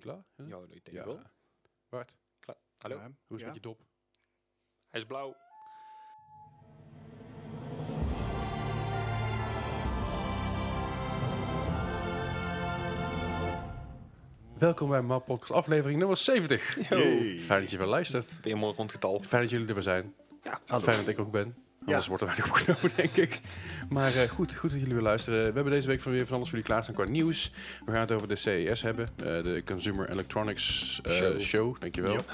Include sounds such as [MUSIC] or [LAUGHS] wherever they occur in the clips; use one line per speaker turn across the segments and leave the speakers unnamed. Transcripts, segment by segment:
klaar? Ja?
Ja, ik denk wel.
Bart,
Klaar. Hallo,
Ja.
hoe is
Ja.
het met je dop?
hij is blauw.
Welkom bij MAP Podcast aflevering nummer 70.
Yay.
Fijn dat je weer luistert.
Weer een mooi rond getal.
Fijn dat jullie er weer zijn.
Ja,
Fijn dat ik ook ben. Anders wordt er weinig [LAUGHS] opgenomen, denk ik. Maar eh, goed, goed dat jullie weer luisteren. We hebben deze week van weer van alles voor jullie klaarstaan qua nieuws. We gaan het over de CES hebben. eh, de Consumer Electronics eh,
Show.
show. dankjewel.
Ja.
Ik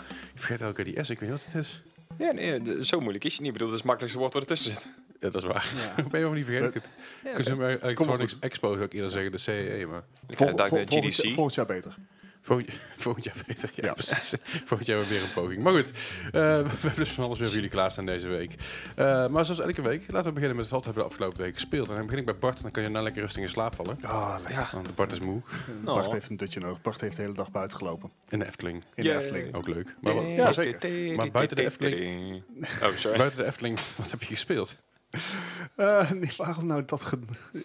vergeet elke keer die S, ik weet niet wat het is.
Ja, nee, d- zo moeilijk is het niet. Ik bedoel, dat is het makkelijkste woord wat ertussen zit.
Ja, dat is [LAUGHS] waar.
Ja. [LAUGHS]
Ik ben helemaal niet vergeten. Ik het. Consumer Electronics
goed.
Expo zou ik eerder zeggen, de CE. Maar
Ik
Vol-
ga daar eh,
vol-
de
volgend-
GDC.
Volgend jaar beter.
Volgend, [LAUGHS] volgend jaar beter. Ja,
Ja.
precies. [LAUGHS] Volgend jaar weer een poging. Maar goed, eh, we hebben dus van alles weer voor jullie klaarstaan deze week. Eh, maar zoals elke week, laten we beginnen met wat hebben we de afgelopen week gespeeld. En dan begin ik bij Bart en dan kan je nou lekker rustig in slaap vallen.
Ah, lekker.
Ja,
Want Bart is moe.
nou.
Bart heeft een dutje nodig. Bart heeft de hele dag buiten gelopen.
En de Efteling.
In
Yay.
de Efteling.
Ook leuk. Maar wat-
Ja, zeker.
Maar buiten de Efteling-
Oh, sorry.
buiten de Efteling, wat heb je gespeeld?
Eh, nee, waarom nou dat... ge- [LAUGHS]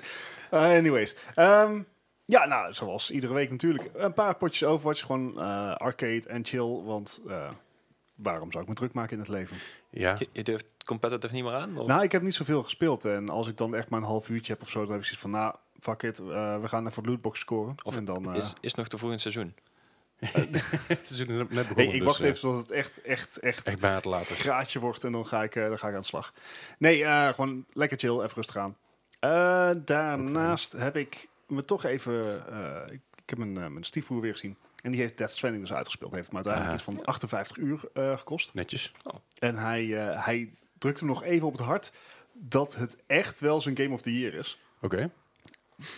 Eh, anyways. Ehm, ja, nou, zoals iedere week natuurlijk. Een paar potjes Overwatch. Gewoon eh, arcade en chill. Want eh, waarom zou ik me druk maken in het leven?
Ja,
Je, je durft competitive niet meer aan? Of?
Nou, ik heb niet zoveel gespeeld. En als ik dan echt maar een half uurtje heb of zo, dan heb ik zoiets van, nou, fuck it, eh, we gaan even lootbox scoren.
Of
en dan, eh,
is, is nog te vroeg in het seizoen?
[LAUGHS] het is net net begonnen.
nee, ik
dus,
wacht
eh,
even tot het echt, echt, echt
Echt bijna te laat dus. is.
graadje wordt en dan ga ik, eh, dan ga ik aan de slag. Nee, eh, gewoon lekker chill, even rustig aan. Eh, daarnaast heb ik me toch even, eh, ik, ik heb mijn, eh, mijn stiefbroer weer gezien. En die heeft Death Stranding dus uitgespeeld. Heeft hem uiteindelijk
Ah.
iets van 58 uur eh, gekost.
Netjes.
En hij, eh, hij drukt hem nog even op het hart dat het echt wel zijn Game of the Year is.
Oké,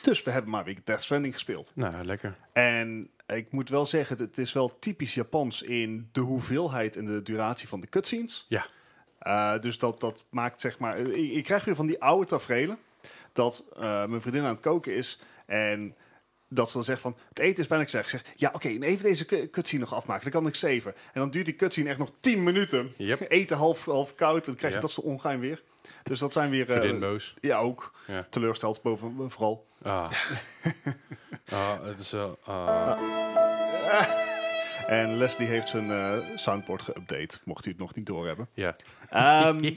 Dus we hebben maar weer Death Stranding gespeeld.
nou lekker.
En ik moet wel zeggen, het is wel typisch Japans in de hoeveelheid en de duratie van de cutscenes.
Ja.
Eh, dus dat, dat maakt zeg maar... eh, Ik, ik krijg weer van die oude tafereelen dat eh, mijn vriendin aan het koken is en dat ze dan zegt van, het eten is bijna gezegd. Ik zeg, ja oké, en even deze cu- cutscene nog afmaken, dan kan ik zeven. En dan duurt die cutscene echt nog 10 minuten.
Yep,
Eten half, half koud, en dan krijg je
Ja.
dat soort ongein weer. Dus dat zijn weer... eh,
verdien boos.
ja, ook.
Ja.
Teleursteld boven, vooral.
Ah.
[LAUGHS]
Ah, het is wel... ah.
En Leslie heeft zijn eh, soundboard geüpdate, mocht u het nog niet doorhebben.
Ja,
[LAUGHS] Ehm,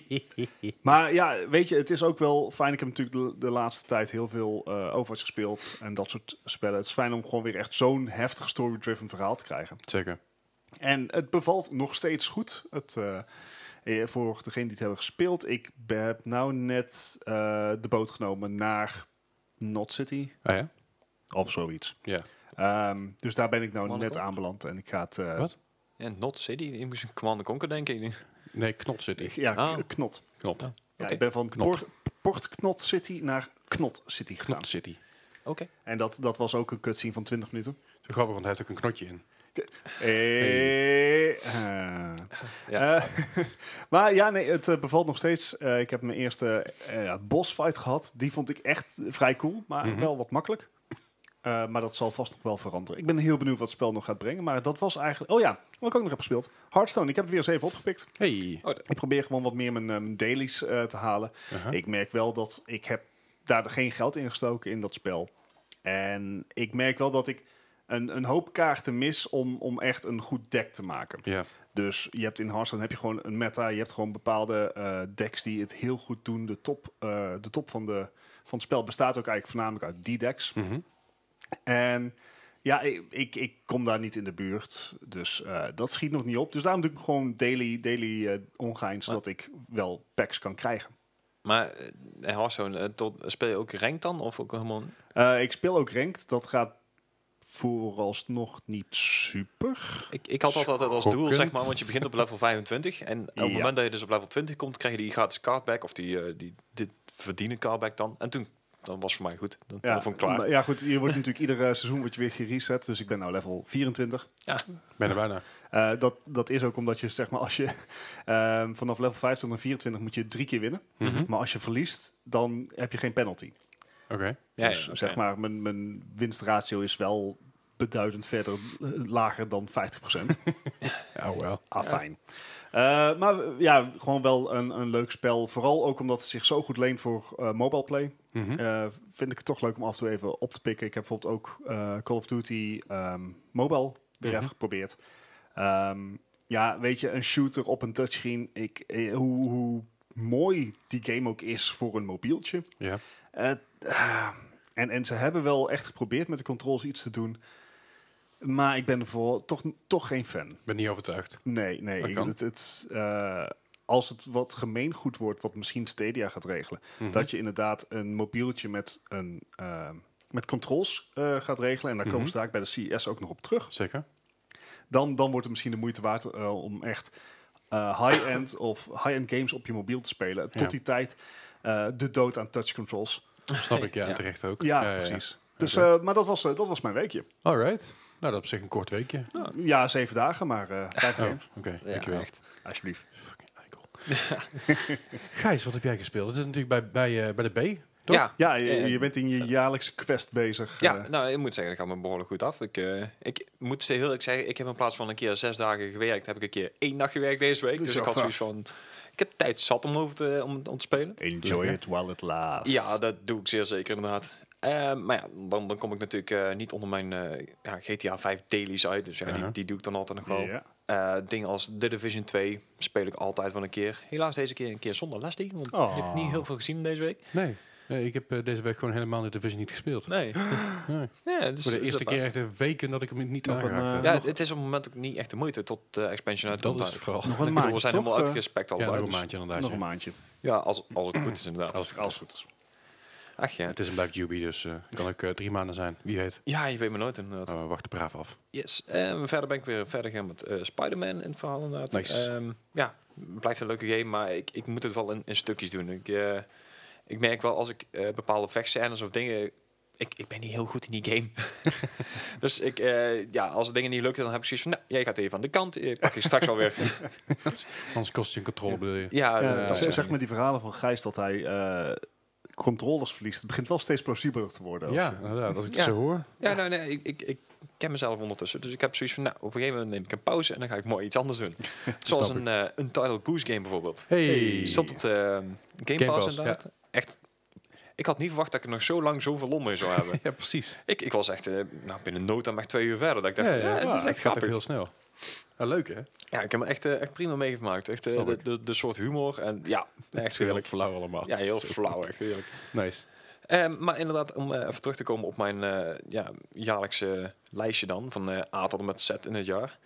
maar ja, weet je, het is ook wel fijn. Ik heb natuurlijk de, de laatste tijd heel veel eh Overwatch gespeeld en dat soort spellen. Het is fijn om gewoon weer echt zo'n heftig story-driven verhaal te krijgen.
zeker.
En het bevalt nog steeds goed. Het, eh, eh, voor degene die het hebben gespeeld, ik be- heb nou net eh, de boot genomen naar Not City
Ah ja?
of zoiets.
Ja.
Ehm, dus daar ben ik nou
Command
net
Conquer?
aanbeland en ik ga het. eh,
Wat?
Ja, Not City. Je moest een Command Conquer, denk ik.
Nee, Knot City.
Ja,
Ah.
k- Knot.
Knot.
Ja,
Oké.
ik ben van
Knot.
Port, Port Knot City naar Knot City gegaan.
Knot City.
Oké.
En dat, dat was ook een cutscene van 20 minuten.
Zo grappig, want hij heeft ook een knotje in.
Eh, eh.
Ja.
Eh, [LAUGHS] maar ja, nee, het eh, bevalt nog steeds. Eh, ik heb mijn eerste eh, ja, bossfight gehad. Die vond ik echt vrij cool, maar
Mhm.
wel wat makkelijk. Eh, maar dat zal vast nog wel veranderen. Ik ben heel benieuwd wat het spel nog gaat brengen. Maar dat was eigenlijk... Oh ja, wat ik ook nog heb gespeeld. Hearthstone, ik heb het weer eens even opgepikt.
Hey.
Ik probeer gewoon wat meer mijn, eh, mijn dailies eh, te halen.
Aha.
Ik merk wel dat ik heb daar geen geld in gestoken in dat spel. En ik merk wel dat ik een, een hoop kaarten mis om, om echt een goed deck te maken.
Ja,
Dus je hebt in Hearthstone heb je gewoon een meta. Je hebt gewoon bepaalde eh, decks die het heel goed doen. De top, eh, de top van, de, van het spel bestaat ook eigenlijk voornamelijk uit die decks.
Mhm.
En ja, ik, ik, ik kom daar niet in de buurt. Dus eh, dat schiet nog niet op. Dus daarom doe ik gewoon daily, daily eh ongein, zodat ik wel packs kan krijgen.
Maar eh, en Hearthstone, eh, tot, speel je ook rank dan? Of ook helemaal...
Eh, ik speel ook ranked. Dat gaat vooralsnog niet super.
Ik, ik had dat altijd als doel,
Schokkend.
zeg maar, want je begint op level 25. En op het
Ja.
moment dat je dus op level 20 komt, krijg je die gratis cardback. Of die, eh, die dit verdienen cardback dan. En toen, dan was voor mij goed. Dan, dan vond ik klaar.
maar- ja, goed. Je wordt [LAUGHS] natuurlijk ieder eh, seizoen wordt je weer gereset. Dus ik ben nou level 24.
ben er bijna.
Eh, dat, dat is ook omdat je, zeg maar, als je [LAUGHS] ehm, vanaf level 25 naar 24 moet je drie keer winnen.
Mhm.
Maar als je verliest, dan heb je geen penalty.
Oké.
Ja,
dus
ja, oké.
zeg maar, mijn, mijn winstratio is wel beduidend verder eh, lager dan 50%.
Oh, wel.
ah, fijn. Eh, maar eh, ja, gewoon wel een, een leuk spel. Vooral ook omdat het zich zo goed leent voor eh, mobile play.
Mhm.
Eh, vind ik het toch leuk om af en toe even op te pikken. Ik heb bijvoorbeeld ook eh, Call of Duty ehm, Mobile Weer
Mhm.
even geprobeerd. Ehm, ja, weet je, een shooter op een touchscreen. Ik, eh, hoe, hoe mooi die game ook is voor een mobieltje.
Ja.
Het, ah, en, en ze hebben wel echt geprobeerd met de controls iets te doen. Maar ik ben ervoor toch, toch geen fan.
Ik ben niet overtuigd.
Nee, nee.
Dat
ik-
kan.
het, het, eh, als het wat gemeengoed wordt, wat misschien Stadia gaat regelen.
Mhm.
Dat je inderdaad een mobieltje met, een, eh, met controls eh, gaat regelen. En daar komen
Mhm.
ze daar bij de CES ook nog op terug.
Zeker.
Dan, dan wordt het misschien de moeite waard eh, om echt eh, high-end of high-end games op je mobiel te spelen. Tot
Ja.
die tijd eh, de dood aan touch controls.
Snap ik, ja,
Ja.
en terecht ook.
Ja, precies. Dus, eh, maar dat was, eh, dat was mijn weekje.
Alright. Nou, dat is op zich een kort weekje.
Ja, zeven dagen, maar eh vijf
Oh,
games.
oké. dankjewel.
echt.
Alsjeblieft.
Fucking [LAUGHS] eikel. Gijs, wat heb jij gespeeld? Dat is natuurlijk bij, bij, eh, bij de B. Toch?
Ja,
Ja, je,
Eh,
je bent in je jaarlijkse quest bezig.
Ja,
eh.
nou, ik moet zeggen, dat gaat me behoorlijk goed af. Ik, eh, ik moet ze heel eerlijk zeggen, ik heb in plaats van een keer zes dagen gewerkt, heb ik een keer één dag gewerkt deze week.
Dat is
Dus ik
wel
had zoiets van, ik heb tijd zat om over te, om, om te spelen.
Enjoy
Lekker.
it while it lasts.
Ja, dat doe ik zeer zeker inderdaad. Eh, maar ja, dan, dan kom ik natuurlijk eh, niet onder mijn eh, ja, GTA 5 dailies uit. Dus ja,
Ja.
die, die doe ik dan altijd nog wel.
Ja.
Eh, dingen als The Division 2 speel ik altijd wel een keer. Helaas deze keer een keer zonder Leslie, want
Oh.
ik heb niet heel veel gezien deze week.
Nee. Nee, ik heb eh, deze week gewoon helemaal de division niet gespeeld.
Nee.
[LAUGHS] Nee.
Ja, het is-
Voor de
is
eerste
apart.
keer echt een weken dat ik hem niet
Nog een,
aangeraakt
eh,
heb.
Ja,
Nog-
het- het is op het moment ook niet echt de moeite tot de expansion
dat
uitkomt.
is het
eigenlijk.
vooral.
Nog een
Ik bedoel, we
maandje,
zijn
toch?
helemaal
Eh,
uitgespekt al.
Ja, nog een maandje inderdaad.
nog
ja.
een maandje.
ja als, als het goed is inderdaad.
Als,
Als het goed is.
Ach ja.
Het is een blijft Juby, dus eh kan ook eh, drie maanden zijn. Wie weet.
Ja, je weet maar nooit inderdaad.
Oh, we wachten braaf af.
Yes. En verder ben ik weer verder gaan met eh, Spider-Man in het verhaal inderdaad.
Nice.
Ehm, ja, het blijft een leuke game, maar ik, ik moet het wel in, in stukjes doen. Ik, eh, ik merk wel als ik eh, bepaalde vechtscènes of dingen... Ik, ik ben niet heel goed in die game. dus ik, eh, ja, als dingen niet lukken, dan heb ik zoiets van... Nou, jij gaat even aan de kant. Ik pak je straks alweer.
Anders kost je een controle, bedoel je?
ja,
Ja,
Eh, dat
Eh, zeg-
zijn-
zeg maar die verhalen van Gijs dat hij eh, controllers verliest. Het begint wel steeds plausibeler te worden.
Ja,
Of, eh,
inderdaad. Als ik
Ja.
het zo hoor.
Ja, nou nee, ik, ik, ik ken mezelf ondertussen. Dus ik heb zoiets van, nou, op een gegeven moment neem ik een pauze en dan ga ik mooi iets anders doen. Zoals
Snap
een eh Untitled Goose Game bijvoorbeeld.
Hey.
Stond op de eh, Game, Pass,
Pass,
inderdaad. Echt, ik had niet verwacht dat ik er nog zo lang zoveel lol [LAUGHS] mee zou hebben.
Ja, precies.
ik, ik was echt, eh, nou, binnen nood aan maar twee uur verder. Dat ik dacht,
ja,
van,
ja,
ja,
het
het is echt
gaat ook
grappig.
heel snel. Ah, leuk, hè?
Ja, ik heb me echt, eh, echt prima meegemaakt. Echt eh,
Snap
de,
ik.
de, de soort humor en ja, echt
heel
heerlijk.
flauw allemaal.
Ja, heel flauw, echt heerlijk.
Nice.
Ehm, maar inderdaad, om eh, even terug te komen op mijn eh, ja, jaarlijkse lijstje dan, van eh A tot en met Z in het jaar,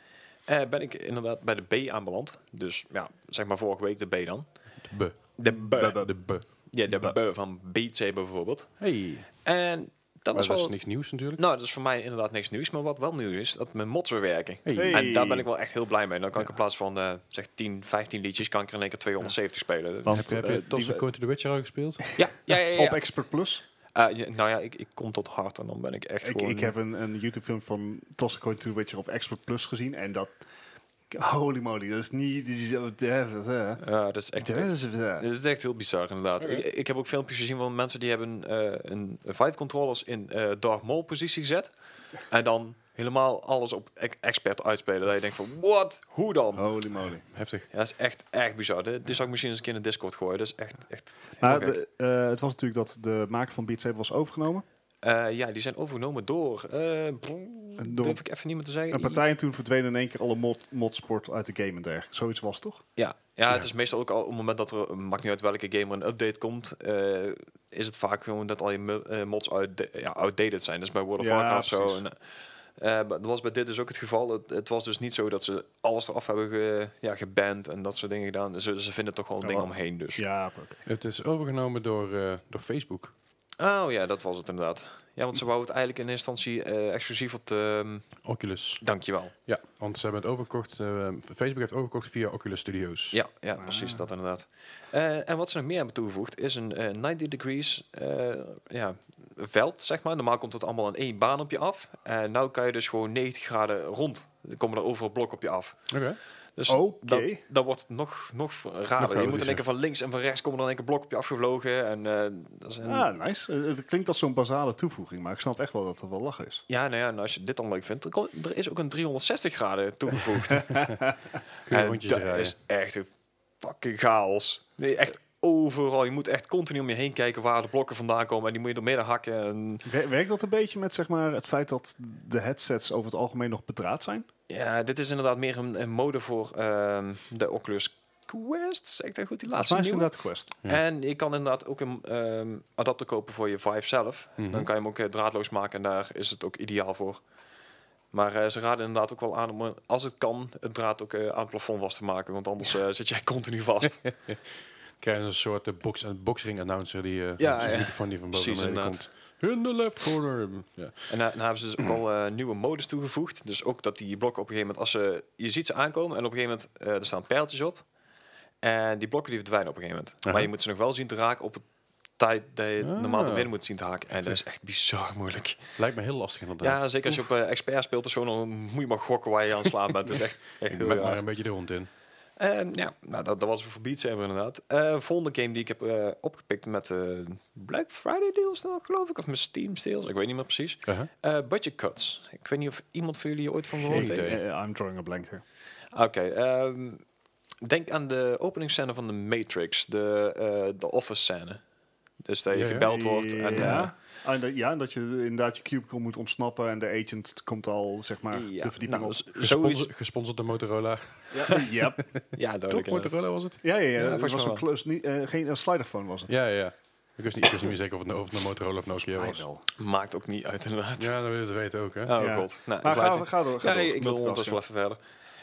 eh, ben ik inderdaad bij de B aanbeland. Dus ja, zeg maar vorige week de B dan.
De B.
De B.
De B.
Ja, de B van Beat Saber bijvoorbeeld.
Hey.
En dat
Maar
was
dat is
wel...
niks nieuws natuurlijk.
Nou, dat is voor mij inderdaad niks nieuws, maar wat wel nieuw is, dat mijn mods weer werken.
Hey.
Hey.
En daar ben ik wel echt heel blij mee. Dan kan ik in plaats van eh, zeg 10, 15 liedjes, kan ik er in één keer 270 spelen.
Want,
Heb je, heb je
eh, die-
Toss and Coin to the Witcher al gespeeld? [LAUGHS]
Ja, ja, ja. ja,
Op
ja.
Expert Plus.
Eh, ja, nou ja, ik, ik kom tot hard en dan ben ik echt
Ik,
gewoon...
ik heb een, een YouTube film van Toss Coin to Witcher op Expert Plus gezien. En dat... Holy moly, dat is niet... Dat is,
Ja, dat is echt...
Dat is- eh.
Dit is echt heel bizar, inderdaad.
Oké.
Ik, ik heb ook filmpjes gezien van mensen die hebben eh, een Vive controllers in eh Dark Mole positie gezet. En dan helemaal alles op e- expert uitspelen. Dat je denkt van, wat? Hoe dan?
Holy moly.
Heftig.
Ja, dat is echt, echt bizar. Dit, dit zou ik misschien eens een keer in de Discord gooien. Dat is echt, echt... heel
Maar
gek.
de- eh, het was natuurlijk dat de maker van Beat Saber was overgenomen.
Eh, ja, die zijn overgenomen door... eh brrr,
Door-
durf ik even niemand te zeggen.
Een partij en toen verdwenen in één keer alle mod, modsport uit de game en dergelijke. Zoiets was het toch?
Ja, ja, het
Ja.
is meestal ook al op het moment dat er, maakt niet uit welke game er een update komt, eh, is het vaak gewoon dat al je mu- eh, mods outda- ja, outdated zijn. Dus bij World of
Ja,
Warcraft zo.
precies.
En, eh, eh, maar dat was bij dit dus ook het geval. Het, het was dus niet zo dat ze alles eraf hebben ge, ja, geband en dat soort dingen gedaan. Ze, ze vinden toch wel een
Oh,
ding
wel.
omheen dus.
Ja, oké.
Het is overgenomen door, eh, door Facebook.
Oh ja, dat was het inderdaad. Ja, want ze wou het eigenlijk in eerste instantie eh, exclusief op de... ehm,
Oculus.
dankjewel.
Ja, want ze hebben het overgekocht. eh, Facebook heeft overgekocht via Oculus Studios.
Ja, ja
Ah.
precies dat inderdaad. Eh, en wat ze nog meer hebben toegevoegd is een eh, 90 degrees eh, ja, veld, zeg maar. Normaal komt het allemaal in één baan op je af. En nu kan je dus gewoon 90 graden rond. Dan komen er overal blokken op je af.
Oké.
Dus
Oké.
dan, dan wordt het nog, nog rader. je moet in één keer van links en van rechts komen er in één keer blok op je afgevlogen. En, eh, dat is een-
Ah, nice. Eh, Het klinkt als zo'n basale toevoeging, maar ik snap echt wel dat het wel lachen is.
Ja, nou ja, en als je dit dan leuk vindt, dan kom- er is ook een 360 graden
[LAUGHS]
toegevoegd.
Kun je
En
rondjes
dat
draaien.
is echt een fucking chaos. Nee, echt overal. Je moet echt continu om je heen kijken waar de blokken vandaan komen. En die moet je door midden hakken. En
Wer- Werkt dat een beetje met zeg maar, het feit dat de headsets over het algemeen nog bedraad zijn?
ja, dit is inderdaad meer een, een mode voor ehm, de Oculus Quest. Zeg ik dat goed? Die laatste
Maar is
nieuwe.
inderdaad Quest.
Ja.
En je kan inderdaad ook een ehm, adapter kopen voor je Vive zelf.
Mhm.
Dan kan je hem ook eh, draadloos maken en daar is het ook ideaal voor. Maar eh, ze raden inderdaad ook wel aan om, eh, als het kan, het draad ook eh, aan het plafond vast te maken. Want anders eh, zit jij continu
[LAUGHS]
vast.
krijgen ze een soort eh, box, een boxring announcer die eh
Ja,
ja,
ja.
microfoon die van boven
Precies,
naar beneden komt. In the left corner. Ja.
en daar daar hebben ze dus ook al eh, nieuwe modes toegevoegd. Dus ook dat die blokken op een gegeven moment, als ze, je ziet ze aankomen en op een gegeven moment, eh, er staan pijltjes op. En die blokken die verdwijnen op een gegeven moment.
Aha.
Maar je moet ze nog wel zien te raken op het tijd dat je
Ah.
normaal naar binnen moet zien te haken. En dat is echt bizar moeilijk.
Lijkt me heel lastig inderdaad.
Ja, zeker als je op eh, expert speelt of zo, dan moet je maar gokken waar je aan het slaan bent. Dat is echt, echt
Ik
heel
ben
raar.
maar een beetje de hond in.
Ehm, ja, nou, dat, dat was voor Beat Saber inderdaad. Eh volgende game die ik heb eh, opgepikt met eh, Black Friday deals dan, geloof ik. Of met Steam deals, ik weet niet meer precies.
Uh-huh.
Eh, budget cuts. Ik weet niet of iemand van jullie hier ooit van gehoord
Geen
heeft.
idee.
Eh, I'm drawing a blank here.
Oké, ehm, denk aan de openingsscène van The Matrix. De, eh, de office scène. Dus dat je
Ja, ja.
gebeld wordt. En,
ja.
eh,
Ah, en dat- ja, en dat je inderdaad je cubicle moet ontsnappen en de agent komt al zeg maar
ja,
de verdieping
nou,
op.
z-
Gesponsord,
zoiets.
gesponsord door Motorola.
Ja,
Toch
[LAUGHS] Ja, duidelijk. inderdaad.
Motorola was het?
ja, ja, ja,
Ja,
dat
volgens
was
mij
een close, niet, eh, geen een sliderphone was het.
Ja, ja, ja. Ik wist niet, ik wist niet meer zeker of het, nou- of het een Motorola of Nokia
Ah,
was.
wel.
Maakt ook niet uit inderdaad.
Ja, dat wil je het weten ook, hè?
Oh
Ja.
god. Nou,
Maar
ik laat
ga,
het.
ga door. Ga
Ja,
door.
ik wil ondertussen wel
Multitasking.
even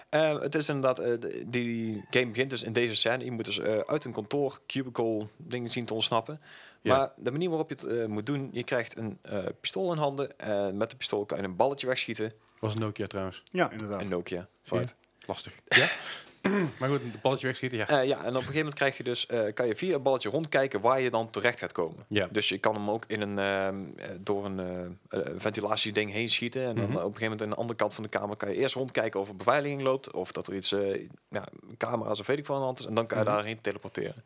verder. Eh, het is inderdaad, eh, de- die game begint dus in deze scène. Je moet dus eh, uit een kantoor, cubicle, dingen zien te ontsnappen.
Ja.
Maar de manier waarop je het eh, moet doen, je krijgt een eh, pistool in handen. En met de pistool kan je een balletje wegschieten.
Was een Nokia trouwens.
Ja, inderdaad.
Een Nokia.
Zie je?
Right.
Lastig. Ja? [CLEARS THROAT] maar goed, een balletje wegschieten, ja.
Eh, ja, en op een gegeven moment krijg je dus, eh, kan je via het balletje rondkijken waar je dan terecht gaat komen.
Ja.
Dus je kan hem ook in een, ehm, eh, door een eh, eh, ventilatieding heen schieten. En dan eh,
Mhm.
op een gegeven moment aan de andere kant van de kamer kan je eerst rondkijken of er beveiliging loopt. Of dat er iets, eh, ja, camera's of weet ik wat aan de hand is. En dan kan je
Mhm.
daarheen teleporteren.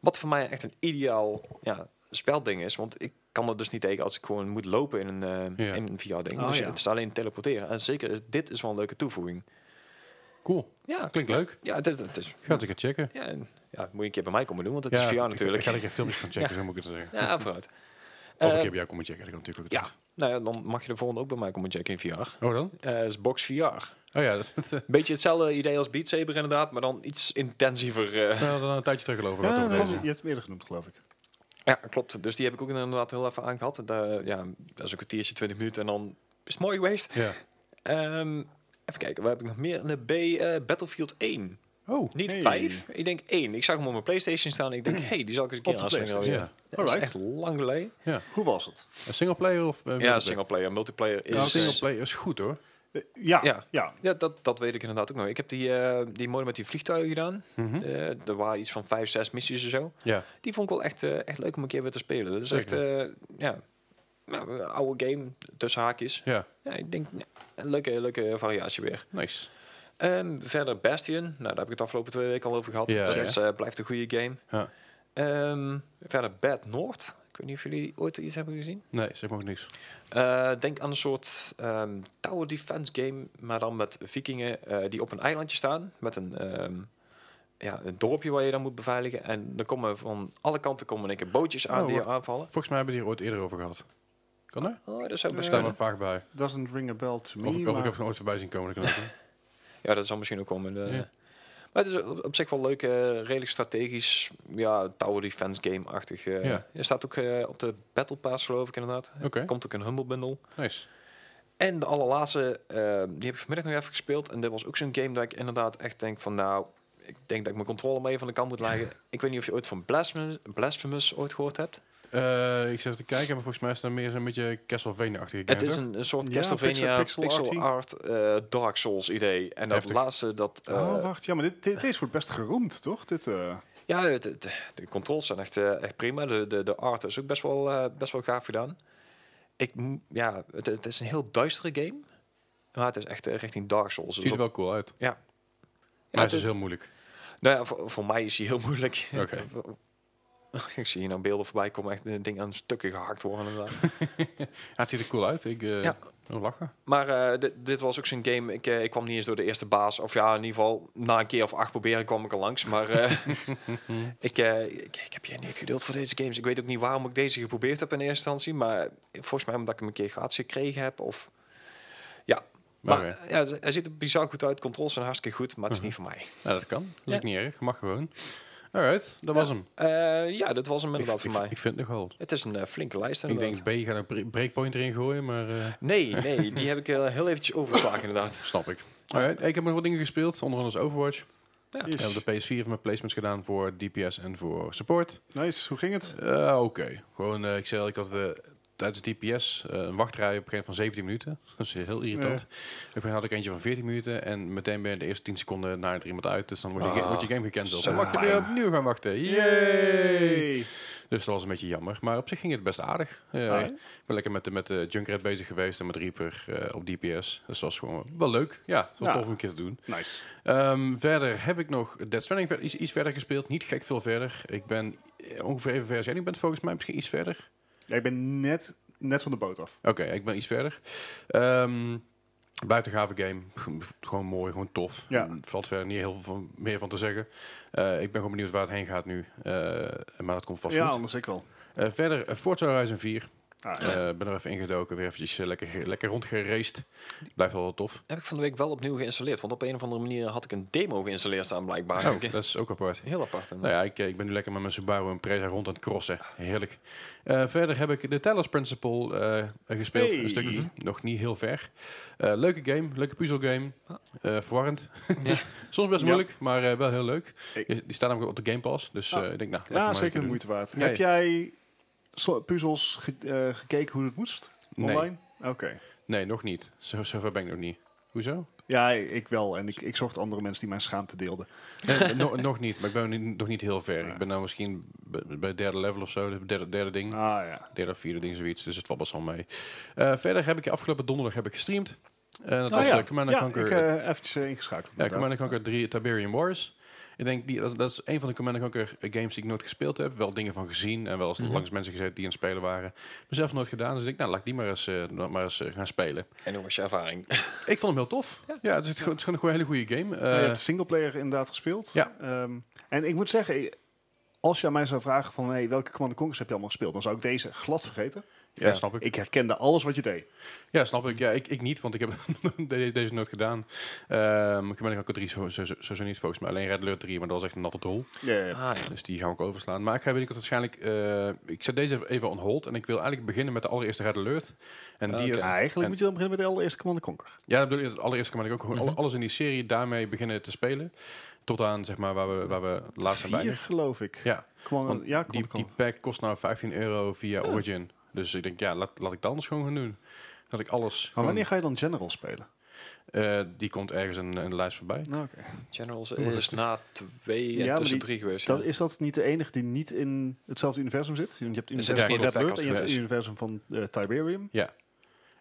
Wat voor mij echt een ideaal ja, spelding is. Want ik kan er dus niet tegen als ik gewoon moet lopen in een, eh,
Ja.
in een VR-ding.
Oh,
dus je-
ja.
het is alleen teleporteren. En zeker, is, dit is wel een leuke toevoeging.
Cool.
Ja,
Klinkt leuk.
ja het, is, het is
Ga het eens een keer checken.
ja, en, ja, moet je een keer bij mij komen doen, want het
Ja,
is
ik-
VR
Ik
natuurlijk.
ga er een keer filmpjes van checken, zo moet ik het zeggen.
ja, vooruit.
Of een
Eh,
keer bij jou komen checken, dat kan natuurlijk ook.
ja, nou ja, dan mag je de volgende ook bij mij komen checken in VR.
Oh dan?
Eh is Box VR.
Oh ja, [LAUGHS] dat, dat,
Beetje hetzelfde idee als Beat Saber inderdaad, maar dan iets intensiever. eh.
nou, dan een tijdje terug gelopen.
Ah,
Ja,
Ja,
nee,
deze.
nou.
je hebt hem eerder genoemd, geloof ik.
Ja, klopt. Dus die heb ik ook inderdaad heel even aan gehad. Daar, ja, dat is een kwartiertje, 20 minuten en dan is het mooi geweest.
Ja.
Ehm, even kijken, waar heb ik nog meer? In de B, eh, Battlefield 1.
Oh,
Niet
Hey.
5, ik denk 1. Ik zag hem op mijn Playstation staan en ik
[CLEARS THROAT]
denk, hey, die zal ik eens een
Op
keer
de
aansluiten.
Oh, ja.
Ja. Dat is
Alright.
echt lang geleden.
Hoe was het?
Een singleplayer of... eh,
Ja,
multiplayer?
singleplayer, multiplayer is...
Ja,
eh,
singleplayer is goed hoor.
Eh, ja,
Ja.
ja.
Ja, dat, dat weet ik inderdaad ook nog. Ik heb die, eh die mode met die vliegtuigen gedaan.
Mhm.
Eh, er waren iets van vijf, zes missies en zo.
Ja.
Die vond ik wel echt, eh, echt leuk om een keer weer te spelen. Dat is echt, eh, ja, nou, een oude game tussen haakjes.
Ja,
Ja, ik denk, ja, een leuke, leuke variatie weer.
nice.
Ehm, verder Bastion. Nou, daar heb ik het afgelopen twee weken al over gehad.
Ja,
dat
ja.
is, eh, blijft een goede game.
Ja.
Ehm, verder Bad North. Ik weet niet of jullie ooit iets hebben gezien.
Nee, zeg maar ook niks.
Eh, denk aan een soort ehm, tower defense game, maar dan met vikingen eh, die op een eilandje staan. Met een, ehm, ja, een dorpje waar je dan moet beveiligen. En dan komen van alle kanten komen in één keer bootjes aan
Oh,
die je
wat-
aanvallen.
Volgens mij hebben we het hier ooit eerder over gehad. Kan dat? Daar
Oh, dat zou best
staan we
kunnen.
vaak bij.
Doesn't ring a bell to me.
Of, ik- of ik
maar-
heb het ooit voorbij zien komen. dat kan ook, hè.
Ja, dat zal misschien ook komen. De-
Ja.
Maar het is op, op zich wel leuk, eh, redelijk strategisch, ja, tower defense game-achtig. eh.
Ja.
Je staat ook eh, op de Battle Pass, geloof ik inderdaad.
Oké,
Komt ook een Humble Bundle.
[LAUGHS] nice.
En de allerlaatste, eh, die heb ik vanmiddag nog even gespeeld. En dat was ook zo'n game dat ik inderdaad echt denk van... Nou, ik denk dat ik mijn controle mee van de kant moet leggen. ik weet niet of je ooit van Blasphemous, Blasphemous ooit gehoord hebt.
Eh, ik zit even te kijken, maar volgens mij is dat meer zo'n beetje Castlevania-achtige game.
Het is
toch?
een, een soort
Ja,
Castlevania
pixel-
pixel,
pixel
art, eh, Dark Souls idee. En dat
Heftig.
laatste, dat... eh,
Oh, wacht. Ja, maar dit, dit, deze wordt best geroemd, toch? Dit, eh,
ja, het- het- de, controls zijn echt, eh, echt prima. De, de, de art is ook best wel, eh, best wel gaaf gedaan. Ik, m- ja, het, het is een heel duistere game. Maar het is echt eh, richting Dark Souls.
Ziet
Dus
er
op-
wel cool uit.
ja,
Maar
het
het is
is-
heel moeilijk.
Nou ja, voor, voor mij is hij heel moeilijk.
Oké.
[LAUGHS] ik zie hier nou beelden voorbij komen, echt een ding aan stukken gehakt worden. inderdaad.
Ja, het ziet er cool uit. Ik eh
Ja.
wil lachen.
Maar eh, dit- dit was ook zo'n game. Ik, eh, ik kwam niet eens door de eerste baas. Of ja, in ieder geval, na een keer of acht proberen kwam ik er langs. Maar eh,
[LAUGHS]
ik, eh, ik, ik heb hier niet geduld voor deze games. Ik weet ook niet waarom ik deze geprobeerd heb in eerste instantie. Maar volgens mij omdat ik hem een keer gratis gekregen heb. Of... Ja, maar,
Maar, eh,
ja, z- hij ziet er bizar goed uit. Controls zijn hartstikke goed, maar het is niet voor mij.
nou, dat kan. Dat lijkt niet erg. Mag gewoon. Alright, dat was hem.
Eh, ja, dat was hem
Ik,
inderdaad
ik,
voor mij.
ik vind het nogal.
Het is een eh, flinke lijst
Ik
inderdaad.
denk B gaat een bre- breakpoint erin gooien, maar eh,
Nee, nee, die heb ik eh, heel eventjes overgeslagen inderdaad.
snap ik. Alright, ik heb nog wat dingen gespeeld, onder andere Overwatch.
Ja.
Ik heb op de PS4 mijn placements gedaan voor DPS en voor support.
Nice, hoe ging het?
Eh, Oké, gewoon, eh, ik zei al, ik had eh, tijdens de DPS eh, een wachtrij op een gegeven moment van 17 minuten. [LAUGHS] Dat is heel irritant. Ik ben had ik eentje van 14 minuten en meteen ben je de eerste 10 seconden naar er iemand uit. Dus dan wordt je,
Ah,
wordt je game gecanceld.
zo
Dan mag je weer
fijn.
opnieuw gaan wachten. Yay!
Yay!
Dus dat was een beetje jammer. Maar op zich ging het best aardig. Eh,
Ah, ja?
Ik ben lekker met, de- met de Junkrat bezig geweest en met Reaper eh, op DPS. Dus dat was gewoon wel leuk. Ja, het was
Ja.
tof om een keer te doen.
Nice.
Ehm, verder heb ik nog Dead Stranding ver- iets, iets verder gespeeld. Niet gek veel verder. Ik ben eh, ongeveer even ver als jij nu bent volgens mij. Misschien iets verder.
Ja, ik ben net, net van de boot af.
Oké, ik ben iets verder. Ehm Buiten gave game. Gewoon mooi, gewoon tof.
Ja.
Er Valt verder niet heel veel van- meer van te zeggen. Eh, ik ben gewoon benieuwd waar het heen gaat nu. Eh, maar dat komt vast
ja,
goed.
anders ik wel.
Eh, verder, eh, Forza Horizon 4.
Ah,
Eh, ben er even ingedoken, weer eventjes eh, lekker, ge- lekker rondgeraced. Blijft wel wel tof.
[LAUGHS] Heb ik van de week wel opnieuw geïnstalleerd. Want op een of andere manier had ik een demo geïnstalleerd staan blijkbaar.
Oh,
Ik-
dat is ook apart.
Heel apart. hè?
Nou ja, ik, eh, ik ben nu lekker met mijn Subaru en Preza rond aan het crossen. Heerlijk. Eh, verder heb ik de Talos Principle eh, gespeeld.
Hey.
Een stukje.
Mhm.
Nog niet heel ver. Eh, leuke game. Leuke puzzelgame. Eh verwarrend.
Ja.
[LAUGHS] Soms best
Ah. Ja.
moeilijk, maar eh, wel heel leuk.
Hey.
Die die staat namelijk op de Game Pass. Dus
Ah.
eh, ik denk, nou,
ja,
lekker maar
zeker
even
de
doen.
moeite waard.
Ja,
Heb jij zo- puzzels ge- eh, gekeken hoe het moest?
Nee,
Online? Oké.
nee, nog niet. Zo, zover ben ik nog niet. Hoezo?
Ja, ik wel. En ik, ik zocht andere mensen die mijn schaamte deelden.
Nee, no- nog niet, maar ik ben nog niet- nog niet heel ver.
Ja.
Ik ben nou misschien bij bij het derde level of zo, het derde, derde ding.
Ah ja.
Derde of vierde ding, zoiets. Dus het valt best wel mee. Eh, verder heb ik afgelopen donderdag heb ik gestreamd. En dat
Oh,
was
ja.
eh, Command
ja,
Conquer.
ik
eh,
eh eventjes eh, ingeschakeld.
ja,
inderdaad.
Command Conquer 3 Tiberian Wars. Ik denk, die, dat, dat is een van de Command Conquer eh, games die ik nooit gespeeld heb. Wel dingen van gezien en wel eens
Mhm.
langs mensen gezeten die aan het spelen waren. Mezelf nooit gedaan, dus ik denk, nou, laat ik die maar eens, eh, maar eens eh, gaan spelen.
En hoe was je ervaring?
Ik vond hem heel tof. Ja, het, is, gewoon- het is gewoon een hele goede game.
Ja,
Eh,
Nou, je hebt de singleplayer inderdaad gespeeld.
Ja.
Ehm, en ik moet zeggen, eh, als je aan mij zou vragen van hey, welke Command Conquers heb je allemaal gespeeld, dan zou ik deze glad vergeten.
ja,
ja.
snap ik.
Ik herkende alles wat je deed.
Ja, snap ik. Ja, ik, ik niet, want ik heb [LAUGHS] deze, deze nooit gedaan. Ehm ik ben ook 3 sowieso zo, zo, zo niet volgens mij. Alleen Red Alert 3, maar dat was echt een natte drol.
Ah, ja.
Dus die ga ik overslaan. Maar ik ga binnenkort waarschijnlijk... eh, ik zet deze even on hold. En ik wil eigenlijk beginnen met de allereerste Red Alert. En die,
Oké.
Ja, Ah, eigenlijk
en-
moet je dan beginnen met de allereerste Command Conquer.
Ja, dat bedoel ik. Het allereerste kan ik ook gewoon
Mhm.
alles in die serie daarmee beginnen te spelen. Tot aan, zeg maar, waar we, waar we laatst zijn
Vier,
bij.
geloof ik.
Ja,
Command,
want
ja,
die,
Command
die
Conquer.
pack kost nou 15 euro via
Ja.
Origin. Dus ik denk, ja, laat, laat ik dat anders gewoon gaan doen. Dat ik alles...
Maar wanneer
gewoon-
ga je dan General spelen?
eh, die komt ergens in, in de lijst voorbij.
Nou, oké.
Generals
Oeh,
is na twee en
Ja, maar
tussen
die-
drie geweest.
Dat,
ja.
is dat niet de enige die niet in hetzelfde universum zit? Want je hebt het
Er
universum
zit
geen
van Red
back
Alert en je hebt het
office.
universum van eh, Tiberium.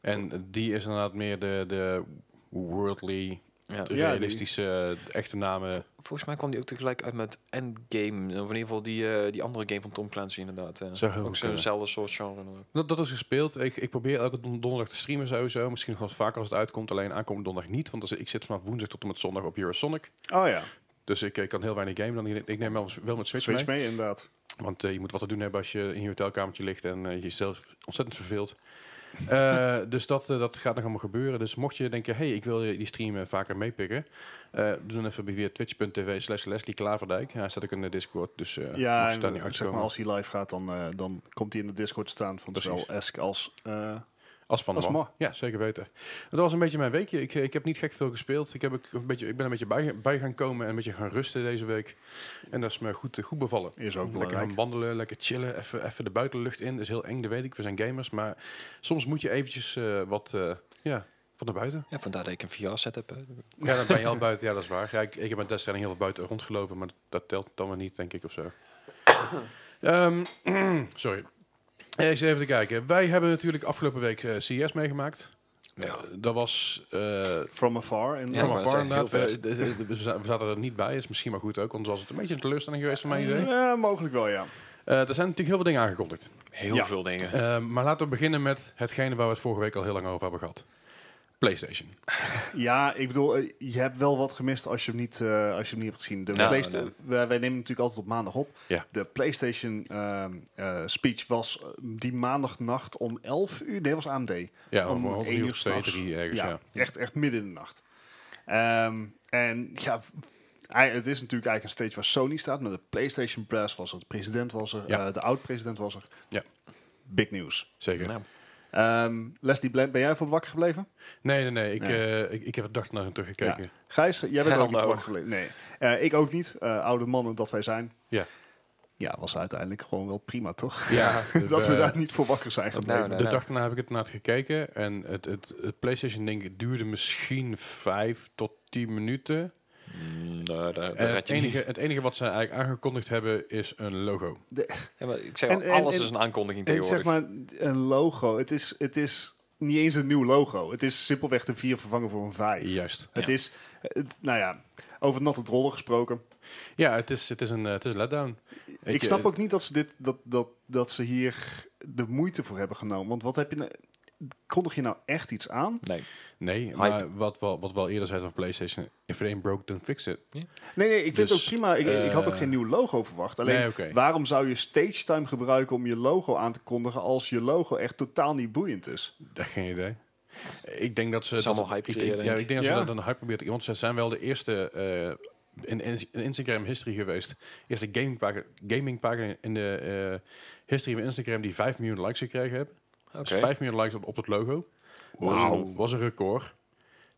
En die is inderdaad meer de, de worldly,
Ja.
die-
realistische, eh, echte namen.
Volgens mij kwam die ook tegelijk uit met Endgame. Of in ieder geval die, eh, die andere game van Tom Clancy inderdaad. eh.
Zou heel
ook
goed kunnen.
zo'nzelfde soort genre.
Dat, dat is gespeeld. Ik, ik probeer elke don- donderdag te streamen sowieso. Misschien nog wel eens vaker als het uitkomt. Alleen aankomende donderdag niet. Want als, ik zit vanaf woensdag tot en met zondag op Eurosonic.
Oh ja,
Dus ik, eh, kan heel weinig game. Dan, ik neem wel, wel met Switch,
Switch
mee.
mee inderdaad.
Want eh, je moet wat te doen hebben als je in je hotelkamertje ligt. En eh, jezelf ontzettend verveelt. Eh, [LAUGHS] dus dat, eh, dat gaat nog allemaal gebeuren. Dus mocht je denken, hey, ik wil eh, die stream eh, vaker meepikken. eh, doe dan even via twitch.tv slash Leslie Klaverdijk. Hij staat ook in de Discord. Dus eh
ja,
mocht je daar
en,
niet
zeg
uitkomen.
maar, als hij live gaat, dan, eh, dan komt hij in de Discord staan van
Precies.
zowel Esk als... eh,
Als van de
Als
Wal.
Mar.
Ja, zeker weten. Dat was een beetje mijn weekje. Ik, ik heb niet gek veel gespeeld. Ik, heb ook een beetje, ik ben een beetje bij, bij gaan komen en een beetje gaan rusten deze week. En dat is me goed, eh, goed bevallen.
is ook
lekker
belangrijk.
gaan wandelen, lekker chillen, even, even de buitenlucht in. Dat is heel eng, dat weet ik. We zijn gamers, maar soms moet je eventjes eh, wat, eh, ja, wat naar buiten.
Ja, vandaar dat ik een VR-set heb. hè.
Ja, dan ben je al buiten. Ja, dat is waar. Ja, ik, ik heb met Death Stranding heel veel buiten rondgelopen, maar dat telt dan maar niet, denk ik, of zo. Ehm, [CLEARS THROAT] sorry. Eh, Eens even te kijken. Wij hebben natuurlijk afgelopen week eh, CES meegemaakt.
Ja.
Eh, dat was eh
From afar. En
Ja,
from
maar
afar
het is echt
inderdaad.
heel
We, de- de- we za- we zaten er niet bij, is misschien maar goed ook, anders was het een beetje een teleurstelling geweest van mijn idee.
Ja, mogelijk wel, ja.
Eh, er zijn natuurlijk heel veel dingen aangekondigd.
Heel
Ja.
veel dingen.
Eh, maar laten we beginnen met hetgene waar we het vorige week al heel lang over hebben gehad. PlayStation.
Ja, ik bedoel, eh, je hebt wel wat gemist als je hem niet, eh, als je hem niet hebt gezien. De
Nou,
Playsta-
nou.
wij, wij nemen natuurlijk altijd op maandag op.
Ja.
De PlayStation ehm, eh, speech was eh, die maandagnacht om 11 uur. Nee, was AMD.
Ja, om,
Om
om
één
een uur
uur
of twee,
s'nachts.
drie ergens. Ja.
ja, Echt, echt midden in de nacht. Ehm, en ja, ei- het is natuurlijk eigenlijk een stage waar Sony staat. Maar de PlayStation Press was er, de president was er,
Ja.
eh, de oud-president was er.
Ja.
Big news.
Zeker.
Nou,
Ehm, Leslie, ble- ben jij voor wakker gebleven?
Nee, nee, nee. Ik,
Nee.
eh, ik, ik heb het dag naar hem [LAUGHS] teruggekeken.
Gijs, jij bent er
Hell
ook niet
Nou.
no.
voor gebleven. Nee, Eh, ik ook niet. Eh, oude mannen dat wij zijn.
Ja.
Ja, was uiteindelijk gewoon wel prima, toch?
Ja, dus,
[LAUGHS] dat we
eh,
daar niet voor wakker zijn gebleven.
nou,
de
nou.
dag daarna heb ik het naar het gekeken. En het, het, het PlayStation denk ik duurde misschien vijf tot tien minuten.
mm, nou, daar,
En
daar red
het,
je niet.
enige, het enige wat ze eigenlijk aangekondigd hebben is een logo.
Ja, maar ik zeg,
En-
al,
en-
alles
en-
is een aankondiging
En
tegenwoordig.
zeg maar, een logo. Het is, het is niet eens een nieuw logo. Het is simpelweg de 4 vervangen voor een 5.
Juist.
Het
Ja.
is, het- nou ja, over natte drollen gesproken.
Ja, het is, het is een, eh, het is een letdown.
Ik snap
eh,
ook niet dat ze, dit, dat, dat, dat ze hier de moeite voor hebben genomen. Want wat heb je nou... Kondig je nou echt iets aan?
nee.
Nee, maar wat, wat, wat we al eerder zei van PlayStation, if it ain't broke, don't fix it.
Nee, nee, ik vind
Dus,
het ook prima. Ik, ik had ook
eh,
geen nieuw logo verwacht. Alleen,
nee, oké.
waarom zou je stage time gebruiken om je logo aan te kondigen... als je logo echt totaal niet boeiend is?
Dat geen idee. Ik denk dat ze...
Het is
dat-
allemaal hype
ik denk,
creëren,
Ja,
denk
ik denk dat ze
Ja.
dat een hype probeert. Want ze zijn wel de eerste eh, in, in- in Instagram history geweest. Eerste gamingpagina gaming in de eh, history van Instagram die 5 miljoen likes gekregen hebben. Dus
Oké.
5 miljoen likes op, op het logo.
Wauw.
Was, een, was een record.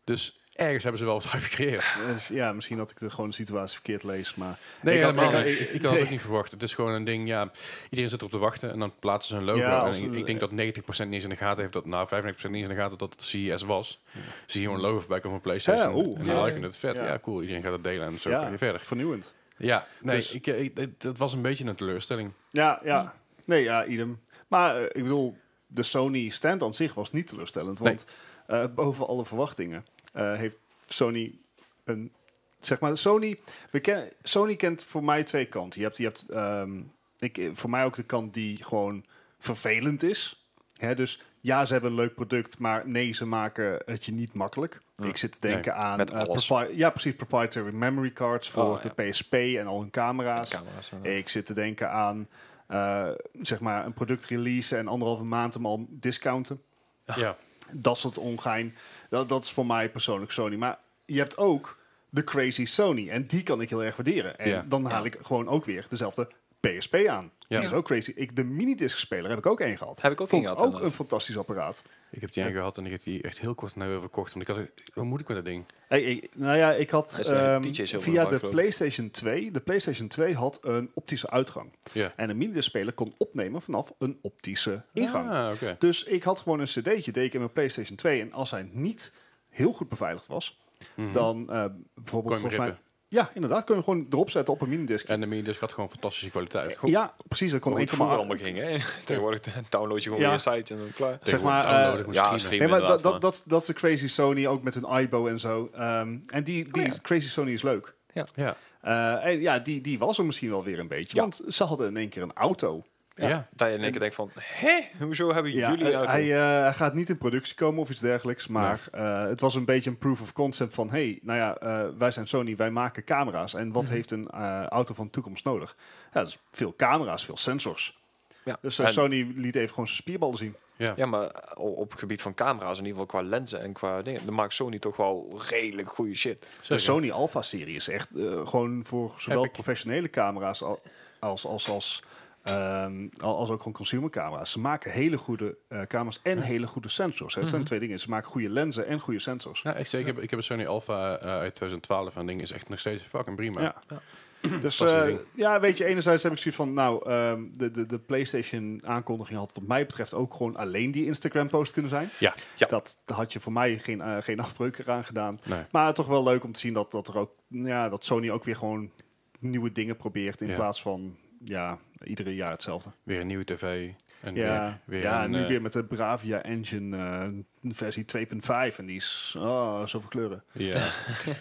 Dus ergens hebben ze wel wat hype gecreëerd.
Dus ja, misschien dat ik de, gewoon de situatie verkeerd lees, maar...
Nee,
Ik had-
helemaal
ik had-
niet. Ik, ik had
nee.
het ook niet verwacht. Het is gewoon een ding, ja, iedereen zit erop te wachten en dan plaatsen ze een logo.
Ja,
En
als
ik,
een-
ik denk dat 90% niet eens in de gaten heeft, dat, nou 95% niet eens in de gaten dat het CES was. Zie je gewoon een logo voorbij komen van PlayStation
Ja, oeh,
en
ja.
dan liken het vet. Ja.
Ja.
cool, iedereen gaat het delen en zo
Ja.
ga je verder.
Vernieuwend.
Ja, nee,
Dus-
ik, eh, ik- het, het was een beetje een teleurstelling.
Ja, ja. Nee, ja, idem. Maar eh, ik bedoel, de Sony stand aan zich was niet teleurstellend. Want eh, boven alle verwachtingen eh, heeft Sony een... Zeg maar, Sony, we ken- Sony kent voor mij twee kanten. Je hebt, je hebt ehm, ik, eh, voor mij ook de kant die gewoon vervelend is. Hè, dus ja, ze hebben een leuk product, maar nee, ze maken het je niet makkelijk.
Hm.
Ik zit te denken aan...
met
eh,
alles.
propri- ja, precies, proprietary memory cards voor
Oh, ja.
de PSP en al hun camera's.
Camera's, eh.
Ik zit te denken aan eh, zeg maar een product release en anderhalve maand hem al discounten.
Ja,
Dat soort ongein. Dat, dat is voor mij persoonlijk Sony. Maar je hebt ook de crazy Sony. En die kan ik heel erg waarderen. En
Ja.
dan haal ik gewoon ook weer dezelfde PSP aan.
Ja.
Die is ook crazy. Ik, de minidisc speler heb ik ook één gehad.
Heb ik ook één
Vond
gehad,
ik ook
inderdaad.
een fantastisch apparaat.
ik heb die een gehad en ik heb die echt heel kort naar weer verkocht. Want ik had, hoe moet ik met dat ding?
Hey, ik- nou ja, ik had
Er is een
ehm,
DJ zilver
via
gemaakt,
de
geloof ik.
PlayStation 2. De PlayStation 2 had een optische uitgang.
Ja.
En een minidisc speler kon opnemen vanaf een optische ingang.
Ah, oké.
Dus ik had gewoon een cd'tje, deed ik in mijn PlayStation 2. En als hij niet heel goed beveiligd was,
Mhm.
dan eh,
Kon
bijvoorbeeld
je hem
volgens mij...
rippen.
Ja, inderdaad, kun je hem gewoon erop zetten op een minidisc.
En de minidisc had gewoon fantastische kwaliteit.
ja, precies, dat kon
Hoe het
1,8.
vroeger allemaal ging, hè? [LAUGHS] Tegenwoordig download je gewoon
Ja.
je site en dan klaar.
Tegenwoordig
maar, eh,
downloaden, gewoon
ja,
streamen.
streamen.
Nee, maar dat,
inderdaad,
dat,
maar-
dat, dat is de Crazy Sony, ook met hun iBo en zo. Ehm, en die, die
Oh ja.
Crazy Sony is leuk.
Ja.
Eh, en ja, die, die was er misschien wel weer een beetje.
Ja.
Want ze hadden in één keer een auto.
Ja. Ja.
Dat je in één keer denkt van, hè? Hoezo hebben
Ja,
jullie nou
eh,
een auto?
hij, eh, hij gaat niet in productie komen of iets dergelijks. Maar eh, het was een beetje een proof of concept van... hey, nou ja, eh, wij zijn Sony, wij maken camera's. En
Mhm.
wat heeft een eh, auto van de toekomst nodig? Ja, dat is veel camera's, veel sensors.
ja.
Dus eh,
En-
Sony liet even gewoon zijn spierballen zien.
Ja, maar o- op het gebied van camera's, in ieder geval qua lenzen en qua dingen, dan maakt Sony toch wel redelijk goede shit.
De
Zeker.
Sony Alpha-serie is echt eh, gewoon voor zowel
Epic.
professionele camera's al- als... als, als ehm, al- als ook gewoon consumercamera's. Ze maken hele goede eh, camera's en hele goede sensors. Hè. Het zijn
Mhm.
twee dingen. Ze maken goede lenzen en goede sensors.
Ja, ik, zeg, ik, heb, ik heb een Sony Alpha eh, uit 2012 en ding is echt nog steeds fucking prima.
Ja. Dus
Dat is een
eh,
ding.
ja, weet je, enerzijds heb ik zoiets van, nou, ehm, de, de, de PlayStation aankondiging had wat mij betreft ook gewoon alleen die Instagram post kunnen zijn.
Ja.
Ja.
Dat had je voor mij geen, eh, geen [LAUGHS] afbreuk eraan gedaan.
Nee.
Maar toch wel leuk om te zien dat, dat, er ook, ja, dat Sony ook weer gewoon nieuwe dingen probeert in
Ja.
plaats van ja, iedere jaar hetzelfde.
Weer een nieuwe tv. En
Ja,
weer, weer
ja
een,
nu
eh,
weer met de Bravia Engine eh, versie 2.5. En die is oh, zoveel kleuren. [LAUGHS]
Ja.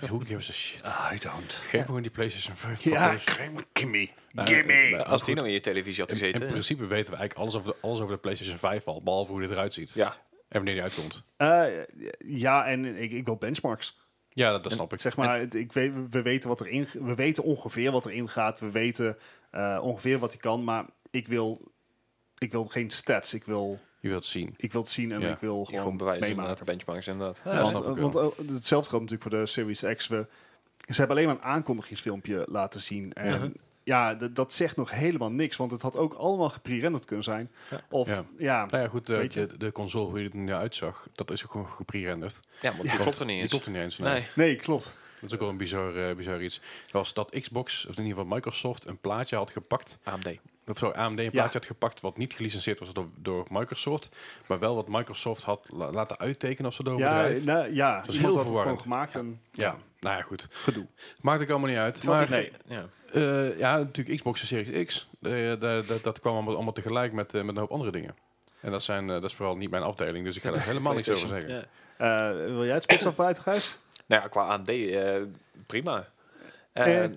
Who gives a shit?
I don't.
Geef me gewoon die PlayStation 5.
Ja,
Ah, fuckers.
gimme, gimme.
Nou,
[LAUGHS] gimme.
nou,
Als die
goed.
nou in je televisie had
in, in
gezeten.
principe weten we eigenlijk alles over, de, alles over de PlayStation 5 al, behalve hoe dit eruit ziet.
Ja,
En wanneer die uitkomt.
Eh, ja, en ik, ik wil benchmarks.
Ja, dat, dat snap ik.
Zeg maar, het- ik weet, we, weten wat erin, we weten ongeveer wat erin gaat. We weten eh, ongeveer wat hij kan. Maar ik wil, ik wil geen stats. Ik wil,
Je wilt het zien.
ik wil het zien en
Ja,
ik wil
gewoon,
gewoon,
bewijzen inderdaad.
meemaken.
Benchmarks inderdaad.
Ja,
want
snap ik wel.
want eh, hetzelfde geldt natuurlijk voor de Series X. We, ze hebben alleen maar een aankondigingsfilmpje laten zien. En
Mhm.
ja, d- dat zegt nog helemaal niks. Want het had ook allemaal geprerenderd kunnen zijn.
Ja.
Of
Ja.
ja,
Nou ja, goed, de,
Weet je?
de, de console, hoe je het er nu uitzag, dat is ook gewoon geprerenderd.
Ja, want die klopt er niet
Die
eens.
klopt er niet eens. Nee.
Nee.
nee, klopt.
Dat is ook wel een bizar, eh, bizar iets. Zoals dat Xbox, of in ieder geval Microsoft, een plaatje had gepakt.
AMD.
Of zo, AMD een plaatje had gepakt wat niet gelicenseerd was door, door Microsoft. Maar wel wat Microsoft had la- laten uittekenen of zo door een
Ja,
bedrijf.
nou, ja
is
iemand
heel
had het gewoon
verwarrend.
gemaakt. En
Ja, nou ja, goed.
gedoe.
Maakt ook allemaal niet uit.
was
Maar
echt- Nee.
Ja.
eh, ja, natuurlijk Xbox en Series X. eh, da- da- dat kwam allemaal, allemaal tegelijk met, eh, met een hoop andere dingen. En dat, zijn, eh, dat is vooral niet mijn afdeling, dus ik
[LAUGHS]
ga daar helemaal niks over zeggen.
Ja.
Eh, wil jij het spits afbijten, Gijs?
Nou ja, qua AMD, eh, prima. Eh,
Eh.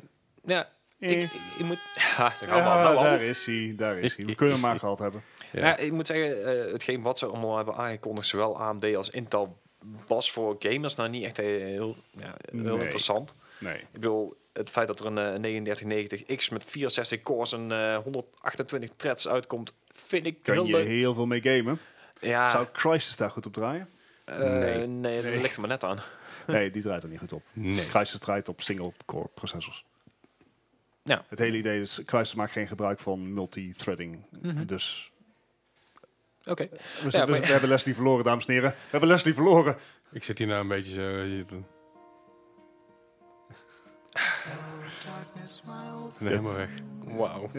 ja,
Eh.
ik, ik, ik moet... [LAUGHS] Ha, daar gaan we nou, al,
Ja,
daar gaan we al.
daar is hij, daar is hij. We kunnen hem maar
[LAUGHS]
gehad hebben.
Ja.
Ja, ik moet zeggen, eh, hetgeen wat ze allemaal hebben aangekondigd, zowel AMD als Intel, was voor gamers nou niet echt eh, heel, ja, heel
Nee.
interessant.
Nee.
Ik bedoel, het feit dat er een eh, 3990X met 64 cores en eh, 128 threads uitkomt, vind ik
Kun
heel
je
leuk. Ah.
heel veel mee gamen.
Ja,
Zou Crisis daar goed op draaien?
eh,
Nee.
nee, dat
Nee.
ligt er maar net aan.
Nee, die draait er niet goed op.
Nee.
Crisis draait op single-core processors.
Ja.
Het hele idee is, Crisis maakt geen gebruik van multithreading.
Mhm.
Dus,
Oké.
we,
Ja,
zijn- we-
maar-
we hebben Leslie verloren, dames en heren. We hebben Leslie verloren.
Ik zit hier nou een beetje zo... je- Nee, helemaal weg.
[LAUGHS]
Wauw.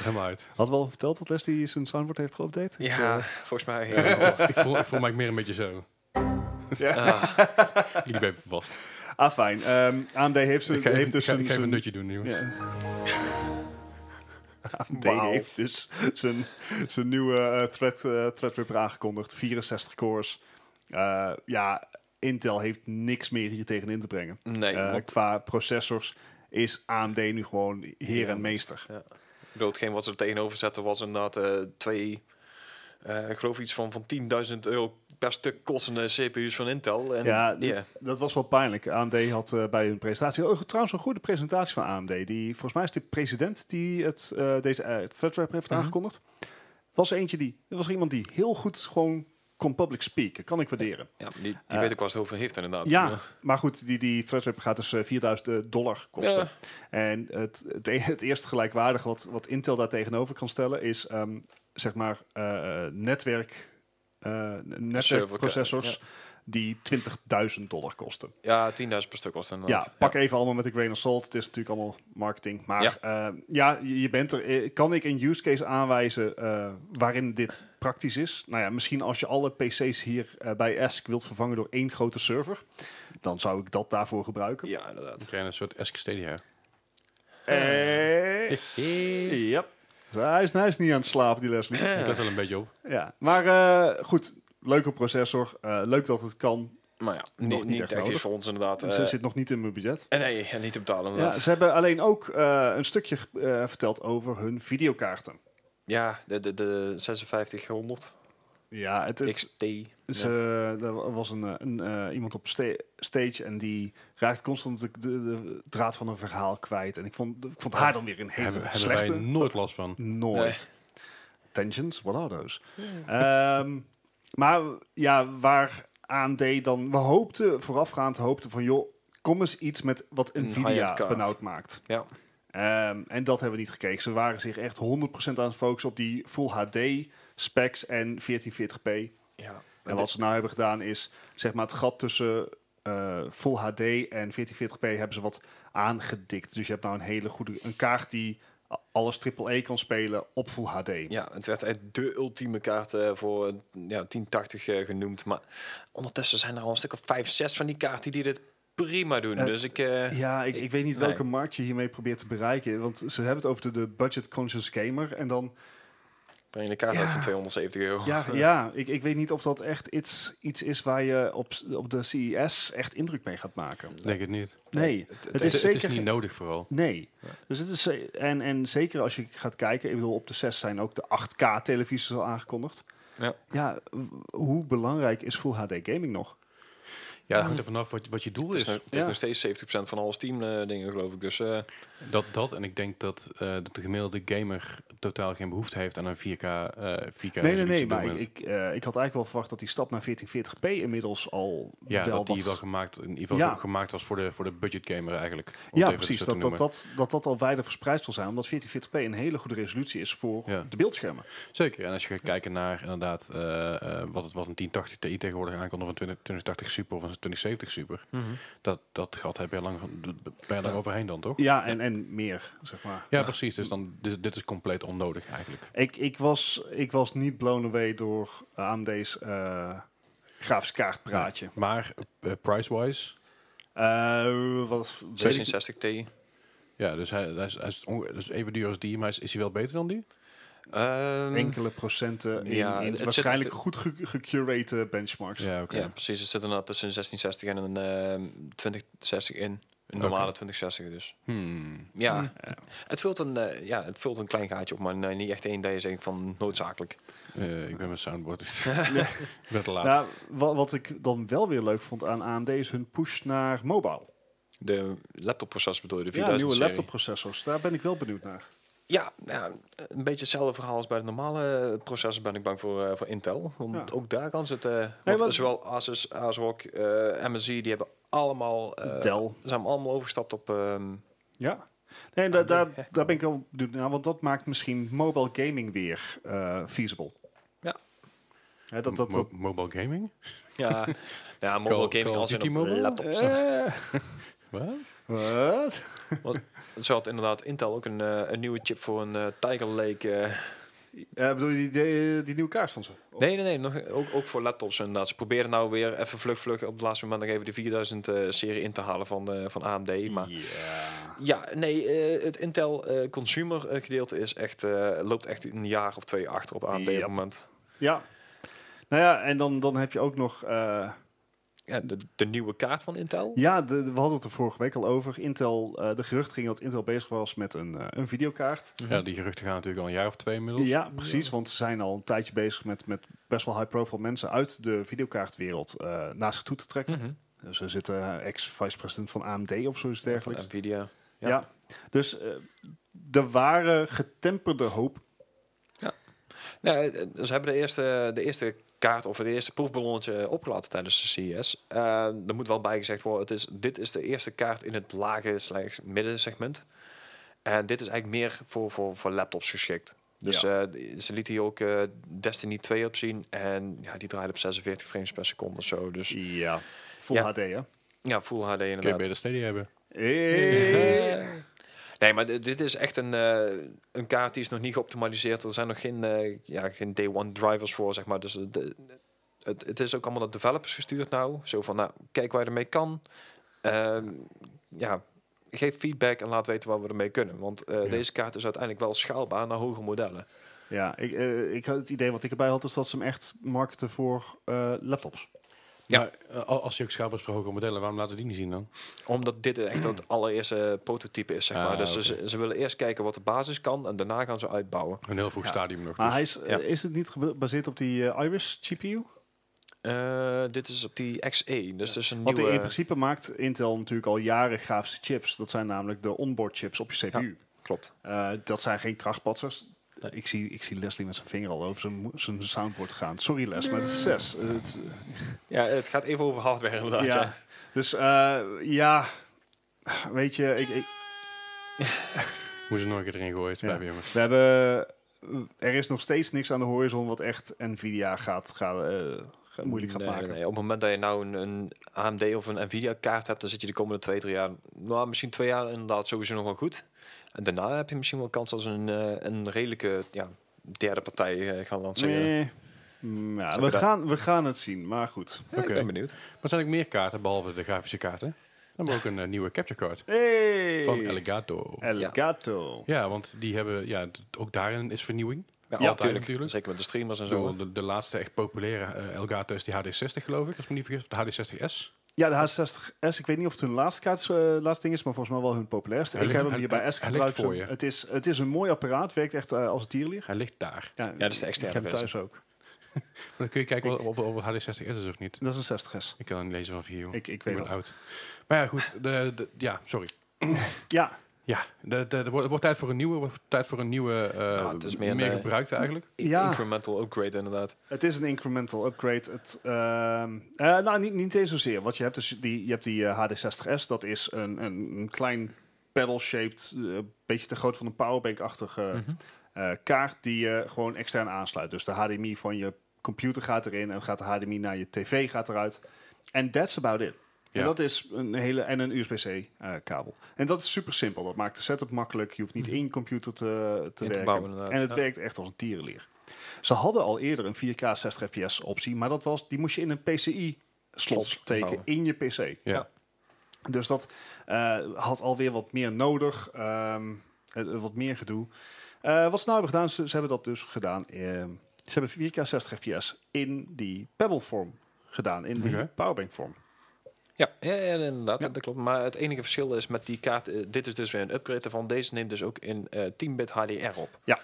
Helemaal uit.
Hadden we al verteld dat Leslie zijn soundboard heeft geüpdate?
Ja, volgens mij. eh,
ik, voel, ik voel mij meer een beetje zo.
ah,
Jullie blijven vast.
Ah, fijn. Ehm, AMD heeft, zijn,
Ik ga even,
heeft dus
ik ga- ik
zijn-
ga even een
zijn-
nutje doen, jongens.
Ja. [LAUGHS] AMD
Wauw.
heeft dus zijn, zijn nieuwe eh, thread, eh, Threadripper aangekondigd. 64 cores. Eh, ja, Intel heeft niks meer hier tegenin te brengen.
nee,
[LAUGHS] Eh,
want
qua processors is AMD nu gewoon heer en meester.
ik bedoel, hetgeen wat ze er tegenover zetten was inderdaad eh, twee, eh, ik geloof iets van, van 10.000 euro per stuk eh, kostende CPU's van Intel. En,
Ja, d-
ja.
dat was wel pijnlijk. AMD had eh, bij hun presentatie... Oh, trouwens, een goede presentatie van AMD. Die, volgens mij is de president die het, eh, deze eh, Threadripper heeft
Mhm.
aangekondigd. Was eentje die... Er was iemand die heel goed gewoon kon public speaken. Kan ik waarderen.
Ja, die, die
Eh,
weet ook waar ze het over heeft inderdaad.
Ja, maar goed, die, die Threadripper gaat dus eh, 4000 dollar kosten.
Ja.
En het, het, e- het eerste gelijkwaardige wat, wat Intel daar tegenover kan stellen is, ehm, zeg maar, eh, netwerk, eh, netwerkprocessors die 20.000 dollar kosten.
Ja, 10.000 per stuk was het inderdaad.
Ja, pak even allemaal met een grain of salt. Het is natuurlijk allemaal marketing. Maar
Ja.
ja, ja je je bent er. Eh, Kan ik een use case aanwijzen eh, waarin dit praktisch is? Nou ja, misschien als je alle PC's hier eh, bij Ask wilt vervangen door één grote server. Dan zou ik dat daarvoor gebruiken.
Ja, inderdaad.
Dan krijg je een soort Esk Stadia.
Eh, [LAUGHS] Yep. Hij is, hij is niet aan het slapen, die Leslie.
Ik let wel een beetje op.
Ja. Maar eh, goed, leuke processor. Eh, leuk dat het kan.
Maar ja, niet,
Nog niet
niet,
echt
echt,
nodig.
iets voor ons inderdaad.
Ze
eh,
zit nog niet in mijn budget.
en nee, en niet te betalen
Ja,
inderdaad. Ja,
ze hebben alleen ook eh, een stukje eh, verteld over hun videokaarten.
de, de, de 5600
Ja, het, het-
XT.
ze,
Ja.
er was een, eh, een, eh, iemand op sta- stage en die raakt constant de, de, de draad van een verhaal kwijt. En ik vond, ik vond haar dan weer een hele
Hebben, hebben wij
slechte.
nooit last van.
Nooit. Tensions, what are those? Ehm, maar ja, waar AMD dan... We hoopten, voorafgaand hoopten van... joh, kom eens iets met wat
Een
Nvidia
high-end kaart.
benauwd maakt.
Ja.
Ehm, en dat hebben we niet gekregen. Ze waren zich echt 100% aan het focussen op die Full HD specs en 1440p.
Ja.
En wat ze nou hebben gedaan is, zeg maar, het gat tussen eh, Full HD en 1440p hebben ze wat aangedikt. Dus je hebt nou een hele goede een kaart die a- alles AAA kan spelen op Full HD.
Ja, het werd echt de ultieme kaart eh, voor eh, ja, 1080 eh, genoemd. Maar ondertussen zijn er al een stuk of 5, 6 van die kaarten die dit prima doen.
Het-
dus ik... eh,
Ja, ik, ik weet niet
nee.
welke markt je hiermee probeert te bereiken. Want ze hebben het over de, de budget-conscious gamer. En dan
breng je een kaart
Ja.
uit van 270 euro.
Ja, ja ik, ik weet niet of dat echt iets, iets is waar je op, s- op de CES echt indruk mee gaat maken.
Denk het niet.
Nee,
Het,
Het,
het-
is,
is
het is
zeker
niet
geen-
nodig vooral.
nee.
Ja.
Dus het is, eh, en, en zeker als je gaat kijken, ik bedoel, op de 6 zijn ook de 8K-televisies al aangekondigd.
Ja.
ja, w- hoe belangrijk is Full HD Gaming nog?
Ja, het
Mm.
hangt er vanaf wat, wat je doel
het is,
is.
nog- het is
Ja.
nog steeds 70% van alle Steam eh, dingen, geloof ik. Dus eh,
Dat, dat en ik denk dat, eh, dat de gemiddelde gamer totaal geen behoefte heeft aan een 4K. eh 4K
Nee, nee,
resolutie
nee,
op dit
maar ik,
moment.
ik, eh, ik had eigenlijk wel verwacht dat die stap naar 1440p inmiddels al
ja,
wel
dat die
wat-
wel gemaakt, in ieder geval
Ja.
gemaakt was voor de, voor de budget gamer eigenlijk. om het
Ja,
even
precies,
zo te
dat dat,
noemen.
dat, dat dat al wijder verspreid zal zijn, omdat 1440p een hele goede resolutie is voor
Ja.
de beeldschermen.
Zeker. En als je gaat kijken naar inderdaad eh, eh, wat het was een 1080 Ti tegenwoordig aankonden van 20, 2080 Super of een 2070 Super. Dat, dat gat heb je lang, van- ben je lang overheen dan, toch?
Ja, en, en meer, zeg maar.
Ja, precies. Dus dan, dit, dit is compleet onnodig eigenlijk.
Ik, ik, was, ik was niet blown away door AMD's eh grafische kaartpraatje.
Maar eh, price-wise,
Eh, wat, weet ik-
66 T.
ja, dus hij, hij, is, hij is onge- dus even duur als die, maar is, is hij wel beter dan die?
Ehm,
enkele procenten in,
Ja,
in
het zit
waarschijnlijk
echt-
goed ge- gecurate eh, benchmarks.
Ja, oké.
Ja, precies. Het zit inderdaad tussen een 1660 en een eh, 2060 in. Een normale 2060 dus.
Hmm.
Ja, het, vult een, eh, ja het vult een klein gaatje op, maar nee, niet echt één dat je zegt van noodzakelijk.
Eh, ik ben mijn [LAUGHS] soundboard. ik ben te laat.
Nou, wat, wat ik dan wel weer leuk vond aan AMD is hun push naar mobile.
De laptopprocessor bedoel je, de
Ja,
4000
nieuwe
serie.
laptopprocessors. Daar ben ik wel benieuwd naar.
Ja, ja, een beetje hetzelfde verhaal als bij de normale eh, processor ben ik bang voor, eh, voor Intel. Want
Ja.
ook daar kan zitten. want
maar-
Zowel Asus, ASRock, eh MSI, die hebben allemaal... eh,
Dell.
zijn allemaal overgestapt op... ehm,
Ja. Nee, en da- daar, daar ben ik wel benieuwd naar, want dat maakt misschien mobile gaming weer eh, feasible.
Ja.
Hè, dat, dat,
Mo-
dat,
mobile gaming? [LAUGHS]
ja, ja, mobile
Call-
gaming
Call
als
of Duty
in op
mobile?
laptops. [LAUGHS]
Eh,
Wat?
wat?
Zo had inderdaad Intel ook een, eh, een nieuwe chip voor een eh, Tiger Lake... eh,
Eh, bedoel je die, die, die nieuwe kaart van ze?
Nee, nee, nee. Nog, ook, ook voor laptops inderdaad. Ze proberen nou weer even vlug, vlug op het laatste moment nog even de 4000 eh, serie in te halen van, eh, van AMD. Maar
Ja.
ja, nee, eh, het Intel eh, consumer eh, gedeelte is echt, eh, loopt echt een jaar of twee achter op AMD op
Yep.
het moment.
Ja. Nou ja, en dan, dan heb je ook nog... eh,
Ja, de, de nieuwe kaart van Intel.
ja, de, de- we hadden het er vorige week al over. Intel, eh, de gerucht ging dat Intel bezig was met een, eh, een videokaart.
Ja, die geruchten gaan natuurlijk al een jaar of twee inmiddels.
Ja, precies. Want ze zijn al een tijdje bezig met, met best wel high-profile mensen uit de videokaartwereld eh naast zich toe te trekken.
Mhm.
Dus er zit eh, ex-vice-president van AMD of zoiets
Van
dergelijks.
Nvidia.
Ja.
ja.
Dus eh er waren getemperde hoop.
Nou, eh, ze hebben de eerste, de eerste kaart of de eerste proefballonnetje opgelaten tijdens de CES. Eh er moet wel bijgezegd worden, het is, dit is de eerste kaart in het lage slash middensegment. En dit is eigenlijk meer voor, voor, voor laptops geschikt. Dus eh, ze lieten hier ook eh, Destiny 2 op zien en ja, die draaide op 46 frames per seconde of zo. Dus
Ja. Full
Ja.
HD, hè?
ja, Full HD
Kun je
inderdaad.
beter Stadia hebben.
Hey.
Nee, maar dit- dit is echt een, eh, een kaart die is nog niet geoptimaliseerd. Er zijn nog geen, eh, ja, geen day one drivers voor, zeg maar. Dus eh, de- het, het is ook allemaal naar developers gestuurd nou. Zo van, nou, kijk waar je ermee kan. Ehm, ja, geef feedback en laat weten waar we ermee kunnen. Want eh,
Ja.
deze kaart is uiteindelijk wel schaalbaar naar hoge modellen.
Ja, ik, eh, ik had het idee wat ik erbij had, is dat ze hem echt markten voor eh, laptops.
Ja.
Maar, eh, al- als je ook schaap is voor hoge modellen, waarom laten we die niet zien dan?
Omdat dit echt
[CLEARS THROAT]
het allereerste eh, prototype is, zeg
Ah,
maar. Dus
oké.
ze, ze willen eerst kijken wat de basis kan en daarna gaan ze uitbouwen.
Een heel vroeg
Ja.
stadium nog.
Maar
dus.
hij is, eh,
ja.
is het niet gebaseerd op die eh, Iris GPU?
Eh, dit is op die XE, dus dat is een
Want
E
nieuwe...
in principe maakt Intel natuurlijk al jaren grafische chips. Dat zijn namelijk de onboard chips op je CPU.
Klopt.
Eh, dat zijn geen krachtpatsers. Eh, Ik zie, ik zie Leslie met zijn vinger al over zijn, mo- zijn soundboard gaan. Sorry Les, maar het is zes. Eh, het-
Ja, het gaat even over hardware inderdaad.
ja.
ja.
Dus eh, ja, weet je, ik, ik,
Moest er nog een keer erin gooien, het
Ja.
spijt me, jongens.
we hebben, eh, er is nog steeds niks aan de horizon wat echt Nvidia gaat, gaat, eh, gaat- moeilijk gaat
Nee,
maken.
nee. Op het moment dat je nou een, een AMD of een Nvidia kaart hebt, dan zit je de komende twee, drie jaar, nou misschien twee jaar inderdaad sowieso nog wel goed. En daarna heb je misschien wel kans als een, eh, een redelijke ja, derde partij eh, gaan lanceren.
Nee. Mm, ja,
Zou
we,
ik dat-
gaan, we gaan het zien, maar goed.
Ja,
Oké.
Ik ben benieuwd.
Maar zijn er meer kaarten, behalve de grafische kaarten? Dan hebben we ook een eh, nieuwe capture card
Hey!
van Elgato.
Elgato.
Ja, want die hebben, ja, d- ook daarin is vernieuwing.
Ja,
altijd
natuurlijk.
natuurlijk.
Zeker met de streamers en
Ik bedoel,
zo.
De, de laatste echt populaire eh, Elgato is die HD60 geloof ik, als ik me niet vergis. Of De HD60S.
Ja, de H60S. Ik weet niet of het hun laatste, kaart, is, eh, laatste ding is, maar volgens mij wel hun populairste.
Hij
Ik
ligt-
heb hem
hij-
hier bij
hij-
S
hij ligt
gebruikt.
voor je.
Het is, het is een mooi apparaat, werkt echt eh, als een tierlier.
Hij ligt daar.
Ja,
dat is de
Ik
externe
heb hem
versie.
thuis ook.
Maar dan kun je kijken wat- of, of het HD60S is of niet.
Dat is een 60S.
Ik kan niet lezen van vier, joh.
Ik, ik
Ik
weet
ben
dat.
oud. Maar ja, goed. De, de- ja, sorry.
Ja,
Ja, de- de- er wordt, er wordt tijd voor een nieuwe, er wordt tijd voor een nieuwe eh,
Nou, het is meer
meer,
een, eh,
gebruikte eigenlijk.
Ja.
Incremental upgrade inderdaad.
het is een incremental upgrade. Het, ehm, eh, nou, niet, niet eens zozeer. Want je hebt dus die, je hebt die eh, HD60S. Dat is een, een, een klein paddle-shaped, eh, beetje te groot van een powerbank-achtige
Mhm.
eh, kaart die je gewoon extern aansluit. Dus de HDMI van je computer gaat erin en gaat de HDMI naar je tv gaat eruit. En that's about it.
Ja.
En dat is een hele en een USB-C eh, kabel. En dat is super simpel. Dat maakt de setup makkelijk. Je hoeft niet in je computer te, te
Mhm. In te
werken.
bouwen inderdaad.
en het
Ja.
werkt echt als een tierenlier. Ze hadden al eerder een 4K 60 fps optie, maar dat was, die moest je in een PCI slot
Slot
steken
bouwen.
in je PC.
Ja.
Dus dat eh, had alweer wat meer nodig, ehm, eh, wat meer gedoe. Eh, wat ze nou hebben gedaan, ze, ze hebben dat dus gedaan. ehm, ze hebben 4K 60 fps in die Pebble vorm gedaan, in die
Oké.
Powerbank vorm.
Ja, ja, ja, inderdaad,
Ja.
dat klopt. Maar het enige verschil is met die kaart, eh, dit is dus weer een upgrade ervan. Deze neemt dus ook in eh 10-bit HDR op.
Ja.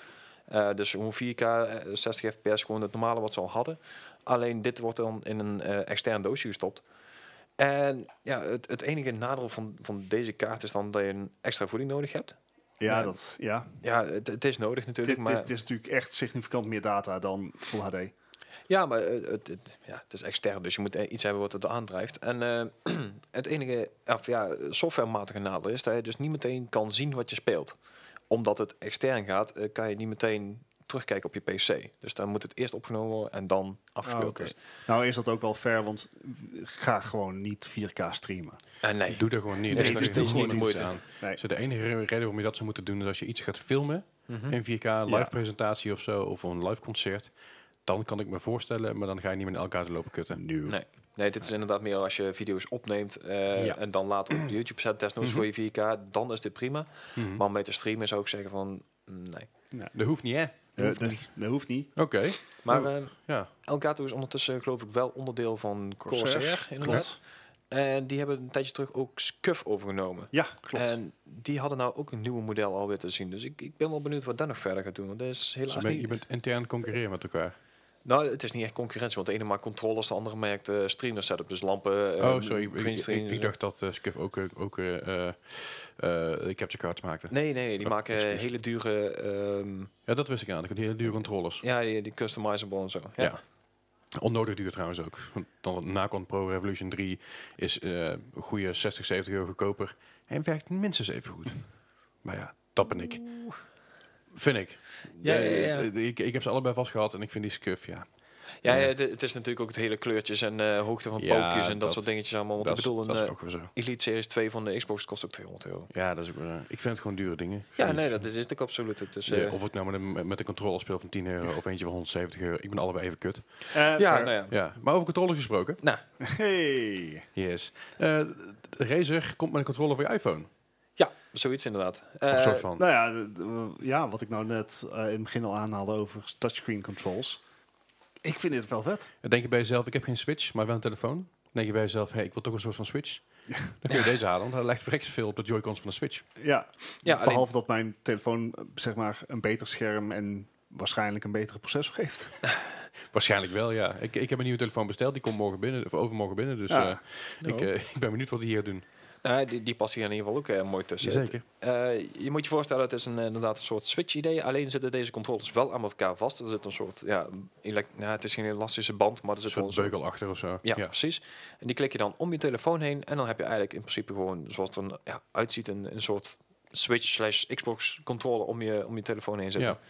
Eh, dus gewoon 4K, eh, 60 fps, gewoon het normale wat ze al hadden. Alleen dit wordt dan in een eh, extern doosje gestopt. En ja, het, het enige nadeel van, van deze kaart is dan dat je een extra voeding nodig hebt.
Ja,
Ja.
dat, ja.
Ja, het, het is nodig
Dit,
natuurlijk,
dit
maar...
is, dit is natuurlijk echt significant meer data dan Full HD.
Ja, maar eh, het, het- ja, het is extern, dus je moet eh, iets hebben wat het aandrijft. En eh, [CLEARS THROAT] het enige of ja, softwarematige nadeel is dat je dus niet meteen kan zien wat je speelt. Omdat het extern gaat, eh, kan je niet meteen terugkijken op je PC. Dus dan moet het eerst opgenomen worden en dan afgespeeld
Oh, oké.
worden.
Nou is dat ook wel fair, want ga gewoon niet 4K streamen.
En Eh, nee,
Doe dat gewoon niet. Dus
Nee,
Er
dat
zit
is niet
gewoon
de
iets
moeite.
aan.
Nee.
Dus de enige re- reden waarom je dat zou moeten doen is als je iets gaat filmen
Mhm.
in 4K, live presentatie of zo, of een live concert. Dan kan ik me voorstellen, maar dan ga je niet met elkaar lopen kutten. Nu.
nee. nee, dit is inderdaad meer als je video's opneemt eh,
Ja.
en dan later op YouTube zet, desnoods voor je 4K, dan is dit prima. Maar om mee te streamen zou ik zeggen van, mm, nee.
Dat hoeft niet, hè?
Eh, dat, dat hoeft niet.
Oké.
Maar
Oh.
eh,
Ja.
Elgato is ondertussen geloof ik wel onderdeel van
Corsair,
Corsair, inderdaad. En die hebben een tijdje terug ook Scuf overgenomen.
Ja, klopt.
En die hadden nou ook een nieuwe model alweer te zien. Dus ik, ik ben wel benieuwd wat dat nog verder gaat doen. Want dat is
Dus je
helaas
bent-
niet...
je bent intern concurreren met elkaar.
Nou, het is niet echt concurrentie. Want de ene maakt controllers, de andere maakt eh streamer setup. Dus lampen, eh,
oh, sorry. Ik,
green
ik- ik,
screens
ik
en zo.
dacht dat eh Scuf ook, eh, ook eh eh, eh, capture cards maakte.
Nee, nee, die
Oh,
maken
excuus.
hele dure... ehm,
Ja, dat wist ik aan. Ik had hele dure controllers.
ja, die, die customizable en zo. Ja.
Ja. Onnodig duur trouwens ook. Want Dan Nacon Pro Revolution 3 is eh, een goede 60, 70 euro goedkoper. En werkt minstens even goed. Maar ja, dat ben ik. Vind ik.
Ja,
Eh,
ja, ja.
eh, Ik, ik heb ze allebei vast gehad en ik vind die scuf, ja.
ja, ja, het, het is natuurlijk ook het hele kleurtjes en eh, hoogte van
Ja,
pookjes en dat,
dat-
soort dingetjes allemaal. Want
dat,
ik
is-
bedoel,
dat is
een eh,
ook weer zo.
Elite Series 2 van de Xbox kost ook 200 euro.
Ja, dat is ook weer zo. Ik vind het gewoon dure dingen.
Ja, nee, dat is natuurlijk absoluut het. Dus,
Ja,
eh,
of ik nou met een, met een controller speel van 10 euro of eentje van 170 euro. Ik ben allebei even kut.
Eh,
ja,
fair.
nou ja.
Ja, maar over controllers gesproken.
Nou,
Hey.
Yes. Eh, Razer komt met een controller voor je iPhone.
ja, zoiets inderdaad.
of
Eh,
soort van.
Nou ja, d- d- ja, wat ik nou net eh, in het begin al aanhaalde over touchscreen controls. Ik vind dit wel vet.
Dan denk je bij jezelf, ik heb geen Switch, maar wel een telefoon. Dan denk je bij jezelf, hey, ik wil toch een soort van Switch. Dan kun je deze halen, want hij lijkt verrekt veel op de Joy-Cons van de Switch.
Ja,
Ja, alleen-
behalve dat mijn telefoon eh, zeg maar een beter scherm en waarschijnlijk een betere processor heeft.
Waarschijnlijk wel, ja. Ik, ik heb een nieuwe telefoon besteld, die komt morgen binnen, of overmorgen binnen. Dus
Ja.
eh, ik, eh, [LAUGHS] ik ben benieuwd wat die hier doen.
nou, die, die past hier in ieder geval ook eh, mooi tussen. Eh, je moet je voorstellen, het is een, eh, inderdaad een soort switch-idee. Alleen zitten deze controllers wel aan elkaar vast. Er zit een soort, ja, elec- nou, het is geen elastische band, maar er
Een
zit wel een
soort
soort...
beugel achter of zo.
Ja, precies. En die klik je dan om je telefoon heen. En dan heb je eigenlijk in principe gewoon, zoals het er ja, uitziet, een, een soort switch slash Xbox controller om je, om je telefoon heen zitten.
Ja.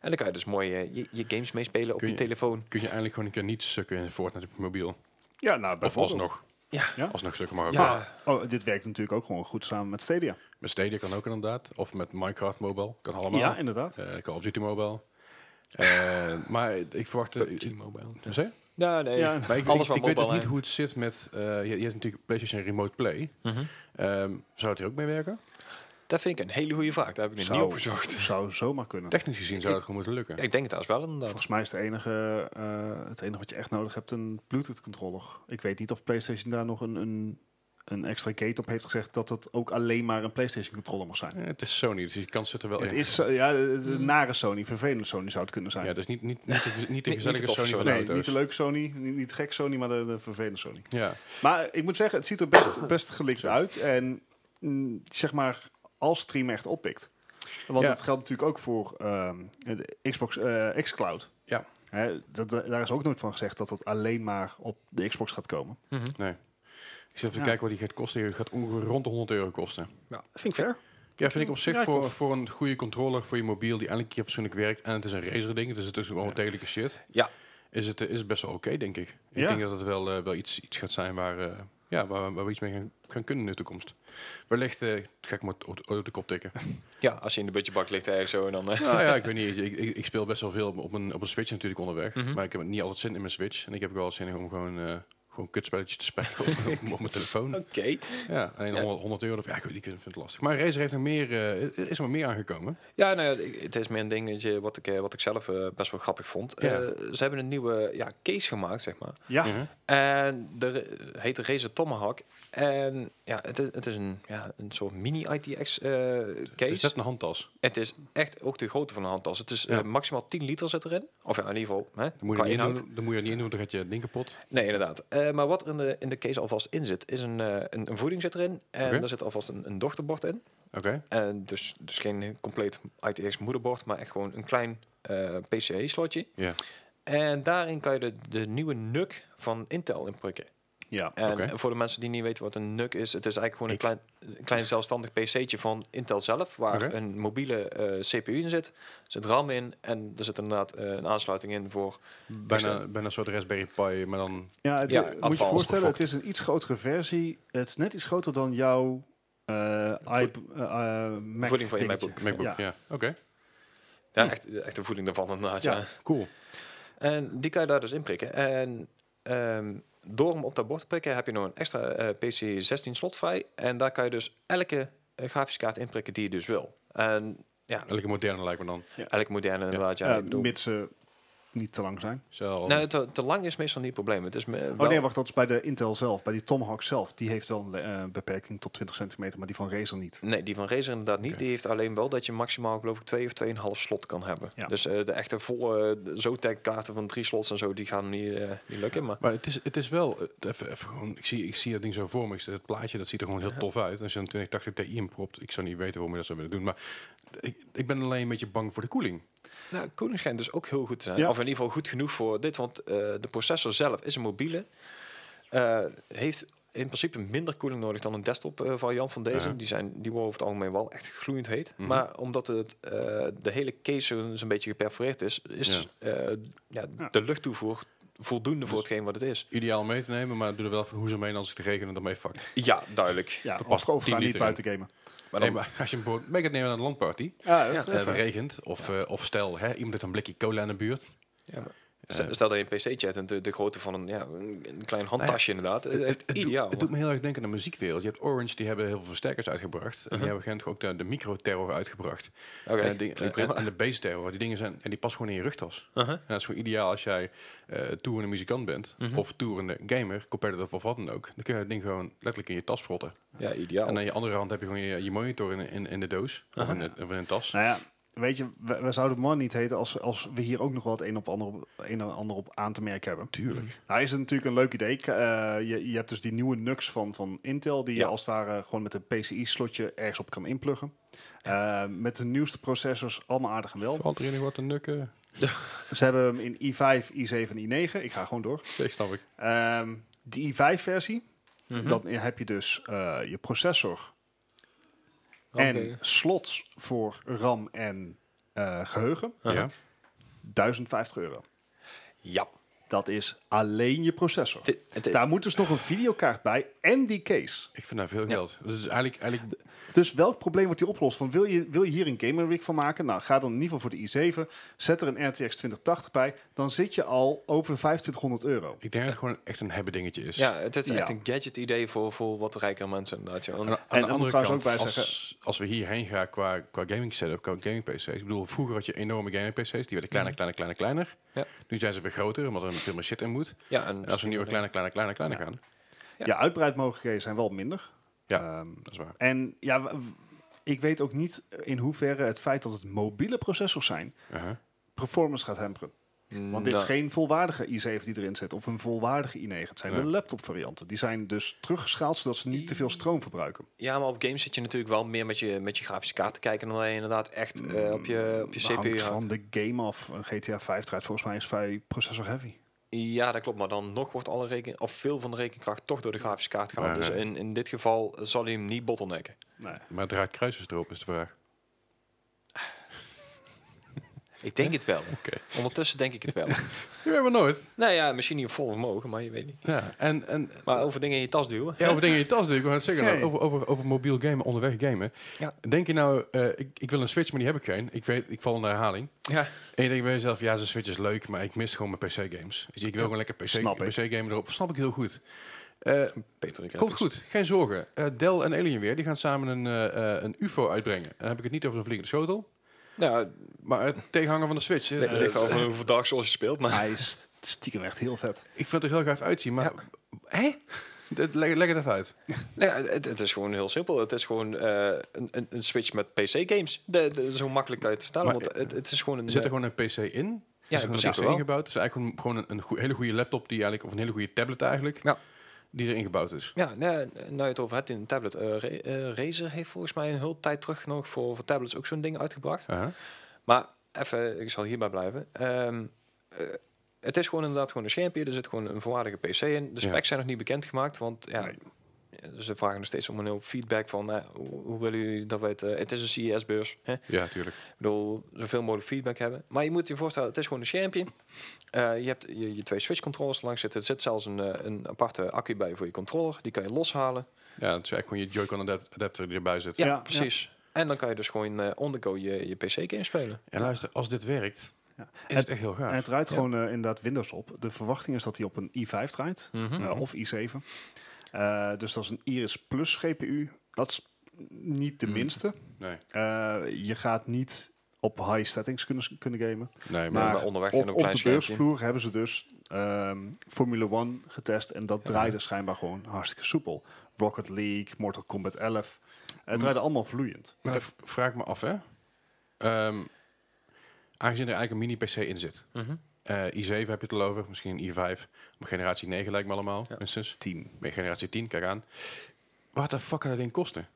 En dan kan je dus mooi eh, je, je games meespelen op
Kun
je,
je-
telefoon.
Kun je eindelijk gewoon een keer niet sukken in Fortnite op je mobiel.
Ja, nou,
Of
bijvoorbeeld.
alsnog.
Ja.
Ja?
Alsnog sukken maar ook.
Ja,
wel.
Oh, dit werkt natuurlijk ook gewoon goed samen met Stadia.
Met Stadia kan ook inderdaad. Of met Minecraft Mobile. Kan allemaal.
Ja, inderdaad.
Eh, Call of Duty Mobile. Eh, maar ik verwacht... eh,
Mobile.
Wat zei je?
Ja, nee.
Ja.
Maar ik,
Alles
ik-
wat
ik weet dus
mobile,
niet
hè?
hoe het zit met... eh, je, je hebt natuurlijk PlayStation Remote Play.
Mhm.
Ehm, zou het hier ook mee werken?
Dat vind ik een hele goede vraag. Daar heb ik nog
Zou-
niet opgezocht.
Zou zomaar kunnen.
Technisch gezien zou het gewoon moeten lukken.
Ik denk het als wel inderdaad.
Volgens mij is het enige, eh, het enige wat je echt nodig hebt een Bluetooth controller. Ik weet niet of PlayStation daar nog een, een, een extra gate op heeft gezegd dat het ook alleen maar een PlayStation controller mag zijn.
Eh, het is Sony, dus die kans zit er wel
Het
in.
is eh, ja, het is een nare Sony, vervelende Sony zou het kunnen
ja,
zijn.
dat is niet, niet, niet, de, niet de
de
gezellige
toffe
Sony van de
nee,
auto's.
niet de leuke Sony, niet, niet de gek Sony, maar de, de vervelende Sony.
ja.
Maar ik moet zeggen, het ziet er
[LAUGHS]
best, best gelikt uit. En mm, zeg maar, als stream echt oppikt. Want
Ja.
dat geldt natuurlijk ook voor ehm, de Xbox eh xCloud.
Ja.
Hè, dat, eh, daar is ook nooit van gezegd dat dat alleen maar op de Xbox gaat komen.
Mhm. Ik zit even
Ja.
te kijken wat die gaat kosten. Die gaat ongeveer rond de 100 euro kosten.
Ja, vind ik fair.
Ja, vind ik op zich
Ja,
voor,
tof.
voor een goede controller voor je mobiel die eindelijk een keer fatsoenlijk werkt. En het is een racer ding, dus het is gewoon
Ja.
wat degelijke shit.
Ja.
Is het, eh, is het best wel oké, denk ik. Ik
Ja.
denk dat het wel, eh, wel iets, iets gaat zijn waar, eh, ja, waar, waar we iets mee gaan, gaan kunnen in de toekomst. Wellicht eh, ga ik hem op, de- op de kop tikken.
Ja, als je in de budgetbak ligt ergens zo en dan... eh, [LAUGHS]
nou ja, ik weet niet. Ik, ik, ik speel best wel veel op een, op een Switch natuurlijk onderweg.
Mhm.
Maar ik heb niet altijd zin in mijn Switch. En ik heb ook wel zin om gewoon... eh gewoon kutspelletjes te spelen op, op mijn telefoon.
Oké.
Ja, alleen
Ja.
100, 100 euro. of- Ja, ik weet- ik vind het lastig. Maar Razer heeft nog meer, eh, er is nog meer aangekomen.
Ja, nou ja, ik- het is meer een dingetje wat ik, eh, wat ik zelf eh, best wel grappig vond.
Ja.
Eh, ze hebben een nieuwe ja, case gemaakt, zeg maar.
Ja,
Mhm.
En de re- heet de Razer Tomahawk. En ja, het is, het is een, ja, een soort mini-ITX eh, case.
Dus net een handtas.
Het is echt ook de grootte van een handtas. Het is
Ja.
eh, maximaal 10 liter zit erin. Of ja, in ieder geval hè,
Dan moet je,
qua
er niet in
inhoud.
doen, dan moet je er niet in doen, dan gaat je ding kapot.
Nee, inderdaad. Eh, maar wat er in de, in de case alvast in zit, is een, eh, een, een voeding zit erin. En
Oké.
daar zit alvast een, een dochterbord in.
Oké.
En dus, dus geen compleet ITX moederbord, maar echt gewoon een klein eh PCE-slotje.
Ja.
En daarin kan je de, de nieuwe NUC van Intel in prikken.
ja.
En
Oké.
voor de mensen die niet weten wat een NUC is, het is eigenlijk gewoon een klein, een klein zelfstandig PC'tje van Intel zelf, waar
Oké.
een mobiele eh, CPU in zit. Er zit RAM in en er zit inderdaad eh, een aansluiting in voor...
Bijna, bijna een soort Raspberry Pi, maar dan...
ja, het,
Ja,
moet je
advanced
je voorstellen,
gefokt.
het is een iets grotere versie. Het is net iets groter dan jouw eh iP- eh, eh, Mac
Voeding van je
dingetje.
MacBook.
MacBook, ja.
Ja.
Oké,
Ja,
Hm.
echt, echt de voeding daarvan inderdaad, ja.
Ja.
cool.
En die kan je daar dus in prikken. En ehm, door hem op dat bord te prikken heb je nog een extra eh, PC-16 slot vrij. En daar kan je dus elke eh, grafische kaart inprikken die je dus wil. En ja,
Elke moderne lijkt me dan.
elke moderne inderdaad. Ja,
Ja,
ik bedoel-
mits ze niet te lang zijn.
Zo,
Nou, te, te lang is meestal niet het probleem. Het is me, wel-
Oh nee, wacht, dat is bij de Intel zelf. Bij die Tomahawk zelf. Die heeft wel een eh, beperking tot 20 centimeter, maar die van Razer niet.
Nee, die van Razer inderdaad niet.
Oké.
Die heeft alleen wel dat je maximaal geloof ik twee of tweeënhalf slot kan hebben.
Ja.
Dus eh, de echte volle eh, Zotac kaarten van drie slots en zo, die gaan niet, eh, niet lukken. Maar
Maar het is, het is wel... eh, Even, even gewoon, ik, zie, ik zie dat ding zo voor me. Ik- Het plaatje, dat ziet er gewoon heel tof uit. Als je een 2080 Ti in propt, ik zou niet weten waarom je dat zou willen doen. Maar ik, ik ben alleen een beetje bang voor de koeling.
nou, Koenig schijnt dus ook heel goed te zijn.
Ja.
Of in ieder geval goed genoeg voor dit. Want eh, de processor zelf is een mobiele. Eh, heeft in principe minder koeling nodig dan een desktop eh, variant van deze.
Ja.
Die, zijn, die worden over het algemeen wel echt gloeiend heet.
Mhm.
Maar omdat het, eh, de hele case zo'n zo'n beetje geperforeerd is, is eh, ja,
Ja.
de luchttoevoer voldoende voor hetgeen wat het is.
Ideaal om mee te nemen, maar doe er wel van hoe ze mee als het regen en daarmee fuckt.
Ja, duidelijk.
Ja,
past
of overgaan
10
niet
liter in.
buiten gamen.
Maar
Nee,
dan,
maar als je een boot mee gaat nemen naar een landparty,
Ja,
dat is
dat
en het regent, of, eh, of stel, hè, iemand heeft een blikje cola in de buurt.
ja, maar stel- stel dat je een PC-chat en de, de grootte van een, ja, een een klein handtasje inderdaad. eh,
Het,
Echt
het, het doet-
ideaal.
het doet me heel erg denken aan de muziekwereld. Je hebt Orange, die hebben heel veel versterkers uitgebracht. En die hebben op een gegeven moment ook de, de microterror uitgebracht.
Uh-huh. Oké,
en, die-
klinkt
en-
prima.
en de bass terror. Die dingen zijn, en die past gewoon in je rugtas.
Uh-huh.
En dat is gewoon ideaal als jij eh toerende muzikant bent.
Mhm.
Of toerende gamer, competitive of wat dan ook. Dan kun je het ding gewoon letterlijk in je tas frotten.
Ja, Uh-huh. ideaal.
En aan je andere hand heb je gewoon je, je monitor in, in, in de doos. Of, in de, of in een tas.
Nou ja, weet je, we, we zouden man niet heten als, als we hier ook nog wel het een op ander op, een en ander op aan te merken hebben.
Tuurlijk.
Nou is het natuurlijk een leuk idee. Ik, eh, je, je hebt dus die nieuwe NUX van, van Intel, die
Ja.
je als het ware gewoon met een PCI-slotje ergens op kan inpluggen. Eh, met de nieuwste processors, allemaal aardig en wel.
Valt er in wat te nukken?
Ze hebben hem in i5, i7 en i9. Ik ga gewoon door.
Zeg, snap ik.
Ehm de i5-versie,
Mhm.
dan heb je dus eh, je processor
Oké.
en slots voor RAM en eh, geheugen.
Uh-huh.
Ja.
1050 euro.
Ja.
Dat is alleen je processor.
Het- het-
Daar moet dus nog een videokaart bij en die case.
Ik vind daar veel
Ja.
geld. Dus eigenlijk, eigenlijk
Dus welk probleem wordt hier opgelost? Van wil, je, wil je hier een Gamer Week van maken? Nou, ga dan in ieder geval voor de i7. Zet er een RTX 2080 bij. Dan zit je al over 2500 euro.
ik denk dat het gewoon echt een hebben dingetje is.
ja, het is
Ja.
echt een gadget idee voor, voor wat rijkere mensen inderdaad. Ja.
Aan,
Want-
de- aan
en
de
dan moet
andere
ik trouwens
kant,
ook bij
als, als we hierheen gaan qua, qua gaming setup, qua gaming PC's. Ik bedoel, vroeger had je enorme gaming PC's, die werden
Mm.
kleiner, kleiner, kleiner, kleiner.
Ja.
Nu zijn ze weer groter, omdat er veel meer shit in moet.
ja, en
En als we nu weer kleiner, kleiner, kleiner, kleiner
Ja.
gaan,
Ja.
Je uitbreidmogelijkheden zijn wel minder.
Ja.
Ehm,
dat is waar.
en ja, w- ik weet ook niet in hoeverre het feit dat het mobiele processors zijn...
Uh-huh.
performance gaat hamperen.
Mm,
Want dit
nou,
is geen volwaardige i7 die erin zit. Of een volwaardige i9. Het zijn
Nee.
de laptop varianten. Die zijn dus teruggeschaald zodat ze niet te veel stroom verbruiken.
Ja, maar op games zit je natuurlijk wel meer met je, met je grafische kaart te kijken dan dat je inderdaad echt eh, op je, op je
Hangt
CPU houdt.
van de game af. Een GTA 5 draait volgens mij is vrij processor heavy.
Ja, dat klopt. Maar dan nog wordt alle reken, of veel van de rekenkracht toch door de grafische kaart gehaald.
Maar,
Dus
eh,
in, in dit geval zal hij hem niet bottlenecken.
Nee.
Maar draait kruisers erop, is de vraag.
Ik denk het wel.
Oké.
Ondertussen denk ik het wel.
Je weet maar nooit.
nou ja, misschien niet op vol vermogen, maar je weet niet.
Ja, en, en
Maar over dingen in je tas duwen.
Ja, over dingen in je tas natuurlijk. Ik wou net zeggen,
Oké.
over, over, over mobiel gamen, onderweg gamen.
Ja.
Denk je nou, eh, ik, ik wil een Switch, maar die heb ik geen. Ik, weet, ik val in de herhaling.
Ja.
En je denkt bij jezelf, ja, zo'n Switch is leuk, maar ik mis gewoon mijn PC-games. Dus ik wil gewoon lekker PC,
snap ik.
PC-gamen erop. Snap ik heel goed. Eh,
Peter, ik
komt goed, geen zorgen. Eh, Dell en Alienware, die gaan samen een, eh, eh, een UFO uitbrengen. En dan heb ik het niet over een vliegende schotel,
Nou,
maar het tegenhanger van de Switch. Eh,
het ligt
eh,
over hoeveel Dark Souls je speelt, maar...
Hij is st- stiekem echt heel vet.
ik vind het er heel gaaf uitzien, maar... Hè? Dat- Leg, leg het even uit.
Nou ja, het, het is gewoon heel simpel. Het is gewoon eh, een, een, een switch met PC-games. De, de- zo makkelijk kan je het vertellen.
Maar,
Want het, het is gewoon een...
Er zit er
eh,
gewoon een PC in. Ja,
in
er is
principe
een PC
wel.
ingebouwd. Het is eigenlijk gewoon, gewoon een, een goe- hele goede laptop die eigenlijk, of een hele goede tablet eigenlijk,
Ja.
die erin gebouwd is.
Ja, nou, nou je het over hebt in een tablet. eh, Ra- eh, Razer heeft volgens mij een hele tijd terug nog voor, voor tablets ook zo'n ding uitgebracht.
Aha.
Maar even, ik zal hierbij blijven. Ehm, eh, het is gewoon inderdaad gewoon een schermpje. Er zit gewoon een volwaardige PC in. De
Ja.
specs zijn nog niet bekendgemaakt, want ja,
Nee.
ze vragen nog steeds om een heel feedback van eh, hoe, hoe willen jullie dat weten? het is een CES-beurs. hè?
Ja, tuurlijk.
Ik bedoel, zoveel mogelijk feedback hebben. Maar je moet je voorstellen, het is gewoon een schermpje. Eh, je hebt je, je twee switch-controllers langs zitten. Er zit zelfs een, eh, een aparte accu bij voor je controller. Die kan je loshalen.
Ja, het is eigenlijk gewoon je Joy-Con adap- adapter die erbij zit.
Ja,
Ja,
precies. En dan kan je dus gewoon eh on the go je, je PC-game spelen.
En luister, als dit werkt,
Ja.
is het echt heel gaaf.
En het draait
Ja.
gewoon eh, inderdaad Windows op. De verwachting is dat hij op een i5 draait.
Mhm.
eh, of i7. Eh, dus dat is een Iris Plus GPU. Dat is niet de
Mm.
minste.
nee,
Eh, je gaat niet op high settings kunnen, kunnen gamen.
nee, maar,
Maar,
Maar
onderweg
Op,
en een
op
klein
de
schermpje.
beursvloer hebben ze dus ehm Formule 1 getest. En dat
Ja.
draaide schijnbaar gewoon hartstikke soepel. Rocket League, Mortal Kombat 11.
Mhm.
Het draaide allemaal vloeiend.
maar dat v- vraag ik me af, hè. Ehm, aangezien er eigenlijk een mini-PC in zit.
Mhm.
Eh, i7 heb je het al over, misschien een i5. Maar generatie 9 lijkt me allemaal,
Ja.
minstens.
10.
Maar generatie 10, kijk aan. Wat de fuck gaat dat ding kosten?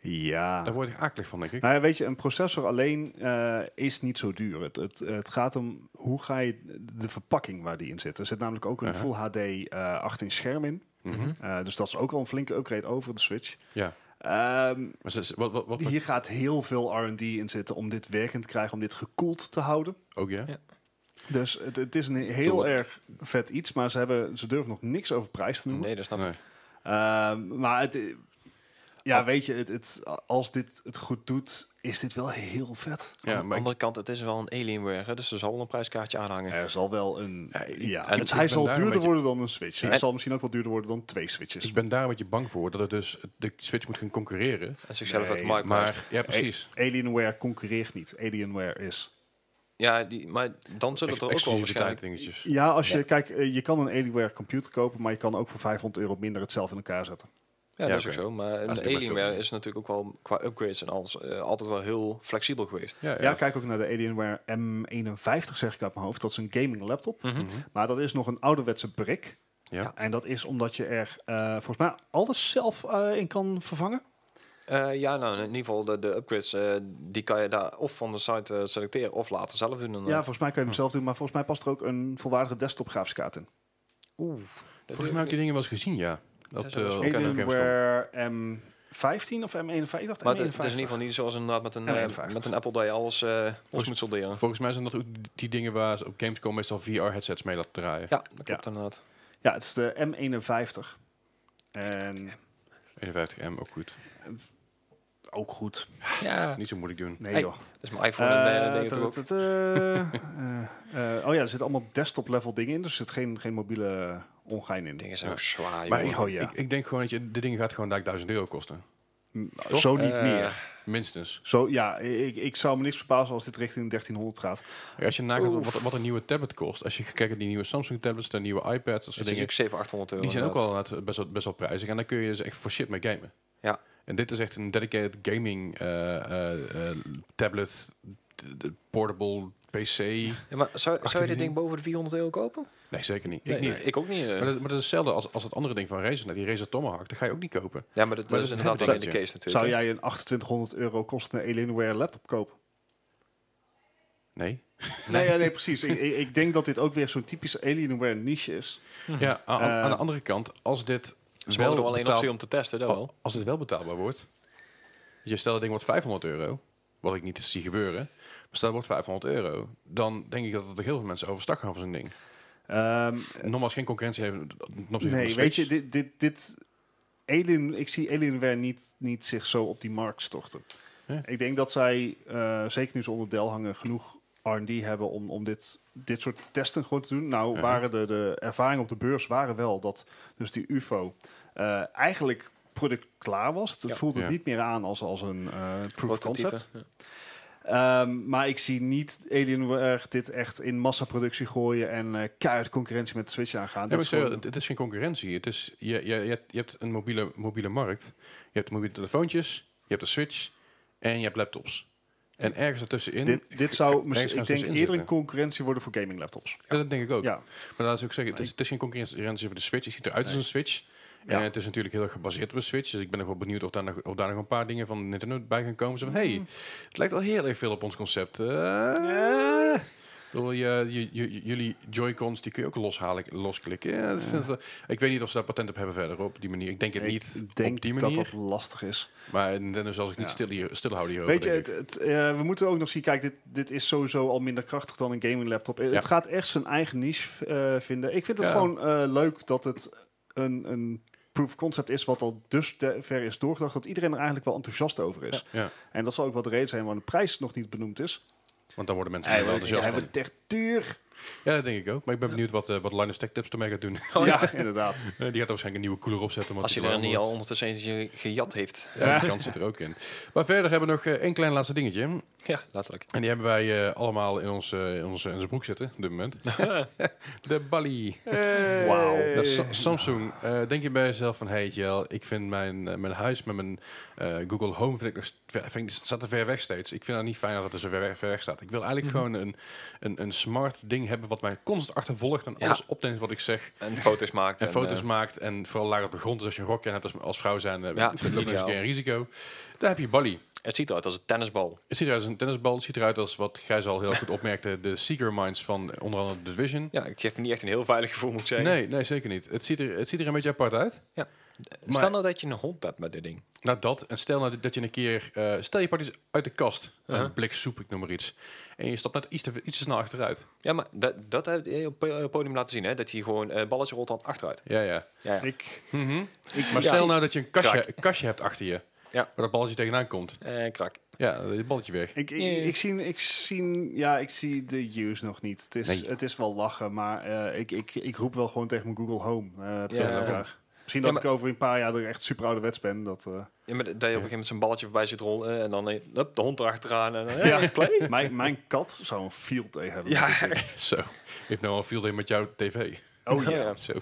Ja.
Daar word ik akelig van, denk ik.
Nou ja, weet je, een processor alleen eh, is niet zo duur. Het, het, het gaat om hoe ga je de verpakking waar die in zit. Er zit namelijk ook een
Aha.
Full HD eh 18 scherm in.
Mhm.
Eh, dus dat is ook al een flinke upgrade over de Switch.
Ja.
Ehm,
Maar ze- ze- wat, wat, wat,
hier gaat heel veel R&D in zitten om dit werkend te krijgen, om dit gekoeld te houden.
ook ja?
Ja.
Dus het, het is een heel
Doe.
erg vet iets, maar ze, hebben, ze durven nog niks over prijs te noemen.
Nee, dat snap ik.
Nee.
Ehm, maar het, ja, weet je, het, het, als dit het goed doet, is dit wel heel vet.
Aan
Ja,
de
maar ik-
andere kant, het is wel een Alienware, hè, dus er zal wel een prijskaartje aan hangen.
Er zal wel een.
Ja, ik-
Ja,
ik-
het-
ik
hij
ben
zal
daar een
duurder
beetje-
worden dan een Switch.
En-
Hij zal misschien ook wel duurder worden dan twee Switches.
Dus Ik ben daar een beetje bang voor, dat het dus de Switch moet gaan concurreren.
En zichzelf uit de
Nee,
markt maakt.
Maar, ja precies.
Alienware concurreert niet. Alienware is.
Ja, die, maar dan zullen
Ex-
er ook wel
Exclusiviteit
waarschijnlijk...
dingetjes.
Ja, als je
Ja.
kijk, eh, je kan een Alienware computer kopen, maar je kan ook voor 500 euro minder het zelf in elkaar zetten.
Ja,
Ja,
dat is ook
oké.
zo. Maar
is
de
niet
Alienware
best
is natuurlijk ook wel, qua upgrades en alles, eh, altijd wel heel flexibel geweest.
Ja, ja.
Ja, kijk ook naar de Alienware M51 zeg ik uit mijn hoofd. Dat is een gaming laptop,
Mhm.
maar dat is nog een ouderwetse brick.
Ja.
En dat is omdat je er eh, volgens mij alles zelf eh, in kan vervangen.
Eh, ja, nou, in ieder geval de, de upgrades, eh, die kan je daar of van de site eh, selecteren of later zelf doen. eh,
Ja,
inderdaad.
volgens mij kan
Hm.
je hem zelf doen, maar volgens mij past er ook een volwaardige desktop graafiskaart in.
Oeh. dat
Volgens mij
durf
heb
ik
ik die dingen wel eens gezien, ja. Dat,
Dat is
eh,
wel
ook aan de Gamescom.
Alienware M 15 of M51? Ik dacht
Maar het, het
M51.
is in ieder geval niet zoals inderdaad met een,
Ja,
eh,
51.
met een Apple dat je alles eh los moet solderen.
Volgens mij zijn dat ook die dingen waar ze op Gamescom meestal VR-headsets mee laten draaien.
Ja, dat klopt inderdaad.
Ja, het is de M51. En
51M, ook goed.
ook goed.
Ja,
Niet zo moeilijk doen.
Nee
Hey,
joh.
dus mijn iPhone en eh, dingen toch ook.
Eh, eh, eh, oh ja, er zitten allemaal desktop-level dingen in, dus er zit geen, geen mobiele ongein in.
Dingen zijn
Ja.
ook zwaar,
Maar
joh.
ik,
Oh, ja.
ik, ik denk gewoon dat je, dit ding gaat gewoon daar 1000 euro kosten.
Toch? Mm, Zo niet
Eh,
meer.
Minstens.
Zo, ja, ik, ik zou me niks verbazen als dit richting 1300 gaat.
Als je nagaat
Oef.
wat, wat een nieuwe tablet kost. Als je kijkt naar die nieuwe Samsung tablets, de nieuwe iPads, dat
Het
soort
is
dingen.
natuurlijk 700, 800 euro.
Die zijn ook
inderdaad.
al inderdaad best wel, best wel prijzig. En daar kun je dus echt voor shit mee gamen.
Ja.
En dit is echt een dedicated gaming eh, eh, eh, tablet, d- d- portable PC.
Ja, maar zou, zou je
€1800
dit ding boven de 400 euro kopen?
Nee, zeker niet. Ik
Nee,
niet.
nee, ik ook niet. eh.
Maar, dat, maar dat is hetzelfde als, als het andere ding van Razer. net, Die Razer Tomahawk, dat ga je ook niet kopen.
ja,
maar
maar dat, dat is
dat
inderdaad
hebben
wel
ze
in de
niet,
case natuurlijk.
Zou
hè.
jij een 2800 euro kostende Alienware laptop kopen?
Nee.
Nee, ja, nee precies. ik, ik, ik denk dat dit ook weer zo'n typische Alienware niche is.
Ja, aan, aan-
Eh.
aan de andere kant, als dit,
Ze wel
wel
wel één
betaald- Oh,
optie om te testen, dat wel.
als dit wel betaalbaar wordt. Je stelt dat ding wordt 500 euro. Wat ik niet zie gebeuren. Maar stel het wordt 500 euro. Dan denk ik dat er heel veel mensen overstag gaan van zo'n ding.
Ehm,
Eh.
Normaal als geen concurrentie hebben. ten opzichte van de
nee, weet
Switch.
je, dit, dit, dit Alien, ik zie Alienware niet, niet zich zo op die markt storten.
Ja.
Ik denk dat zij, eh, zeker nu ze onder Dell hangen, genoeg R&D hebben om, om dit, dit soort testen gewoon te doen. Nou,
Ja.
waren de, de ervaringen op de beurs waren wel dat dus die UFO eh, eigenlijk product klaar was. Het
Ja.
voelde
Ja.
niet meer aan als, als een eh proof of
Prototype.
concept. Ehm, maar ik zie niet Alienware dit echt in massaproductie gooien en eh keihard concurrentie met de Switch aangaan.
Ja,
Dit
maar
is
serieus,
gewoon-
het, het is geen concurrentie. Het is, je, je, je, hebt, je hebt een mobiele, mobiele markt. Je hebt mobiele telefoontjes. Je hebt de Switch. En je hebt laptops. En ergens ertussenin...
dit, dit
ergens
zou misschien,
ertussenin
ik denk,
zitten.
eerder een concurrentie worden voor gaming laptops.
Ja, dat denk ik ook.
Ja,
Maar laat ik ook zeggen, het is, het is geen concurrentie voor de Switch. Het ziet eruit als
Nee.
een Switch.
Ja.
En het is natuurlijk heel erg gebaseerd op een Switch. Dus ik ben nog wel benieuwd of daar nog, of daar nog een paar dingen van Nintendo bij gaan komen. Zo van, hey, het lijkt wel heel erg veel op ons concept. Eh, ik bedoel, je, je, je- jullie Joy-Cons, die kun je ook loshalen, losklikken. Ja, dat vind ik wel- Ik weet niet of ze daar patent op hebben verder op die manier. Ik denk het niet
ik denk
op die
dat
manier.
dat lastig is.
Maar Nintendo zal zich niet
Ja.
stil, hier, stilhouden hierover,
Weet je,
denk
het,
ik.
het, eh, we moeten ook nog zien, kijk, dit, dit is sowieso al minder krachtig dan een gaming laptop. Eh,
Ja.
Het gaat echt zijn eigen niche eh, vinden. Ik vind het
Ja.
gewoon eh, leuk dat het een, een proof concept is wat al dus de- ver is doorgedacht, dat iedereen er eigenlijk wel enthousiast over is.
Ja,
En dat zal ook wel de reden zijn waarom de prijs nog niet benoemd is.
want daar worden mensen
Hij
heel wel
wil-
enthousiast
Hij
van.
wordt echt duur.
Ja, dat denk ik ook. Maar ik ben benieuwd wat, eh, wat Linus Tech Tips ermee gaat doen. [LAUGHS]
ja, inderdaad.
Eh, die gaat er waarschijnlijk een nieuwe cooler opzetten. omdat
Als je
die
er
warm
niet
wordt.
al ondertussen eentje gejat heeft.
Ja, die kans zit er ook in. Maar verder hebben we nog eh, één klein laatste dingetje. En
Ja, letterlijk.
die hebben wij eh, allemaal in onze, in, onze, in onze broek zitten op dit
[LAUGHS]
moment. de Bali.
Hey.
De Sa- Samsung. Eh, denk je bij jezelf van, hey Jel, ik vind mijn, eh, mijn huis met mijn eh, Google Home, vind ik nog, st- vind ik, staat er ver weg steeds. Ik vind het niet fijn dat het zo ver weg, ver weg staat. Ik wil
Mhm.
eigenlijk gewoon een, een, een smart ding hebben wat mij constant achtervolgt en
Ja.
alles opneemt wat ik zeg.
En foto's maakt.
En, foto's
eh,
maakt en vooral laag op de grond. Dus als je een rokje aan hebt als, als vrouw zijn, eh,
Ja,
dat loop je eens een
ideaal.
keer een risico. Daar heb je Bali.
Het ziet eruit als een tennisbal.
Het ziet eruit als een tennisbal. Het ziet eruit als wat Gijs al heel goed opmerkte. De Seeker Minds van onder andere The Division.
Ja, ik geef me niet echt een heel veilig gevoel, moet ik zeggen.
Nee, nee, zeker niet. Het ziet, er, het ziet er een beetje apart uit. maar-
Stel nou dat je een hond hebt met dit ding.
Nou dat, en stel nou dat je een keer... eh, stel je pakt iets uit de kast.
Uh-huh.
Een blik soep, ik noem maar iets. En je stapt net iets te, iets te snel achteruit.
Ja, maar dat, dat heb je op eh, het podium laten zien, hè? Dat hij gewoon eh balletje rolt dan achteruit.
Ja, ja.
Ja, ja.
Ik,
Mhm.
ik,
Maar
ja.
stel nou dat je een kastje,
Krak.
een kastje hebt achter je.
Ja.
Waar dat balletje tegenaan komt.
Eh, krak.
Ja, dat balletje weg.
Ik, ik,
Yes.
ik, zie, ik, zie, ja, ik zie de use nog niet. Het is,
Nee.
het is wel lachen, maar eh, ik, ik, ik roep wel gewoon tegen mijn Google Home. eh, op
Ja.
tegen elkaar. Misschien
Ja,
dat
maar-
ik over een paar jaar er echt super ouderwets ben. Dat, eh,
Ja, maar dat je op een gegeven moment zo'n balletje voorbij ziet rollen en dan eh, hup, de hond erachteraan. En dan, eh,
ja, mijn, mijn kat zou een field day hebben.
Ja,
denk ik.
Zo. Ik heb nou al veel ding met jouw tv.
Oh ja,
Ja.
Zo.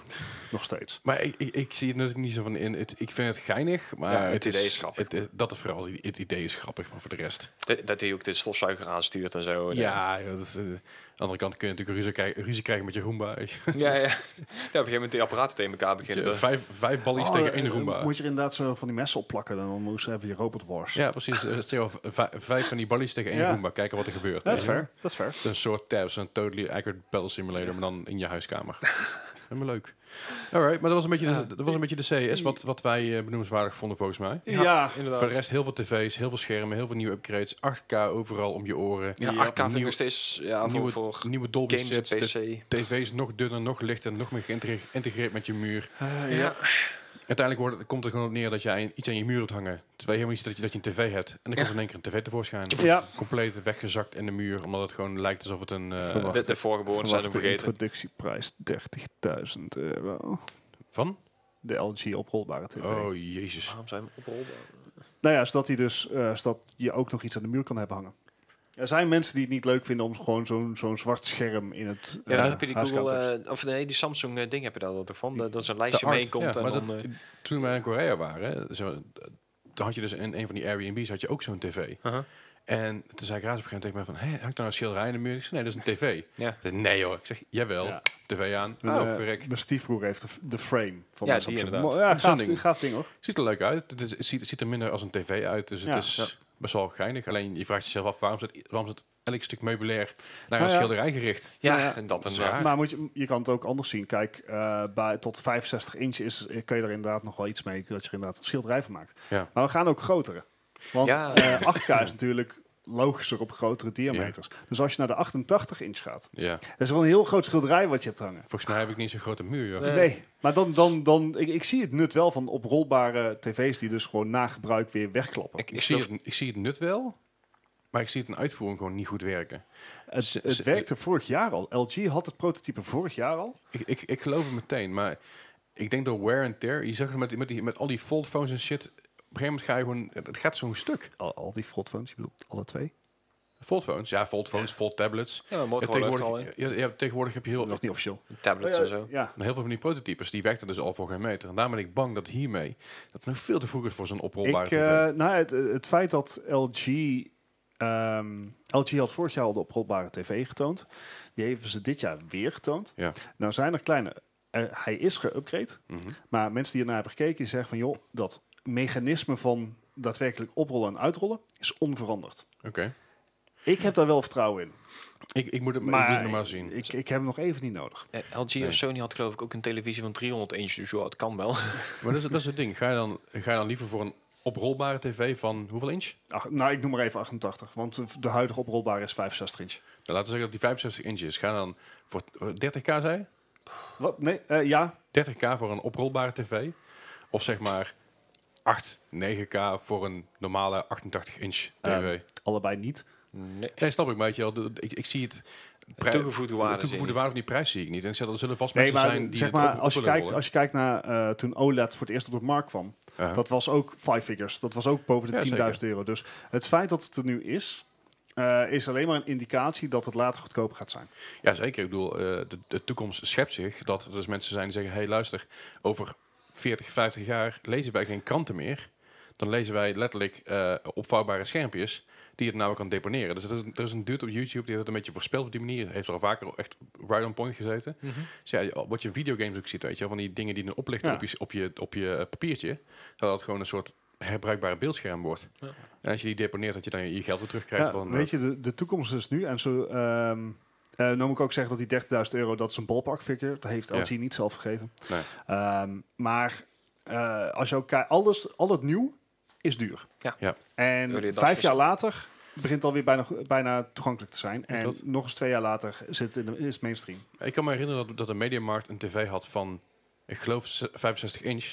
nog steeds.
Maar ik, ik, ik zie het natuurlijk niet zo van in. Het, ik vind het geinig, maar
Ja, het idee is grappig.
het- het- dat is vooral het het idee is grappig, maar voor de rest.
Dat- Dat hij ook de stofzuiger aanstuurt en zo. En, eh,
ja, dat is, eh, aan de andere kant kun je natuurlijk ruzie krijgen, ruzie krijgen met je Roomba. [LAUGHS] Als je-
ja, [LAUGHS] ja. ja, op een gegeven moment die apparaten tegen elkaar beginnen.
je vijf, vijf ballies tegen één
eh,
Roomba.
Moet je er inderdaad zo van die messen opplakken, dan moest hebben je Robot Wars.
Ja, precies. Eh, Stel, v- vij- vijf van die ballies tegen één
Ja.
Roomba. Kijken wat er gebeurt.
Dat is
Ja.
fair, dat is fair. [LAUGHS]
Het is een soort tabs, een totally accurate battle simulator, maar dan in je huiskamer. helemaal leuk. Alright, maar dat was een beetje, de, dat was een beetje de CS wat, wat wij eh, benoemenswaardig vonden volgens mij.
Ja,
Inderdaad.
Voor de rest heel veel tv's, heel veel schermen, heel veel nieuwe upgrades. 8K overal om je oren.
ja,
Ja,
8K vind ik
nieuwe-
nog steeds ja,
nieuwe,
voor, voor
nieuwe Dolby
games en
sets.
PC.
De tv's nog dunner, nog lichter, nog meer geïntegre- geïntegreerd met je muur.
ja.
Uiteindelijk wordt, het- komt het gewoon op neer dat je een- iets aan je muur hebt hangen. Terwijl je helemaal niet ziet dat je, dat je een tv hebt. En dan
Ja.
komt in één keer een tv tevoorschijn.
ja.
Compleet weggezakt in de muur, omdat het gewoon lijkt alsof het een... eh,
Verwacht.
De, de voorgeboren zijn
Verwachte
hem vergeten.
introductieprijs 30.000 euro.
van?
De LG oprolbare tv.
Oh, jezus.
Waarom zijn we oprolbaar?
Nou ja, zodat, hij dus, eh, zodat je ook nog iets aan de muur kan hebben hangen. Er zijn mensen die het niet leuk vinden om gewoon zo'n zo'n zwart scherm in het
Ja,
eh,
daar heb je die
huiskamer te
Google,
hebben.
eh, of nee, die Samsung eh, ding heb je daar toch van? Dat, dat is een
De
lijstje
art,
mee komt
ja,
en
maar
dan...
dat-
eh,
Toen wij in Korea waren, zeg maar, toen had je dus in een van die Airbnbs had je ook zo'n tv.
aha.
En toen zei ik raas op een gegeven moment tegen mij van, hé, hangt daar nou een schilderij in de muur? Ik zei, nee, dat is een tv.
Ja.
Ze zei, nee hoor. Ik zeg, jawel,
Ja.
tv aan.
Mijn,
oh,
eh,
verrek.
Mijn stiefbroer heeft de, f- de frame van
Ja,
de
die
Samsung.
inderdaad.
Mo- Ja,
Zo'n
gaaf
ding.
ding. gaaf ding hoor.
Ziet er leuk uit. Het, is, het ziet, het ziet er minder als een tv uit, dus het
Ja.
is
Ja.
best wel geinig. Alleen je vraagt jezelf af, waarom zit, waarom zit elk stuk meubilair naar een
Nou ja.
schilderij gericht?
Ja,
Ja.
en dat
Dat is
inderdaad.
Maar moet je, je kan het ook anders zien. Kijk, eh, bij, tot 65 inch is, kan je er inderdaad nog wel iets mee. Dat je er inderdaad een schilderij van maakt.
Ja.
Maar we gaan ook grotere. Want
Ja.
eh, 8K is natuurlijk logischer op grotere diameters. Dus als je naar de 88 inch gaat.
Ja,
Dat is wel een heel groot schilderij wat je hebt hangen.
volgens mij heb ik niet zo'n grote muur. joh.
Nee.
Nee, maar dan, dan, dan ik, ik zie het nut wel van oprolbare tv's die dus gewoon na gebruik weer wegklappen.
Ik,
Ik,
ik
zie
geloof-
het, ik zie het nut wel, maar ik zie het in uitvoering gewoon niet goed werken.
het,
ze-
het
ze-
werkte vorig jaar al. LG had het prototype vorig jaar al.
Ik, ik, ik geloof het meteen, maar ik denk door wear and tear. Je zag het met, die- met, die, met al die foldphones en shit. Op een gegeven moment ga je gewoon... Het gaat zo'n stuk.
Al, al die foldphones, je bedoelt alle twee.
Foldphones, ja, foldphones, foldtablets.
Ja, Oh maar
Ja,
Motorola heeft er al in.
tegenwoordig, ja, ja, tegenwoordig heb je heel,
Dat is niet officieel. Oh
Tablets en zo.
Ja,
heel veel van die prototypes. Die werkten dus al voor geen meter. En daar ben ik bang dat hiermee... Dat het nog veel te vroeg is voor zo'n oprolbare
Ik,
tv.
eh, nou, het, het feit dat LG... ehm, LG had vorig jaar al de oprolbare tv getoond. Die hebben ze dit jaar weer getoond.
Ja.
Nou zijn er kleine... eh, hij is geüpgrade.
Mhm.
Maar mensen die ernaar hebben gekeken, die zeggen van... joh, dat mechanisme van daadwerkelijk oprollen en uitrollen is onveranderd.
Oké.
Ik heb daar wel vertrouwen in.
Ik, ik moet het maar, ik moet
Maar
het nog maar zien.
Ik, ik heb hem nog even niet nodig.
Eh, LG
Nee.
of Sony had geloof ik ook een televisie van 300 inch, dus ja, het kan wel.
maar dat is, dat is het ding. Ga je, dan, ga je dan liever voor een oprolbare tv van hoeveel inch?
Ach, nou, ik noem maar even 88. Want de- de huidige oprolbare is 65 inch.
Nou, laten we zeggen dat die 65 inch is. Ga dan voor voor 30k, zei je?
Wat? Nee, eh, ja.
30k voor een oprolbare tv. Of zeg maar 8, 9k voor een normale 88-inch tv.
Eh,
nee,
Allebei niet.
Nee.
snap ik, maar weet je wel, de- de- ik, ik zie het... pri-
Toegevoegde
de
waarde. zie
toegevoegde
je
waarde van die prijs zie ik niet. En ik zeg, er zullen vast
Nee,
mensen
maar
zijn die
zeg
het
maar,
op-
als, je
op willen
kijkt,
rollen.
als je kijkt naar eh, toen OLED voor het eerst op de markt kwam.
Ja.
Dat was ook five figures. Dat was ook boven
Ja,
de
zeker.
10.000 euro. Dus het feit dat het er nu is, eh, is alleen maar een indicatie dat het later goedkoper gaat zijn.
Ja, zeker. Ik bedoel, eh, de, de toekomst schept zich. Dat er dus mensen zijn die zeggen, hey, luister, over 40, 50 jaar lezen wij geen kranten meer. Dan lezen wij letterlijk eh, opvouwbare schermpjes die het nou kan deponeren. Dus er is, er is een dude op YouTube die heeft het een beetje voorspeld op die manier. Heeft er al vaker echt right on point gezeten.
Mhm.
Dus ja, wat je in videogames ook ziet, weet je wel, van die dingen die dan oplichten
Ja.
op, je, op, je, op je eh, papiertje. Dat het gewoon een soort herbruikbare beeldscherm wordt.
Ja.
En als je die deponeert, dat je dan je geld weer terugkrijgt.
Ja,
van, eh,
weet je, de, de toekomst is nu. En zo, ehm eh, nou moet ik ook zeggen dat die 30.000 euro, dat is een ballpark figure. Dat heeft
Ja.
LG niet zelf gegeven.
Nee.
Ehm, maar eh, als je ook kijkt, alles, al het nieuw is duur.
Ja.
Ja.
Early
En vijf
adopters.
jaar later begint het alweer bijna, go- bijna toegankelijk te zijn. En
Klopt.
nog eens twee jaar later zit het in de, is het mainstream.
Ik kan me herinneren dat, dat de Mediamarkt een tv had van, ik geloof, z- 65 inch.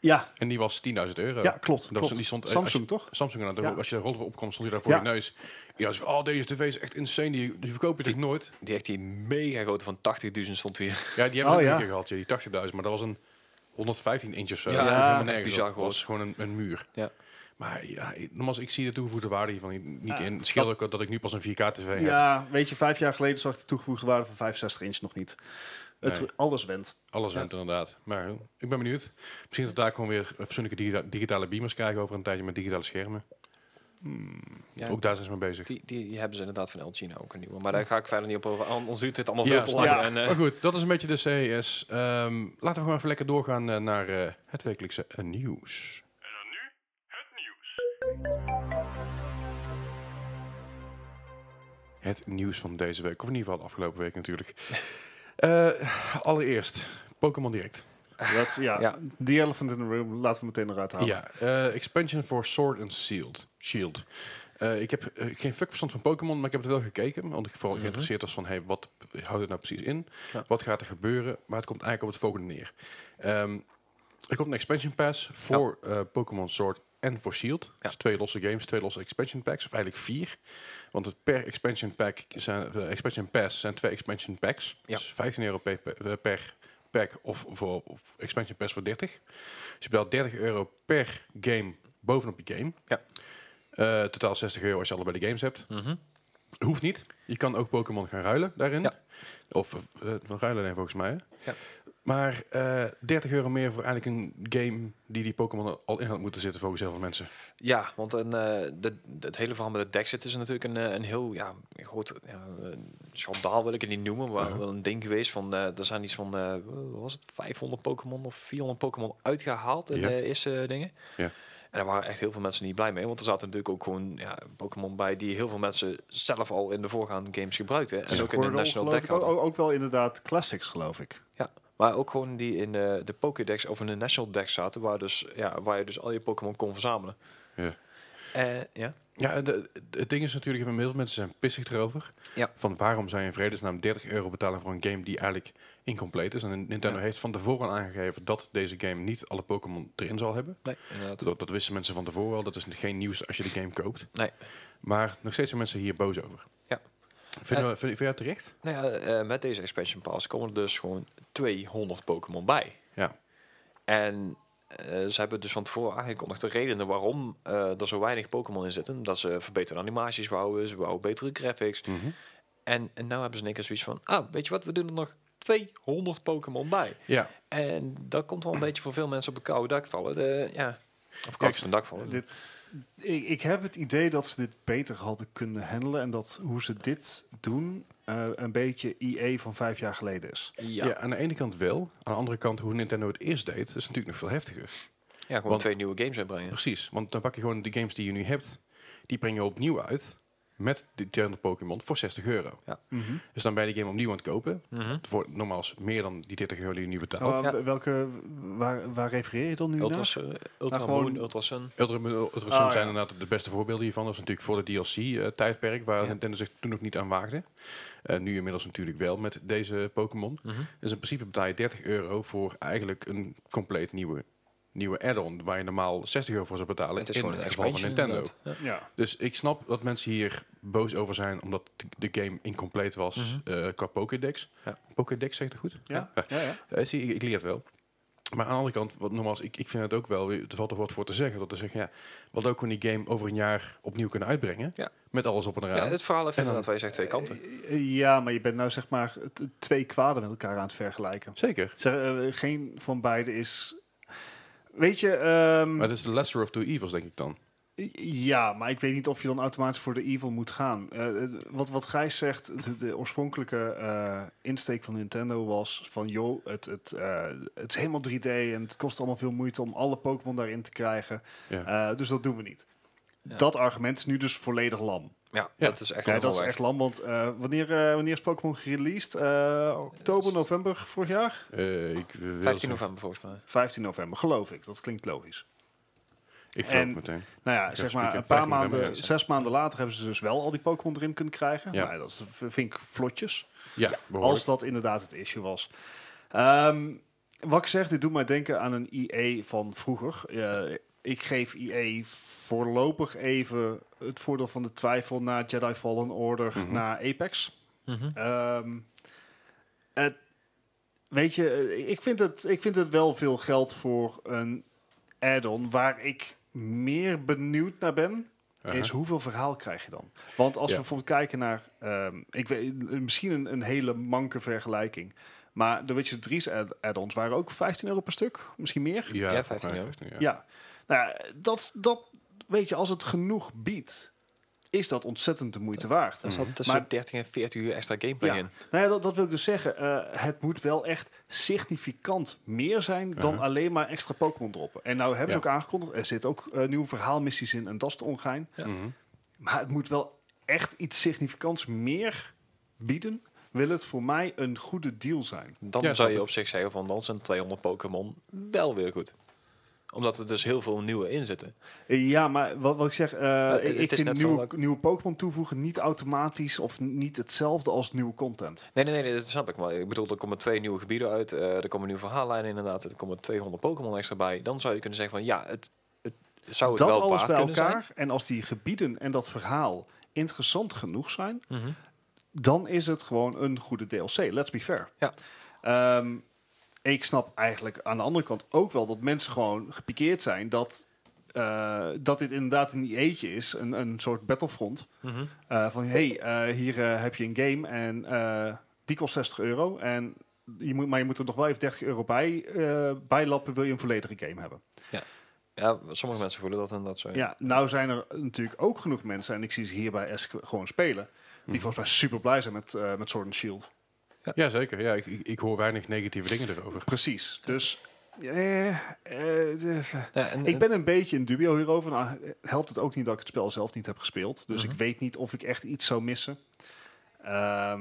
Ja,
En die was 10.000 euro.
ja klopt.
was-
klopt.
die stond- eh,
Samsung, toch?
Samsung, aan de-
Ja.
als je daar rond op komt, stond je daar voor
Ja.
je neus. Ja, zo, oh, deze tv is echt insane. Die, die verkopen natuurlijk nooit.
Die echt die mega grote van 80.000 stond weer.
Ja, die hebben
Oh,
we ook
ja.
een keer gehad, ja, die 80.000. Maar dat was een 115 inch of zo.
Ja,
Dat was
ja,
helemaal
echt
nergens
bizar
op. Dat was gewoon een, een muur.
Ja.
Maar ja, ik- nogmaals, ik zie de toegevoegde waarde hiervan niet
Ja,
in. Het scheelt ook dat ik nu pas een 4K tv heb.
Ja, weet je, vijf jaar geleden zag ik de toegevoegde waarde van 65 inch nog niet. Het,
Nee.
Alles went.
Alles went inderdaad. Maar eh, ik ben benieuwd. Misschien dat we daar gewoon weer eh, fatsoenlijke digita- digitale beamers krijgen over een tijdje met digitale schermen.
Ja,
Ook daar zijn ze mee bezig.
die, die, die hebben ze inderdaad van LG nou ook een nieuwe. Maar daar ga ik verder niet op over. An- Ons duurt dit allemaal
Ja,
veel te lang.
ja.
En, eh,
Maar goed, dat is een beetje de CES. Ehm, laten we gewoon even lekker doorgaan eh, naar eh, het wekelijkse eh, nieuws. En dan nu het nieuws. Het nieuws van deze week, of in ieder geval de afgelopen week natuurlijk. Eh, allereerst, Pokémon Direct.
Dat, ja,
Ja.
The Elephant in the Room laten we meteen eruit halen.
Ja, eh, expansion voor Sword and Shield. Shield. Eh, ik heb eh, geen fuck verstand van Pokémon, maar ik heb het wel gekeken. Want ik vooral
Mhm.
geïnteresseerd was van, hey, wat houdt het nou precies in?
Ja.
Wat gaat er gebeuren? Maar het komt eigenlijk op het volgende neer. Ehm, er komt een expansion pass voor eh, Pokémon Sword en voor Shield. Dus twee losse games, twee losse expansion packs. Of eigenlijk vier. Want het per expansion, pack zijn, eh, expansion pass zijn twee expansion packs.
Ja.
Dus 15 euro per, per- per pack of voor of expansion pass voor 30. Dus je betaalt 30 euro per game bovenop je game.
Ja.
Eh, totaal 60 euro als je allebei de games hebt.
Mhm.
Hoeft niet. Je kan ook Pokémon gaan ruilen daarin.
Ja.
Of eh, van ruilen nee, volgens mij. hè?
Ja.
Maar eh, 30 euro meer voor eigenlijk een game die die Pokémon al in had moeten zitten volgens heel veel mensen.
Ja, want een, eh, dat- dat hele verhaal met het Dexit is natuurlijk een, eh, een heel ja, groot ja, een schandaal, wil ik het niet noemen, maar
Ja.
wel een ding geweest van, eh, er zijn iets van, eh, wat was het, 500 Pokémon of 400 Pokémon uitgehaald in
Ja.
de eerste dingen.
Ja.
En daar waren echt heel veel mensen niet blij mee, want er zaten natuurlijk ook gewoon ja, Pokémon bij die heel veel mensen zelf al in de voorgaande games gebruikten. En
Dus
ook in de
Squirtle,
National
geloof
Deck
ik, ook,
hadden.
ook wel inderdaad classics, geloof ik.
Maar ook gewoon die in de, de Pokédex of in de National Deck zaten, waar, dus, ja, waar je dus al je Pokémon kon verzamelen.
Ja.
Eh, ja.
Ja, de- het ding is natuurlijk, heel veel mensen zijn pissig erover.
Ja.
Van waarom zou je in vredesnaam 30 euro betalen voor een game die eigenlijk incompleet is. En Nintendo
Ja.
heeft van tevoren aangegeven dat deze game niet alle Pokémon erin zal hebben.
Nee, inderdaad.
Dat, dat wisten mensen van tevoren wel. Dat is geen nieuws als je de game koopt.
Nee.
Maar nog steeds zijn mensen hier boos over.
Ja. Eh.
Vind, je, vind, vind je het terecht?
Nou ja, eh, met deze expansion pass komen er dus gewoon 200 Pokémon bij.
Ja.
En eh, ze hebben dus van tevoren aangekondigd de redenen waarom eh, er zo weinig Pokémon in zitten. Dat ze verbeterde animaties wouden, ze wouden betere graphics.
Mhm.
En, en nou hebben ze niks zoiets van, ah, weet je wat, we doen er nog 200 Pokémon bij.
Ja.
En dat komt wel een beetje voor veel mensen op een koude dak vallen. De, ja, of koud van een dak vallen.
Dit, ik, ik heb het idee dat ze dit beter hadden kunnen handelen. En dat hoe ze dit doen eh, een beetje IE van vijf jaar geleden is.
Ja.
ja. ja,
aan de ene kant wel. Aan de andere kant, hoe Nintendo het eerst deed, is natuurlijk nog veel heftiger.
gewoon
Want-
twee nieuwe games uitbrengen.
Precies, want dan pak je gewoon de games die je nu hebt, die breng je opnieuw uit met de 200 Pokémon voor 60 euro. Dus dan ben je de game opnieuw aan het kopen.
Mhm.
Voor normaal is meer dan die 30 euro die je nu betaalt.
Nou,
Ja.
eh, welke, waar, waar refereer je dan nu
Ultra,
naar?
Sun- eh, Ultra
gewoon-
Moon, Ultra Sun.
Ultra, Ultra Sun
Ah,
Oh,
ja.
zijn inderdaad de beste voorbeelden hiervan. Dat is natuurlijk voor de DLC-tijdperk, eh, waar
Ja.
Nintendo zich toen nog niet aan waagde. Eh, nu inmiddels natuurlijk wel met deze Pokémon.
Mhm.
Dus in principe betaal je 30 euro voor eigenlijk een compleet nieuwe, nieuwe add-on... waar je normaal 60 euro voor zou betalen
Het is
in
gewoon een
het geval van
expansion.
Nintendo.
inderdaad. Ja.
Ja.
Dus ik snap dat mensen hier boos over zijn... omdat de de game incompleet was eh, qua Pokédex.
Mhm. Ja.
Pokédex zegt het goed?
Ja?
Ja.
Ja, ja.
Ja, zie, ik, ik leer het wel. Maar aan de andere kant, wat nogmaals, ik, ik vind het ook wel, er valt er wat voor te zeggen. Dat te zeggen, ja, wat ook gewoon die game over een jaar opnieuw kunnen uitbrengen.
Ja.
Met alles op en eraan.
Ja, het verhaal heeft
En dan-
inderdaad, wij zeggen twee kanten.
Eh, Ja, maar je bent nou zeg maar t- twee kwaden met elkaar aan het vergelijken.
Zeker.
Zeg, eh, geen van beide is. Weet je, ehm,
Maar het is de lesser of two evils, denk ik dan.
ja, maar ik weet niet of je dan automatisch voor de evil moet gaan. Eh, eh, wat, wat Gijs zegt, de, de oorspronkelijke eh, insteek van Nintendo was van joh, het, het, eh, het is helemaal 3D en het kost allemaal veel moeite om alle Pokémon daarin te krijgen.
Ja.
Eh, dus dat doen we niet.
Ja.
Dat argument is nu dus volledig lam.
Ja,
Ja.
dat is echt
Ja,
heel
dat is
veel
echt
weg.
lam, want eh, wanneer, eh, wanneer is Pokémon gereleased? Eh, oktober, november vorig jaar?
Eh, ik wil
15 november volgens mij.
15 november, geloof ik. Dat klinkt logisch.
Ik geloof
en-
meteen.
Nou ja,
Ja,
zeg
spreekt
maar
in
een paar
15 november,
maanden,
ja.
zes maanden later hebben ze dus wel al die Pokémon erin kunnen krijgen.
Ja.
Nou, dat is- vind ik vlotjes.
Ja,
Als
behoorlijk.
dat inderdaad het issue was. Ehm, wat ik zeg, dit doet mij denken aan een IE van vroeger. Eh, ik geef IE voorlopig even het voordeel van de twijfel na Jedi Fallen Order,
Mhm.
na Apex.
Mhm.
Ehm, het- weet je, eh, ik vind, het, ik vind het wel veel geld voor een add-on. Waar ik meer benieuwd naar ben,
Uh-huh.
is hoeveel verhaal krijg je dan? Want als
Ja.
we bijvoorbeeld kijken naar, ehm, ik weet, misschien een, een hele manke vergelijking. Maar de Witcher 3's add- add-ons waren ook 15 euro per stuk, misschien meer.
Ja,
Ja,
volgens
15
mij
euro.
15
Ja,
euro.
Nou, ja, dat, dat, weet je, als het genoeg biedt, is dat ontzettend de moeite waard.
Er zat
Mhm. Maar-
tussen 30 en 40 uur extra gameplay
Ja.
in.
Nou ja, dat, dat wil ik dus zeggen. Eh, het moet wel echt significant meer zijn dan
Uh-huh.
alleen maar extra Pokémon droppen. En nou hebben ze
Ja.
ook aangekondigd, er zitten ook eh, nieuwe verhaalmissies in en dat is de ongein.
Ja.
Mhm.
Maar het moet wel echt iets significants meer bieden. wil het voor mij een goede deal zijn.
Dan
Ja, snap
zou je
ik.
op zich zeggen van dan zijn 200 Pokémon wel weer goed. Omdat er dus heel veel nieuwe in zitten.
Eh, Ja, maar wat, wat ik zeg, eh,
het-
ik,
het
ik
is
vind
net
nieuwe,
van-
nieuwe Pokémon toevoegen niet automatisch of niet hetzelfde als nieuwe content.
Nee, nee, nee, nee, dat snap ik. Maar ik bedoel, er komen twee nieuwe gebieden uit. eh, er komen nieuwe verhaallijnen inderdaad. Er komen 200 Pokémon extra bij. Dan zou je kunnen zeggen van ja, het, het zou het
dat
Oh, wel
alles
waard
bij
kunnen
elkaar
zijn.
en als die gebieden en dat verhaal interessant genoeg zijn,
Mhm.
dan is het gewoon een goede DLC. Let's be fair.
Ja.
Ehm, ik snap eigenlijk aan de andere kant ook wel dat mensen gewoon gepikeerd zijn dat, eh, dat dit inderdaad een EA'tje is, een, een soort battlefront.
Mhm.
Eh, van hey, eh, hier eh, heb je een game en eh, die kost 60 euro. En je moet, maar je moet er nog wel even 30 euro bij, eh bijlappen, wil je een volledige game hebben.
Ja, sommige mensen voelen dat inderdaad zo.
Ja. nou zijn er natuurlijk ook genoeg mensen, en ik zie ze hier bij Esk gewoon spelen,
Mhm.
die volgens mij super blij zijn met, eh, met Sword and Shield.
Ja, zeker. Ja, ik, ik ik hoor weinig negatieve dingen erover.
Precies. Dus eh, eh, dus, eh.
Ja, en-
ik ben een beetje in dubio hierover. Nou, eh, helpt het ook niet dat ik het spel zelf niet heb gespeeld. Dus
Mhm.
ik weet niet of ik echt iets zou missen. Ehm,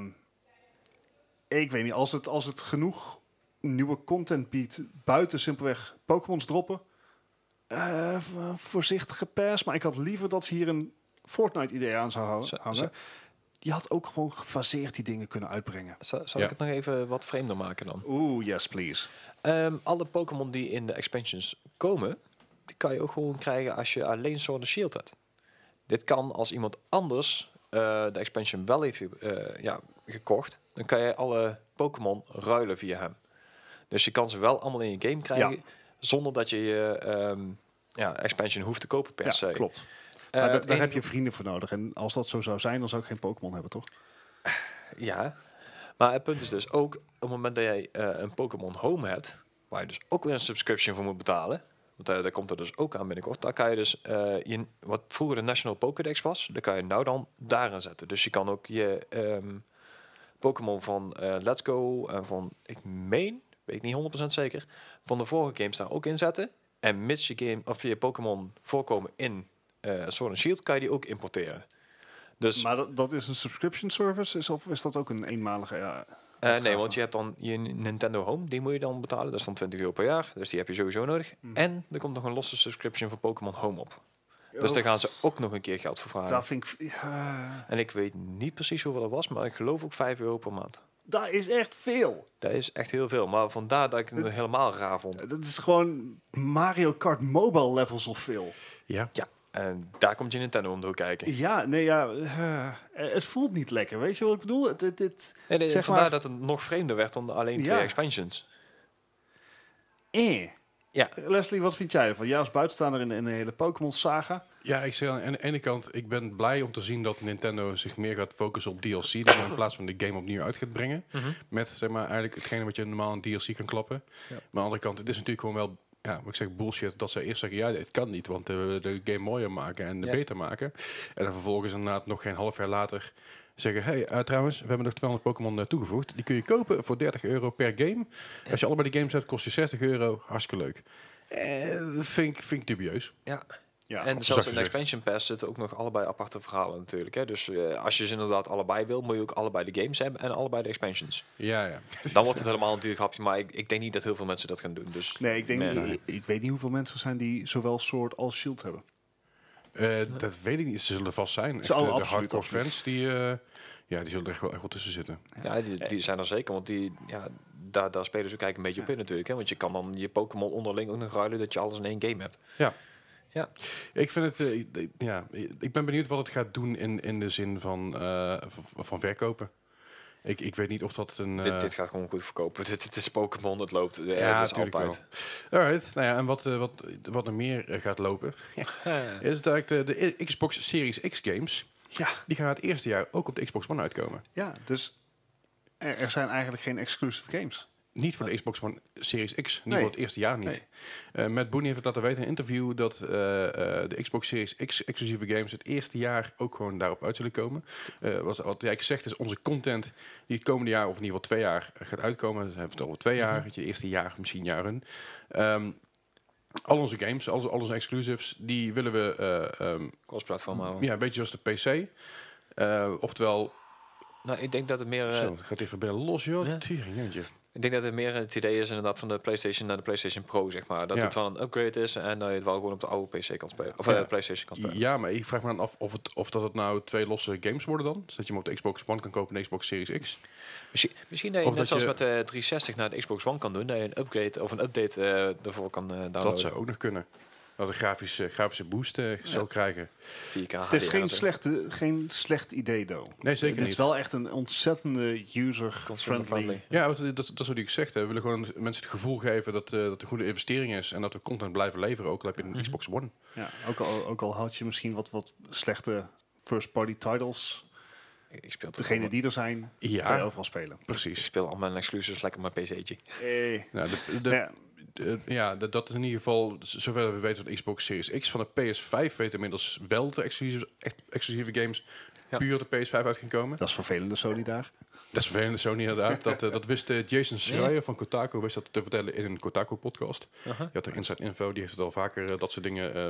ik weet niet, als het, als het genoeg nieuwe content biedt buiten simpelweg Pokémon's droppen. eh, v- voorzichtige pers, maar ik had liever dat ze hier een Fortnite-idee aan zou hou-
Zo-
hangen.
zo-
Je had ook gewoon gefaseerd die dingen kunnen uitbrengen.
Zal, zal
Ja.
ik het nog even wat vreemder maken dan?
Oeh, yes, please.
Ehm, alle Pokémon die in de expansions komen, die kan je ook gewoon krijgen als je alleen Sword and Shield hebt. Dit kan als iemand anders eh, de expansion wel heeft eh, ja, gekocht, dan kan je alle Pokémon ruilen via hem. Dus je kan ze wel allemaal in je game krijgen, zonder dat je je ehm, ja, expansion hoeft te kopen per
Ja,
se.
klopt.
Eh,
maar da-
het
daar heb
enige-
je vrienden voor nodig. En als dat zo zou zijn, dan zou ik geen Pokémon hebben, toch?
Ja, maar het punt is dus ook, op het moment dat jij eh, een Pokémon Home hebt, waar je dus ook weer een subscription voor moet betalen, want eh, daar komt er dus ook aan binnenkort, dan kan je dus, eh, je, wat vroeger de National Pokédex was, dan kan je nou dan daarin zetten. Dus je kan ook je ehm, Pokémon van eh, Let's Go en van, ik meen, weet ik niet 100% zeker, van de vorige games daar ook in zetten. En mits je game, of je Pokémon voorkomen in eh Sword and Shield, kan je die ook importeren. Dus
Maar dat, dat is een subscription service, is, of is dat ook een eenmalige... ja,
Eh, nee,
Uitgaven.
want je hebt dan je Nintendo Home, die moet je dan betalen. Dat is dan 20 euro per jaar, dus die heb je sowieso nodig.
Hmm.
En er komt nog een losse subscription voor Pokémon Home op. Dus daar gaan ze ook nog een keer geld voor vragen.
Oh, daar vind ik... ja,
En ik weet niet precies hoeveel dat was, maar ik geloof ook 5 euro per maand.
dat is echt veel.
Dat is echt heel veel, maar vandaar dat ik het
Het-
helemaal raar vond.
Dat is gewoon Mario Kart Mobile levels of veel.
Ja.
En daar komt je Nintendo om door kijken.
Ja, nee, ja... eh, eh, het voelt niet lekker, weet je wat ik bedoel? Het, het, het,
Nee, nee,
Zeg
vandaar
maar-
dat het nog vreemder werd dan alleen twee
Ja.
expansions.
eh.
Ja.
Leslie, wat vind jij ervan? Jij als buitenstaander in, in de hele Pokémon-saga.
Ja, ik zeg aan de ene kant, ik ben blij om te zien dat Nintendo zich meer gaat focussen op DLC dan in plaats van de game opnieuw uit gaat brengen. Met zeg maar eigenlijk hetgene wat je normaal een DLC kan klappen.
Mhm. Ja.
Maar aan de andere kant, het is natuurlijk gewoon wel, ja, wat ik zeg, bullshit dat ze eerst zeggen, ja, het kan niet, want eh, we willen de game mooier maken en
Ja.
beter maken. En dan vervolgens inderdaad nog geen half jaar later zeggen, hé, hey, eh, trouwens, we hebben nog 200 Pokémon eh, toegevoegd. Die kun je kopen voor 30 euro per game. Als je allebei de games hebt, kost je 60 euro. Hartstikke leuk. Eh, dat vind ik, vind ik dubieus.
Ja,
en
op
zelfs
zak
in de
gezegd.
expansion pass zitten ook nog allebei aparte verhalen natuurlijk. Hè? Dus eh, als je ze inderdaad allebei wil, moet je ook allebei de games hebben en allebei de expansions.
Ja, ja.
Dan wordt het helemaal een duur grapje, maar ik, ik denk niet dat heel veel mensen dat gaan doen. Dus
Nee, ik denk...
Nee,
nee.
Ik, ik weet niet hoeveel mensen er zijn die zowel Sword als Shield hebben.
Eh, dat weet ik niet. Ze zullen vast zijn. Echt,
Ze- oh,
eh, de
absoluut,
hardcore
absoluut.
fans, die, eh, ja, die zullen er echt wel, echt wel tussen zitten.
ja, die, die zijn er zeker, want die, ja, daar, daar spelen ze ook eigenlijk een beetje op in natuurlijk. Hè? Want je kan dan je Pokémon onderling ook nog ruilen dat je alles in één game hebt.
Ik vind het, eh, ik- ja, ik ben benieuwd wat het gaat doen in, in de zin van, eh, van, van verkopen. Ik, ik weet niet of dat een... eh,
Dit, dit gaat gewoon goed verkopen. [LAUGHS] Dit, dit is Pokémon, het loopt. Ja,
ja,
dat is
natuurlijk
dus altijd.
wel. Alright, nou ja, en wat, eh, wat, wat er meer eh, gaat lopen,
Ja.
is dat eigenlijk de, de Xbox Series X games,
Ja,
die gaan het eerste jaar ook op de Xbox One uitkomen.
ja, dus... Er, er zijn eigenlijk geen exclusive games.
Niet voor de Xbox One Series X. Niet
Nee.
voor het eerste jaar niet. Eh, Matt Booney heeft het laten weten in een interview dat eh, eh, de Xbox Series X exclusieve games het eerste jaar ook gewoon daarop uit zullen komen. Eh, wat, wat hij zegt is onze content die het komende jaar of in ieder geval twee jaar eh, gaat uitkomen. Dan hebben we het over twee jaar, het je eerste jaar, misschien jaren. Ehm, al onze games, al, al onze exclusives, die willen we eh, ehm,
Oh. Cross-platform houden.
ja, een beetje zoals de PC. Eh, oftewel,
Nou, ik denk dat het meer... eh,
Zo, gaat even binnen los, joh.
Ja.
Tering, jeetje.
Ik denk dat het meer het idee is inderdaad van de PlayStation naar de PlayStation Pro, zeg maar. Dat
Ja.
het wel een upgrade is en dat je het wel gewoon op de oude PC kan spelen. Of
Ja.
eh, PlayStation kan spelen.
Ja, maar ik vraag me dan af of, het, of dat het nou twee losse games worden dan. Dus dat je hem op de Xbox One kan kopen en de Xbox Series X.
Misschien, misschien dat je
Of
net
dat
zoals
je-
met de 360 naar de Xbox One kan doen, dat je een upgrade of een update eh daarvoor kan eh downloaden.
Dat zou ook nog kunnen. Dat een grafische, grafische boost eh, zou krijgen.
4K
Het is
HDR
geen,
en zo.
slechte, geen slecht idee, though.
Nee, zeker
Het is
niet.
wel echt een ontzettende user-friendly.
Consumer-friendly.
Ja, want dat, dat, dat is wat ik zegt. hè. We willen gewoon mensen het gevoel geven dat, eh dat het een goede investering is. En dat we content blijven leveren, ook al heb je een
Mhm.
Xbox One.
Ja, ook, al, ook al had je misschien wat, wat slechte first-party titles.
Ik, ik speel toch
Degene
allemaal-
die er zijn, kan je
Ja,
overal spelen.
Ik
precies.
speel al mijn exclusives lekker op mijn PC'tje.
Hey.
Nou, de, de-
Ja,
de- ja, dat, dat is in ieder geval, z- zover we weten, van de Xbox Series X van de PS5 weet inmiddels wel de exclusieve, ex- exclusieve games
Ja.
puur op de PS5 uit gaan komen.
dat is vervelende Sony daar.
Dat is vervelend, Sony
[LAUGHS]
inderdaad. Dat, eh, dat wist eh, Jason Schreier van Kotaku wist dat te vertellen in een Kotaku-podcast. Die had er Inside Info, die heeft het al vaker eh, dat soort dingen eh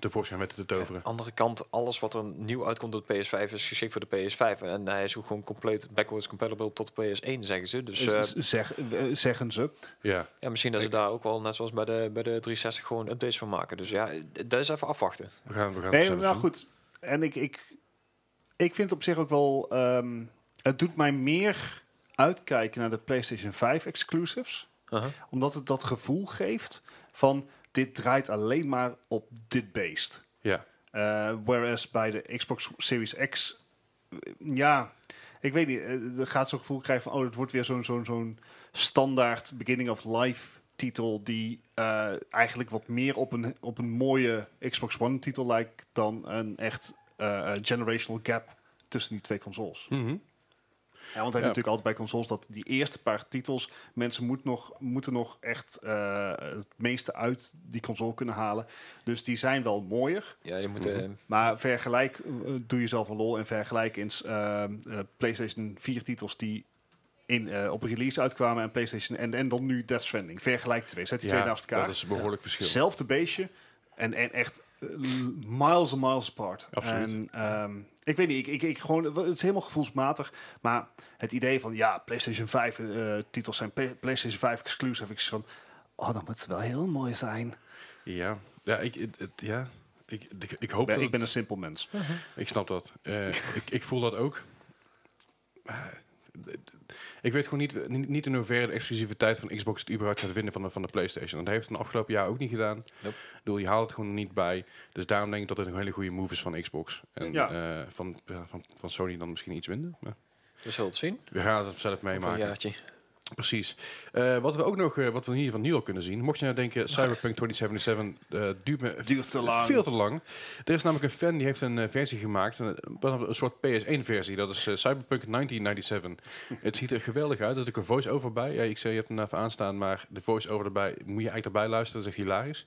tevoorschijn weten te toveren.
Andere kant, alles wat er nieuw uitkomt op de PS5 is geschikt voor de PS5. En hij is ook gewoon compleet backwards compatible tot de PS1, zeggen ze. Dus eh,
Z- zeg, eh, zeggen ze.
Ja,
ja, misschien dat ze daar ook wel, net zoals bij de, bij de 360, gewoon updates van maken. Dus ja, d- dat is even afwachten.
we gaan, we gaan
Nee,
zelf
nou
zien.
goed. En ik, ik, ik vind op zich ook wel... ehm, het doet mij meer uitkijken naar de PlayStation 5 exclusives.
Uh-huh.
Omdat het dat gevoel geeft van... dit draait alleen maar op dit beest.
Ja,
Eh, whereas bij de Xbox Series X... eh, ja, ik weet niet. eh, Er gaat zo'n gevoel krijgen van... oh, het wordt weer zo'n zo'n zo'n standaard beginning of life titel... die eh, eigenlijk wat meer op een, op een mooie Xbox One titel lijkt... dan een echt eh, eh, generational gap tussen die twee consoles.
Mhm.
Ja, want hij
Ja.
heeft natuurlijk altijd bij consoles dat die eerste paar titels... mensen moet nog, moeten nog echt eh, het meeste uit die console kunnen halen. Dus die zijn wel mooier...
Ja, je moet... eh,
Maar vergelijk, eh, doe jezelf een lol en vergelijk eens ehm, eh, PlayStation 4 titels die in, eh, op release uitkwamen en PlayStation en, en dan nu Death Stranding. Vergelijk die twee, zet die twee
ja
naast
dat
elkaar.
is een behoorlijk verschil.
Hetzelfde beestje en, en echt eh, miles en miles apart.
Absoluut.
En, ehm, ik weet niet, ik, ik, ik gewoon, het is helemaal gevoelsmatig, maar het idee van ja, PlayStation 5 eh, titels zijn P- PlayStation 5 exclusive. Ik zeg van, oh, dan moet het wel heel mooi zijn.
Ja, ja, ik, het, het- ja. Ik, ik, ik hoop
Ik
dat
ben, ik ben een
het-
simpel mens.
Ik snap dat. Eh, ik, ik voel dat ook. Maar, d- d- Ik weet gewoon niet, niet niet in hoeverre de exclusiviteit van Xbox het überhaupt gaat winnen van de, van de PlayStation. Dat heeft het in de afgelopen jaar ook niet gedaan.
Nope.
Ik bedoel, je haalt het gewoon niet bij. Dus daarom denk ik dat het een hele goede move is van Xbox. En
Ja.
eh, van, ja, van, van Sony dan misschien iets minder. Maar
We zullen dus het zien.
we gaan het zelf
Over een
meemaken.
jaartje.
Precies. Eh, wat we ook nog, eh, wat we hier van nu al kunnen zien, mocht je nou denken, Cyberpunk 2077 eh, duurt, me
Duurt te lang.
veel te lang. Er is namelijk een fan die heeft een eh, versie gemaakt, een, een soort PS1-versie. Dat is eh, Cyberpunk 1997. het ziet er geweldig uit. Er zit ook een voice-over bij. Ja, ik zei, je hebt hem even aanstaan, maar de voice-over erbij moet je eigenlijk erbij luisteren. Dat is echt hilarisch.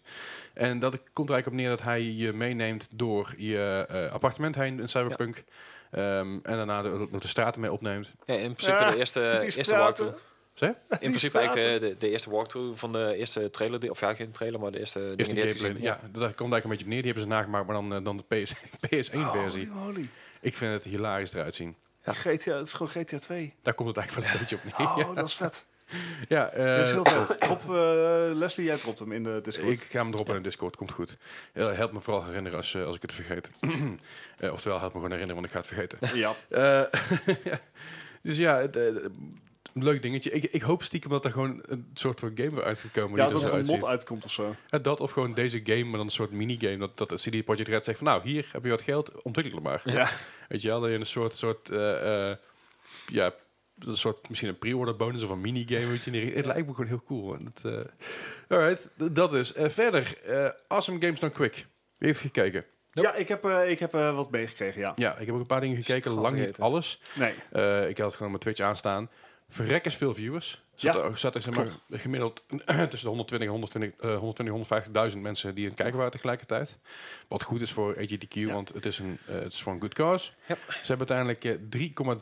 En dat komt er eigenlijk op neer dat hij je meeneemt door je eh, appartement heen in Cyberpunk. Ehm, en daarna de, de straten mee opneemt.
Ja, in principe
Ah,
de eerste,
die
eerste
straten.
walkthrough.
Zeg?
In principe
straten.
eigenlijk eh, de, de eerste walkthrough van de eerste trailer. die- of ja, geen trailer, maar de eerste,
Eerst
dingen
die
die je hebt
gameplay,
gezien.
ja, daar komt eigenlijk een beetje op neer. Die hebben ze nagemaakt, maar dan, eh, dan de [LAUGHS] PS,
Oh.
PS1-versie.
Holy, holy.
Ik vind het hilarisch eruit zien.
Ja.
GTA, het is gewoon GTA [LAUGHS] 2.
Daar komt het eigenlijk wel een beetje op neer.
Oh, dat is vet.
[LAUGHS] Ja, eh,
dat is heel vet. Drop, eh, Leslie, jij dropt hem in de Discord.
ik ga hem erop in de Discord, komt goed. Eh, help me vooral herinneren als, eh, als ik het vergeet. [CLEARS THROAT] Eh, oftewel, help me gewoon herinneren, want ik ga het
[LAUGHS]
vergeten.
ja.
Eh, [LAUGHS] dus ja, het, eh, een leuk dingetje. Ik, ik hoop stiekem dat er gewoon een soort van game weer uit gaat komen.
ja,
die er
dat er
zo
een
uitziet.
mod uitkomt of zo.
Ja, dat of gewoon deze game, maar dan een soort minigame. Dat, dat CD Projekt Red zegt van nou, hier heb je wat geld, ontwikkel het maar.
Ja.
Weet je wel, dat je een soort, soort eh, eh, ja, een soort misschien een pre-order bonus of een minigame. Weet je, in die- het lijkt me gewoon heel cool. En dat, eh, alright, d- dat is. Eh, verder, eh, Awesome Games Done Quick. Wie heeft gekeken?
Ja, ik heb, eh, ik heb eh, wat meegekregen, ja.
Ja, ik heb ook een paar dingen gekeken,
Straf
lang niet
gegeten.
alles.
Nee,
Eh, ik had gewoon mijn Twitch aanstaan. Verrekkers veel viewers. Zat
Ja,
er, zat er zeg maar gemiddeld [CLEARS THROAT] tussen de 120 en 120, eh, 120 150.000 mensen die aan het kijken waren tegelijkertijd. Wat goed is voor AGDQ,
Ja.
want het is, een, eh, het is voor een good cause.
Ja.
Ze hebben uiteindelijk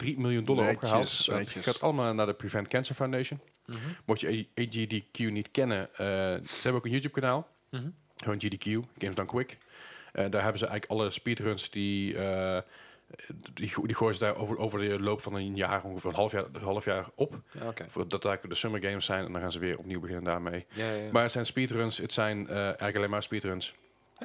eh, 3,3 miljoen dollar
Netjes,
opgehaald. Dat
netjes.
gaat allemaal naar de Prevent Cancer Foundation.
Mhm.
Mocht je AGDQ niet kennen, eh, ze hebben ook een YouTube kanaal.
Mhm.
Gewoon GDQ, Games Done Quick. Eh, daar hebben ze eigenlijk alle speedruns die eh, Die, go- die gooien ze daar over, over de loop van een jaar, ongeveer een half jaar, een half jaar op.
Ja, oké.
Voordat dat eigenlijk de Summer Games zijn en dan gaan ze weer opnieuw beginnen daarmee.
Ja, ja, ja.
Maar het zijn speedruns, het zijn eh, eigenlijk alleen maar speedruns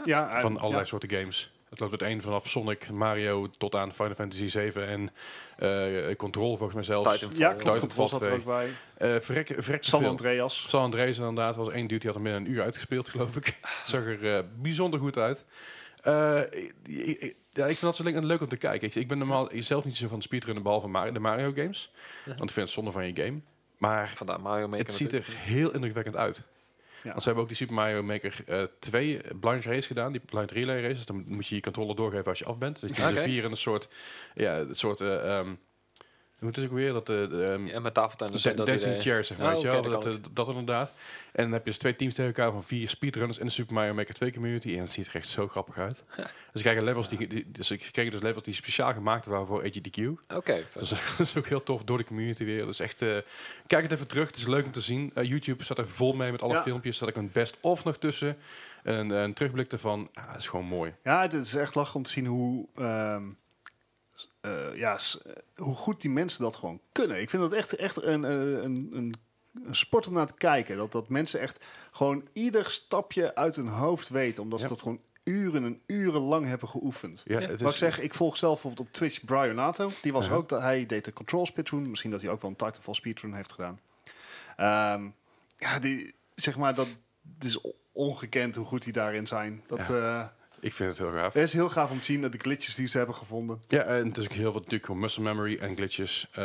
Ja,
Ah,
eh,
van allerlei
ja.
soorten games. Het loopt het een vanaf Sonic, Mario tot aan Final Fantasy 7 en eh, Control volgens mij zelfs.
Titanfall.
Ja,
Titanfall
Control zat er
2.
ook bij.
Eh, verrek, verrek te
San
veel.
Andreas.
San Andreas inderdaad was één dude die had hem binnen een uur uitgespeeld, geloof ik. [LAUGHS] Zag er eh, bijzonder goed uit. Eh, ik, ik- ja, ik vind dat zo le- leuk om te kijken. Ik, ik ben normaal zelf niet zo van speedrunnen, behalve Mario, de Mario games. Want ik vind het zonde van je game. Maar
Vandaar Mario Maker.
het ziet er heel indrukwekkend uit.
Ja.
Want ze hebben ook die Super Mario Maker eh 2 blind race gedaan, die blind relay race. Dus dan moet je je controller doorgeven als je af bent. Dus je
Oké.
okay. vier in een soort, ja, een soort, eh, ehm, hoe het is ook weer, dat de, de, ehm,
natuurlijk. En met tafeltennis.
Da-
en dat
dancing
idee.
chairs, zeg maar.
Oh,
weet je
oké,
wel,
dat
dat, eh, dat, dat inderdaad. En dan heb je dus twee teams tegen elkaar van vier speedrunners in de Super Mario Maker 2 community. En het ziet er echt zo grappig
[LAUGHS]
uit. dus, ik kijk levels die, die- dus ik kreeg dus levels die speciaal gemaakt waren voor AGDQ.
eh, Oké. vet.
Dat is, [LAUGHS] dat is ook heel tof door de community weer. Dus echt, eh, kijk het even terug. Het is leuk om te zien. Eh, YouTube staat er vol mee met alle
Ja.
filmpjes. Staat ik een best-of nog tussen. En eh, een terugblik ervan. Ah, dat is gewoon mooi.
Ja, het is echt lachen om te zien hoe, ehm, s- eh, ja, s- eh, hoe goed die mensen dat gewoon kunnen. Ik vind dat echt, echt een, eh, een, een, een sport om naar te kijken. Dat, dat mensen echt gewoon ieder stapje uit hun hoofd weten. Omdat
Ja.
ze dat gewoon uren en uren lang hebben geoefend.
Ja,
Ja,
het
Wat
is,
ik zeg, ik volg zelf bijvoorbeeld op Twitch Brian Nato. Die was
Dus Uh-huh.
ook, dat hij deed de Control speedrun. Misschien dat hij ook wel een Titanfall speedrun heeft gedaan. Ehm, ja, die, zeg maar, dat het is o- ongekend hoe goed die daarin zijn. Dat... eh,
ik vind het heel gaaf.
het is heel gaaf om te zien dat de glitches die ze hebben gevonden.
Ja, en het is ook heel veel natuurlijk gewoon muscle memory en glitches. Eh,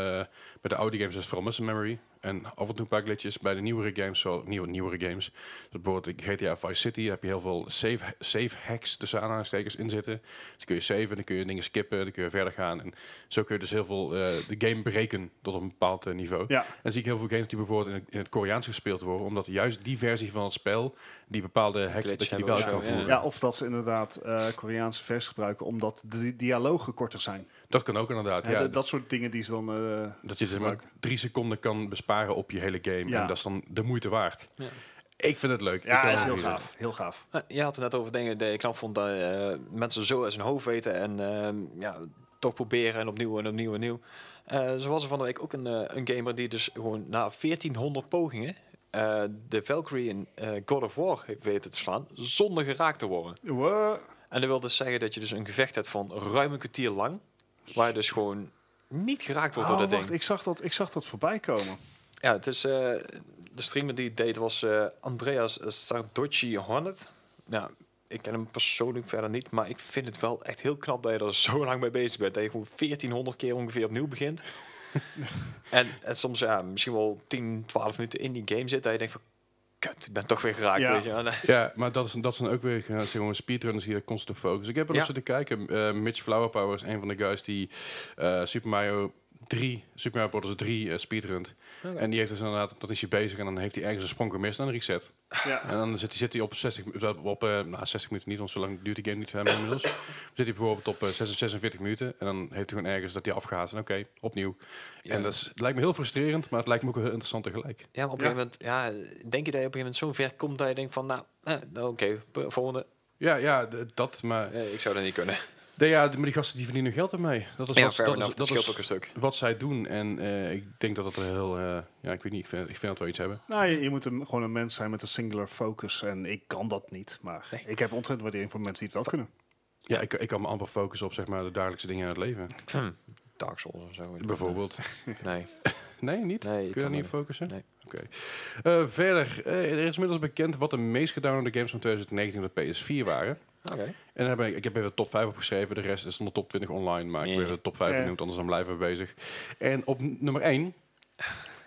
bij de oude games is het vooral muscle memory. En af en toe een paar glitches. Bij de nieuwere games, zo, nieuwe, nieuwere games. Dus bijvoorbeeld GTA Vice City daar heb je heel veel save, save hacks tussen aanhalingstekens in zitten. Dus kun je saven, dan kun je dingen skippen, dan kun je verder gaan. En zo kun je dus heel veel eh, de game breken tot op een bepaald eh, niveau.
Ja,
En zie ik heel veel games die bijvoorbeeld in het, in het Koreaans gespeeld worden. Omdat juist die versie van het spel, die bepaalde hack,
Glitch
dat je die
hebben
wel
of
uit kan
zo, ja.
voeren.
ja of dat ze inderdaad eh, Koreaanse vers gebruiken omdat de di- dialogen korter zijn.
Dat kan ook inderdaad.
Hè,
ja,
d- dat soort dingen die ze dan... eh,
Dat je zeg maar drie seconden kan besparen op je hele game.
Ja.
En dat is dan de moeite waard.
Ja.
Ik vind het leuk. Ik
ja,
kan
is
het
heel
niet
gaaf. Heel gaaf.
Nou, Je had het net over dingen die ik knap vond dat eh, mensen zo uit zijn hoofd weten en eh, ja, toch proberen en opnieuw en opnieuw en opnieuw. Eh zo was er van de week ook een, eh, een gamer die dus gewoon na 1400 pogingen eh, de Valkyrie in eh, God of War heeft weten te slaan zonder geraakt te worden.
Wa-
En dat wil dus zeggen dat je dus een gevecht hebt van ruim een kwartier lang, waar je dus gewoon niet geraakt wordt
Oh,
door dat
wacht,
ding.
ik zag dat, ik zag dat voorbij
[LAUGHS]
komen.
Ja, het is, eh, de streamer die het deed was eh, Andreas Sardocci Hornet. Nou, ik ken hem persoonlijk verder niet, maar ik vind het wel echt heel knap dat je er zo lang mee bezig bent. Dat je gewoon 1400 keer ongeveer opnieuw
[LAUGHS]
begint. en, en soms ja, misschien wel 10, 12 minuten in die game zit, dat je denkt van, kut, ik ben toch weer geraakt.
Ja.
Weet je. wel.
doen. Ja, maar dat, is, dat zijn ook weer eh, zeg maar, speedrunners die er constant op focussen. Ik heb erop
Ja.
zitten kijken. Eh, Mitch Flowerpower is een van de guys die eh, Super Mario 3, Super Mario Bros. 3 eh, speedrunt.
Oh.
En die heeft dus inderdaad, dat is hij bezig en dan heeft hij ergens een sprong gemist en dan reset.
Ja.
En dan zit hij, zit hij op 60, op, eh, nou, 60 minuten niet, want zo lang duurt die game niet voor hem inmiddels. Dan zit hij bijvoorbeeld op eh, 46, 46 minuten en dan heeft hij gewoon ergens dat hij afgaat. En oké, opnieuw.
Ja.
En dat is, het lijkt me heel frustrerend, maar het lijkt me ook heel interessant tegelijk.
Ja, maar op een gegeven moment, ja, denk je dat je op een gegeven moment zo ver komt dat je denkt van, nou, eh, nou, oké, p- volgende.
Ja, ja, d- dat, maar,
Eh, ik zou dat niet kunnen.
nee, ja, maar die gasten die verdienen geld ermee. Dat is,
Ja,
wat-
fair
dat,
enough,
is,
dat,
dat
scheelt
is
ook een stuk.
wat zij doen. En eh, ik denk dat dat er heel, eh, ja, ik weet niet, ik vind, ik vind dat wel iets hebben.
Nou, je, je moet een, gewoon een mens zijn met een singular focus. En ik kan dat niet. Maar
Nee.
ik heb ontzettend waardering voor mensen die het wel kunnen.
Ja, ik, ik kan me amper focussen op zeg maar, de dagelijkse dingen in het leven.
[CLEARS THROAT] Dark Souls of zo.
Bijvoorbeeld.
Nee.
[LAUGHS] Nee, niet?
Nee, ik
Kun je
kan
daar niet
niet.
op focussen?
Nee.
Oké. Eh, verder, eh, er is inmiddels bekend wat de meest gedownloade games van 2019 op de PS4 waren.
Oké.
En daar heb ik, ik heb even de top 5 opgeschreven. De rest is onder top 20 online, maar ik
Ja.
heb even de top 5
Ja.
benoemd, anders dan blijven we bezig. En op n- nummer 1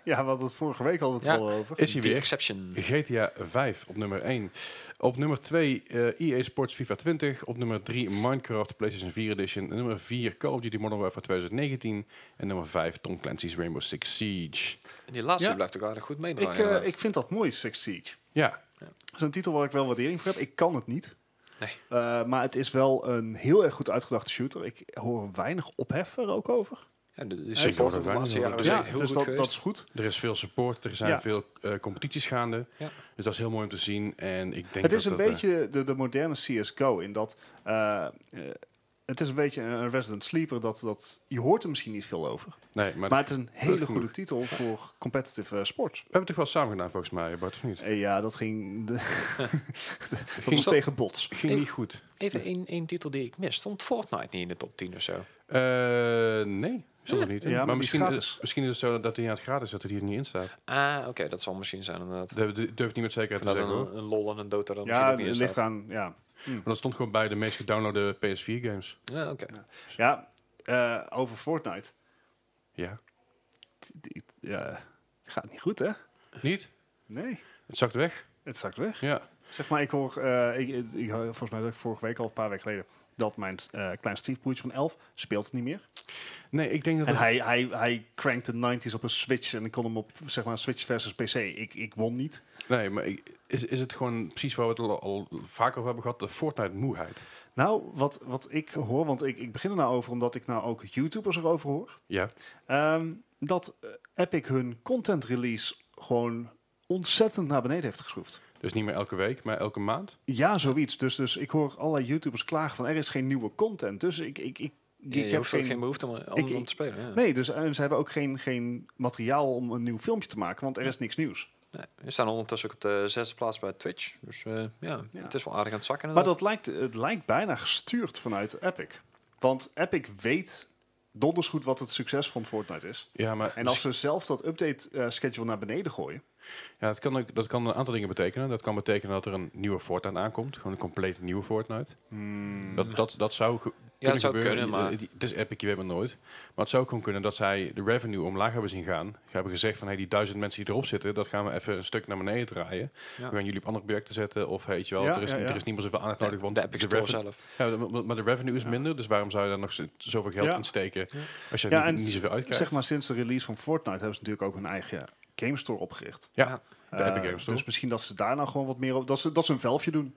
Ja, we hadden het vorige week al het
Ja.
al over.
is hij
The
weer.
Exception.
GTA 5 op nummer 1. Op nummer 2 eh EA Sports FIFA 20. Op nummer 3 Minecraft PlayStation 4 Edition. En nummer 4 Call of Duty Modern Warfare 2019. En nummer 5 Tom Clancy's Rainbow Six Siege.
En die laatste
Ja.
blijft ook aardig goed
Ik,
meedraaien.
eh,
inderdaad.
ik vind dat mooi, Six Siege.
Ja,
Dat is een titel waar ik wel waardering voor heb. Ik kan het niet.
Nee.
Eh, maar het is wel een heel erg goed uitgedachte shooter. Ik hoor weinig ophef er ook over.
ja, de, de
hoor het
support van de
wel
laatste
niet,
jaren
hoor.
is
Ja,
echt heel
dus
goed
dat, dat
geweest.
is goed.
Er is veel support, er zijn
Ja.
veel eh, competities gaande.
Ja.
Dus dat is heel mooi om te zien. En ik denk
het is
dat eh,
een
dat, eh,
beetje de, de moderne CSGO in dat eh, eh, het is een beetje een Resident Sleeper. Dat, dat, je hoort er misschien niet veel over.
Nee, maar,
Maar het is een hele
genoeg.
goede titel voor competitive eh, sport.
we hebben het toch wel samen gedaan volgens mij, Bart, of niet?
Eh, ja, dat ging, de, [LAUGHS] dat was
dat-
tegen bots.
Ging niet goed.
Even één, één titel die ik mis. Stond Fortnite niet in de top 10 of zo?
Eh, nee, zal er niet in.
Ja, maar die
maar
is
misschien,
gratis.
misschien is het zo dat hij aan het gratis dat hij hier niet in staat.
Ah, oké, dat zal misschien zijn inderdaad.
Dat durf ik niet met zekerheid te
Dat
zeggen hoor.
een, een lol en een Dota dan misschien
Ja,
ook niet in
het ligt
staat.
aan. Ja,
Maar dat stond gewoon bij de meest gedownloade PS4 games.
Ja, oké.
ja eh, over Fortnite.
Ja.
Die- Ja, gaat niet goed, hè?
Niet?
Nee,
Het zakt weg?
het zakt weg.
Ja.
Zeg maar, ik hoor, eh, ik, ik, ik- volgens mij dat ik vorige week al een paar weken geleden, dat mijn eh klein stiefbroertje van 11 speelt niet meer.
Nee, ik denk dat...
En
het-
hij, hij, hij crankt de 90s op een Switch en ik kon hem op, zeg maar, Switch versus PC. Ik, ik won niet.
Nee, maar ik- is, is het gewoon precies waar we het al, al vaker over hebben gehad? De Fortnite-moeheid.
Nou, wat, wat ik hoor, want ik, ik begin er nou over omdat ik nou ook YouTubers erover hoor,
Ja.
ehm, dat eh, Epic hun content release gewoon ontzettend naar beneden heeft geschroefd.
Dus niet meer elke week, maar elke maand.
Ja, zoiets. Dus, dus ik hoor allerlei YouTubers klagen van er is geen nieuwe content. Dus ik, ik, ik, ik,
Je,
ik
je
heb
hoeft ook
geen...
geen behoefte om, om,
ik-
om te spelen. Ja.
Nee, dus eh, ze hebben ook geen, geen materiaal om een nieuw filmpje te maken, want er is niks nieuws.
Nee, We staan ondertussen ook op de zesde plaats bij Twitch. Dus eh, ja,
Ja.
het is wel aardig aan het zakken
Maar
inderdaad.
dat lijkt, het lijkt bijna gestuurd vanuit Epic. Want Epic weet donders goed wat het succes van Fortnite is.
Ja, maar
En als ze zelf dat update eh, schedule naar beneden gooien.
ja, dat, kan ook, dat kan een aantal dingen betekenen. Dat kan betekenen dat er een nieuwe Fortnite aankomt. Gewoon een compleet nieuwe Fortnite.
Hmm.
Dat, dat, dat zou ge- kunnen
Ja, dat zou
gebeuren.
kunnen, maar-
Het, het is Epic, je weet maar nooit. Maar het zou ook gewoon kunnen dat zij de revenue omlaag hebben zien gaan. Ze hebben gezegd van, hey, die duizend mensen die erop zitten... dat gaan we even een stuk naar beneden draaien.
Ja.
We gaan jullie op andere projecten zetten. Of, hey, weet je wel,
Ja,
er, is,
ja, ja.
er is niet meer zoveel aandacht nodig. Want
de Epic Store
revenue-
zelf.
Ja, maar- maar de revenue is minder. Dus waarom zou je daar nog z- zoveel geld
Ja.
in steken... als je
Ja,
er
en
niet, niet zoveel uitkrijgt?
Zeg maar sinds de release van Fortnite hebben ze natuurlijk ook hun eigen game store opgericht.
Ja, de
Eh,
Epic Games Store.
Dus misschien dat ze daar nou gewoon wat meer op. Dat ze, dat ze een velfje doen.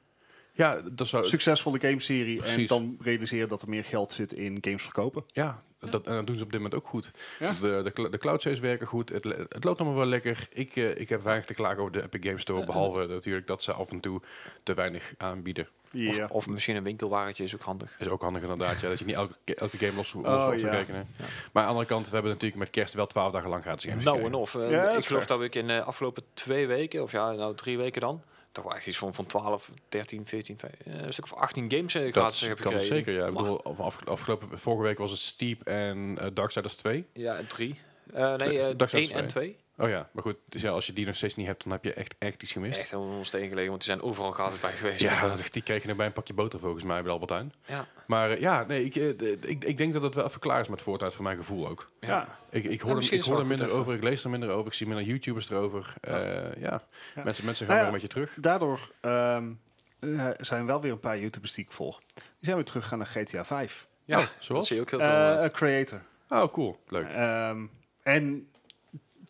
ja, dat zou,
Succesvolle gameserie. En
Precies.
dan realiseren dat er meer geld zit in games verkopen.
Ja, dat, en dat doen ze op dit moment ook goed.
Ja.
De, de, cl- de cloudsaves werken goed. Het, le- het loopt allemaal wel lekker. Ik, eh, ik heb weinig te klagen over de Epic Games Store. Behalve natuurlijk dat ze af en toe te weinig aanbieden.
Ja.
Of, of misschien een winkelwagentje is ook handig.
Is ook handig inderdaad. Ja, dat je niet elke, ke- elke game los los
Oh,
hoeft te
ja.
rekenen. Maar aan de andere kant, we hebben natuurlijk met kerst wel twaalf dagen lang gratis games
Nou en
gekregen.
of. eh,
Ja, dat
ik
is
geloof
waar.
dat ik in de afgelopen twee weken, of ja, nou drie weken dan, toch wel echt iets van, van 12, 13, 14, vijf- eh, een stuk of 18 games eh,
Dat
gratis heb
kan
gekregen.
zeker, ja. Ik
Maar-
bedoel, af- af- afgelopen, vorige week was het Steep en eh, Darksiders 2.
Ja, en drie. Eh,
Twee.
nee, eh,
Dag zelfs
één en twee.
Oh ja, maar goed, dus ja, als je die nog steeds niet hebt, dan heb je echt, echt iets gemist.
Echt helemaal ons gelegen, want die zijn overal gratis bij geweest.
Ja, dat- die kregen er bij een pakje boter volgens mij bij de Albert Heijn.
ja.
Maar eh, ja, nee, ik, eh, d- ik, ik denk dat het wel even klaar is met Fortnite, voor mijn gevoel ook.
Ja.
Ik, ik hoor,
Ja,
er-
misschien
ik
is
hoor
het
er
wel
minder
goed even.
over, ik lees er minder over, ik zie minder YouTubers erover. Eh, Ja,
Ja.
Mensen, mensen gaan
Nou ja.
weer een beetje terug.
Daardoor ehm, eh, zijn wel weer een paar YouTubers die ik volg. Die zijn weer teruggegaan naar GTA 5.
Ja, dat
Oh, zoals?
zie je ook heel veel.
Eh
inderdaad.
creator.
Oh, cool. Leuk.
Ehm, en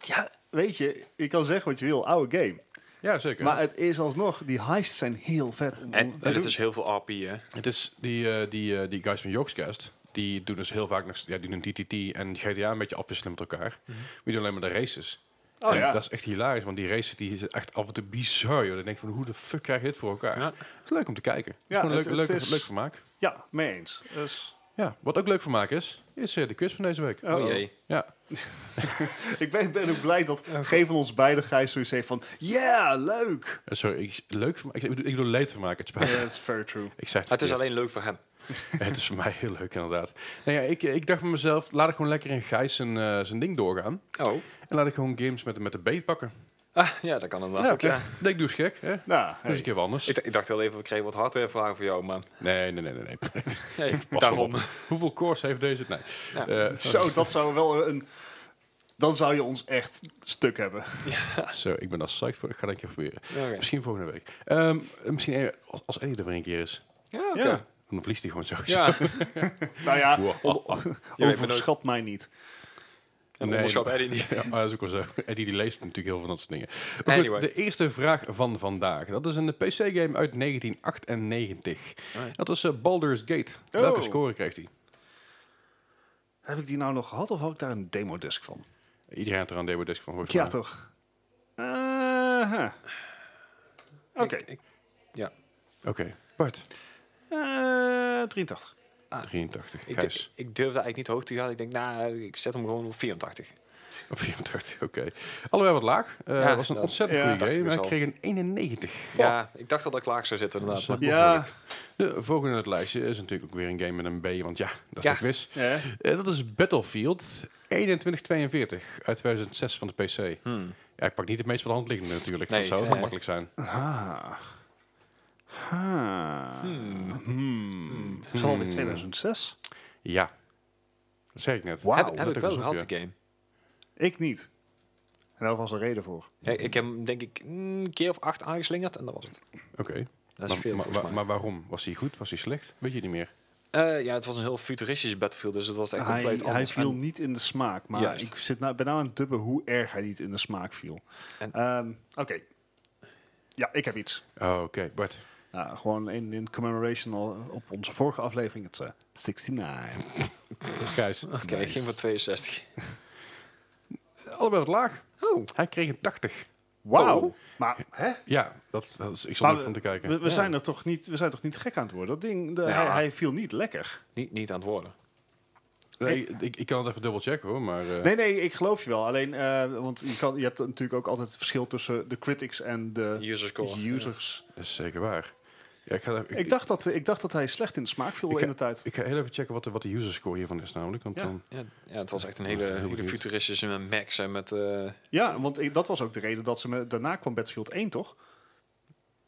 ja, weet je, je kan zeggen wat je wil, oude game.
ja, zeker.
Maar eh, het is alsnog, die heists zijn heel vet. Om,
en
om te
en het
eh, doen.
is heel veel RP, hè.
het is die, eh, die, eh, die guys van Jogscast, die doen dus heel vaak nog, ja, die doen DTT en GTA een beetje afwisselen met elkaar. Maar die doen alleen maar de races.
oh
En
ja,
Dat is echt hilarisch, want die races die is echt af en toe bizar. Joh. Dan denk je van, hoe de fuck krijg je dit voor elkaar?
Ja.
Het is leuk om te kijken. Het is
Ja,
gewoon
het-
leuk, leuk,
het is-
leuk vermaak.
ja, mee eens. Dus,
Ja, wat ook leuk vermaak is, is eh, de quiz van deze week.
oh,
Oh jee.
Ja,
Ik ben, ben ook blij dat geen van ons beide Gijs zoiets heeft van, yeah, leuk.
eh, sorry, ik, leuk vermaak. Ik, bedoel- ik bedoel leed vermaak, het spijt me.
That's very true.
[LAUGHS] Ik zeg
Het is
verkeerd.
alleen leuk voor hem.
het is voor mij heel leuk, inderdaad. Nou ja, ik, ik dacht bij mezelf, laat ik gewoon lekker in Gijs zijn, eh, zijn ding doorgaan.
Oh.
En laat ik gewoon games met, met de beet pakken.
Ah, ja, dat kan inderdaad
Ja,
ook, ja.
Nee, ik doe eens gek, hè? Doe
Nou,
eens een
hey.
keer wat anders.
Ik, d- ik dacht heel even, we kregen wat hardwarevragen voor jou, maar
Nee, nee, nee, [LAUGHS] nee. nee.
nee,
Pas
daarom.
wel op. Hoeveel cores heeft deze? Nee.
Ja.
Eh,
zo, dat zou wel een... Dan zou je ons echt stuk hebben.
[LAUGHS] zo, ik ben daar psyched voor. Ik ga dat een keer proberen.
[LAUGHS] Oké.
Misschien volgende week. Ehm, misschien eh, als, als Eddie er weer een keer is.
Ja, oké.
Ja.
Dan verliest hij gewoon sowieso.
[LAUGHS] Ja,
Nou
[LAUGHS]
ja,
Wow.
weet maar
overschat mij niet.
en
Nee,
onderschat
dat-
Eddie niet.
Ja, maar dat is ook wel zo. [LAUGHS] Eddie die leest natuurlijk heel veel van dat soort dingen. Maar goed,
Anyway.
de eerste vraag van vandaag. Dat is een PC-game uit 1998.
Oh ja.
Dat is eh, Baldur's Gate.
Oh.
Welke score kreeg hij?
Heb ik die nou nog gehad of had ik daar een demodisc van?
Iedereen had er aan demo desk van volgens
Ja,
mij.
toch? Aha. Oké,
Ik- ik-
Oké, Bart.
Eh, 83.
Ah.
83.
Ik,
Gijs.
ik, ik durfde eigenlijk niet hoog te gaan. Ik denk, nou, ik zet hem gewoon op 84.
[LAUGHS] Op 84, oké. Allebei wat laag. Eh
Ja,
was een
dat-
ontzettend
ja,
goede
dacht ik
game.
dus
Hij
al.
kreeg een 91.
Ja, ik dacht al dat ik laag zou zitten.
Dat is,
Inderdaad.
eh,
maar-
Ja,
De volgende in het lijstje is natuurlijk ook weer een game met een B, want ja, dat is
Ja.
de quiz.
ja.
Eh, dat is Battlefield 2142 uit 2006 van de PC.
Hmm.
Ja, ik pak niet het meest van de hand liggende natuurlijk,
Nee, eh,
dat zou ook
nee.
nog makkelijk zijn.
Ah. Ah.
Hmm.
Hmm. Is dat alweer 2006?
Ja, dat zei ik net.
Wauw.
heb heb ik
ik
wel
zoeken.
gehad, die game.
Ik niet. En daar was een reden voor.
Ja, ik heb hem denk ik mm, een keer of acht aangeslingerd en dat was het.
Oké,
Dat is
maar,
veel
maar-
volgens
maar-
mij.
maar waarom? Was hij goed, was hij slecht? Weet je niet meer.
Eh, ja, het was een heel futuristisch Battlefield, dus het was echt
Hij,
compleet
hij
anders.
viel
En-
niet in de smaak, maar
Juist.
ik zit nou, ben nou aan het dubben hoe erg hij niet in de smaak viel.
En-
Ehm, Oké. Ja, ik heb iets.
Oh, oké, Bart.
Nou, gewoon in, in commemoration al op onze vorige aflevering, het eh, 69.
Gijs,
[LAUGHS] Oké, ik ging voor 62.
allebei wat Eh, laag.
Oh.
Hij kreeg een 80.
Wauw.
Oh.
Maar, hè?
Ja, dat, dat is, ik zal
Maar
er van te kijken.
We, we
Ja.
zijn er toch niet, we zijn toch niet gek aan het worden? Dat ding, de-
Ja.
hij, hij viel niet lekker.
[LAUGHS] Niet, niet aan het worden.
Nee, ik, ik kan het even dubbelchecken hoor, maar... eh,
Nee, nee, ik geloof je wel. Alleen, eh, want je, kan, je hebt natuurlijk ook altijd het verschil tussen de critics en de
User score.
users.
Dat is zeker waar. Ja, ik, ga, daar- ik,
Ik dacht, dat, ik dacht dat hij slecht in de smaak viel
Ik
in
ga-
de tijd.
ik ga heel even checken wat de, wat de userscore hiervan is namelijk. Want
Ja.
dan,
Ja, ja, het was echt een hele,
Heel
hele
benieuwd.
futuristische met Max en met... eh,
Ja, want ik- dat was ook de reden dat ze me... Daarna kwam Battlefield 1, toch?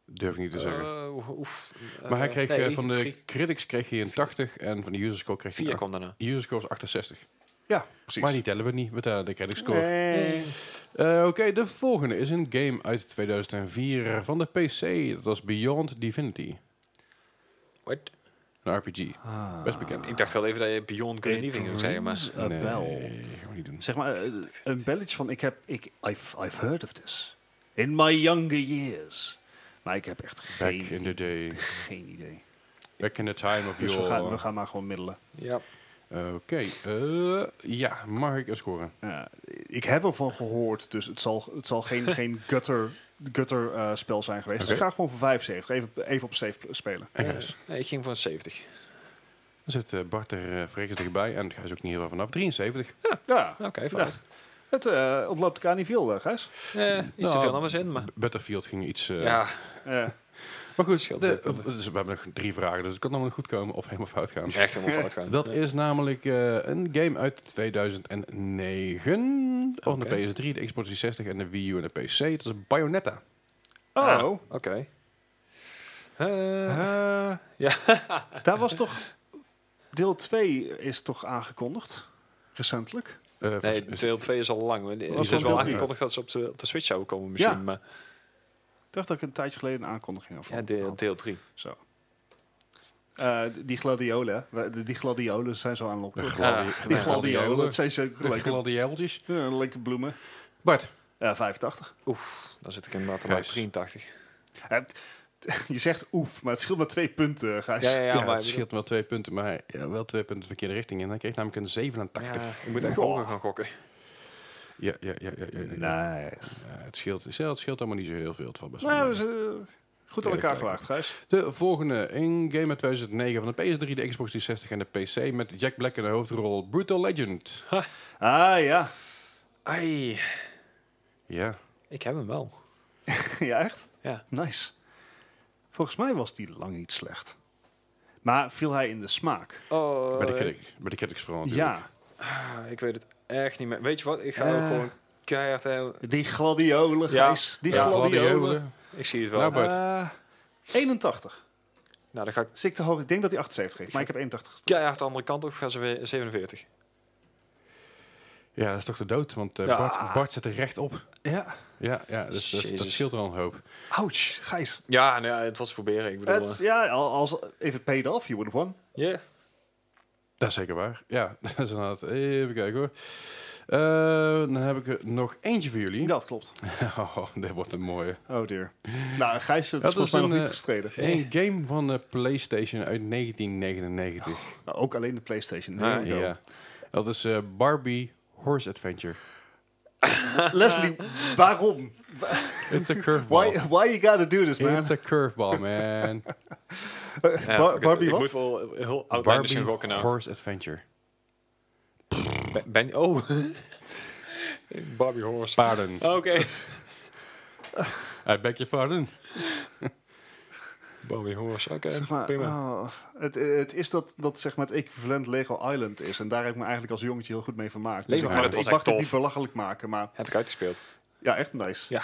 durf ik niet te zeggen.
eh, oef, eh,
maar hij kreeg
nee,
eh, van de
drie-
critics kreeg hij een 80 en van de userscore kreeg hij
Vier
een
kwam daarna.
8. Userscore was 68.
Ja, precies.
Maar die tellen we niet, we tellen de critic score.
Nee.
Eh, Oké, de volgende is een game uit 2004 van de PC. Dat was Beyond Divinity.
What?
Een RPG.
Ah,
Best bekend.
Ik dacht wel even dat je Beyond Good and Evil ging zeggen, maar...
Rings a bell.
Nee, gaan we niet doen.
Zeg maar, eh, een belletje van... Ik heb... Ik, I've, I've heard of this. In my younger years. Maar ik heb echt
Back
geen,
in the day.
geen idee.
Back in the time of
Dus we
your...
gaan, we gaan maar gewoon middelen.
Ja.
Oké, eh, ja, mag ik een scoren?
Ja, Eh, ik heb ervan gehoord, dus het zal, het zal
[LAUGHS]
geen, geen gutter, gutter eh, spel zijn geweest.
Oké.
Dus ik ga gewoon voor 75. Even, even op safe spelen.
En Gijs?
Nee, ik ging voor een 70.
Eh, Dan zit eh, Bart er eh, verrekend dichtbij en hij is ook niet heel ver vanaf. 73.
Ja,
Oké, vooruit.
het eh, ontloopt elkaar niet veel, eh, Gijs.
Eh, iets te
Nou,
veel naar mijn zin, maar...
B- Battlefield ging iets... eh,
Ja,
Eh,
Maar goed,
scheelt
de-
zeker.
of- dus we hebben nog drie vragen, dus het kan allemaal goed komen of helemaal fout gaan.
echt helemaal fout gaan.
Dat is namelijk eh, een game uit 2009 van
Oké.
de PS3, de Xbox 360 en de Wii U en de PC. Dat is Bayonetta.
Ah.
oh,
Oké. Eh,
Eh,
Ja.
daar was toch... Deel 2 is toch aangekondigd? Recentelijk?
Eh,
nee,
volgens-
deel 2 is al lang. Het
was
is
dan
wel
deel
aangekondigd dat ze op de, op de Switch zouden komen misschien,
Ja.
maar
Ik dacht dat ik een tijdje geleden een aankondiging over
ja, deel,
had.
deel 3.
Zo. Eh, d- die gladiolen, hè. We- die gladiolen zijn zo aan het
de
lokken.
gladi-
Ah,
de
Die gladiolen, dat zijn zo
De
leuke,
gladioeltjes.
ja, leuke bloemen.
Bart,
Eh, 85.
Oef, dan zit ik inderdaad al
Gijs.
op 83.
[LAUGHS] Je zegt oef, maar het scheelt maar twee punten, Gijs.
Ja, ja,
ja,
ja, maar
het scheelt wel twee punten, maar ja, wel twee punten de verkeerde richting. En hij kreeg namelijk een 87. Ja,
Ja, ik moet echt
Goh.
hoger gaan gokken.
ja, ja. ja, ja, ja, ja.
Nice.
Ja, het, scheelt, het scheelt allemaal niet zo heel veel. Het valt best wel
Nou. Nou,
mee.
we zijn, eh, goed aan
Ja,
elkaar
dat
gewaagd, Gijs.
De volgende, een game uit 2009 van de PS3, de Xbox 360 en de PC met Jack Black in de hoofdrol Brutal Legend.
Ah, ja. [LAUGHS]
Ai,
Ja,
ik heb hem wel.
ja, echt?
Ja.
Nice. Volgens mij was die lang niet slecht. Maar viel hij in de smaak?
Oh,
bij de, critic, bij de critics vooral natuurlijk.
Ja.
ah, ik weet het echt niet meer. Weet je wat, ik ga
Eh.
ook gewoon keihard... eh,
Die gladiolen,
Ja.
Gijs. Die eh,
Ja,
gladiolen.
Ik zie het wel.
Nou,
Nou,
maar-
Eh, 81.
dan ga ik
Zit ik te hoog? Ik denk dat hij 78 heeft, maar ik heb 81. gestemd.
keihard de andere kant op, ga ze weer 47.
Ja, dat is toch de dood, want eh,
Ja.
Bart, Bart zit er recht op.
Ja.
Ja, ja dus dat, dat
Jezus.
scheelt wel een hoop.
Ouch, Gijs.
Ja, nou, ja, het was proberen. Ik bedoel...
Het,
eh,
ja, al- als, if it paid off, you would have
[LAUGHS]
won.
ja.
Dat is zeker waar. Ja, [LAUGHS] dat is inderdaad. Even kijken hoor. Eh, dan heb ik er nog eentje voor jullie.
Dat klopt.
[LAUGHS] Oh, dit wordt een mooie.
Oh dear. Nou, Gijs, het
Dat
is
is
volgens mij nog
een,
niet
eh,
gestreden.
Een game van de PlayStation uit 1999.
Nou, ook alleen de PlayStation. Here
Ah,
we go.
ja. Dat is eh, Barbie Horse Adventure.
Leslie, waarom? [LAUGHS]
It's a curveball.
Why, why you gotta do this, man? [LAUGHS]
It's a curveball, man.
Ja,
Bar-
fuck it.
Barbie
ik
wat?
moet wel heel oud zijn
Barbie
misschien gokken nou.
Horse Adventure.
Ben, ben- oh. [LAUGHS] Barbie Horse.
Pardon.
Oh.
Ah, Oké.
I beg your pardon.
Barbie Horse, oké.
Zeg maar,
prima.
oh, het, het is dat dat zeg maar het equivalent Lego Island is. En daar heb ik me eigenlijk als jongetje heel goed mee vermaakt. Dus
Lego
ik
Island
mag-
was
ik mag
echt
het
tof.
niet belachelijk maken, maar
Heb ik uitgespeeld.
ja, echt nice.
Ja.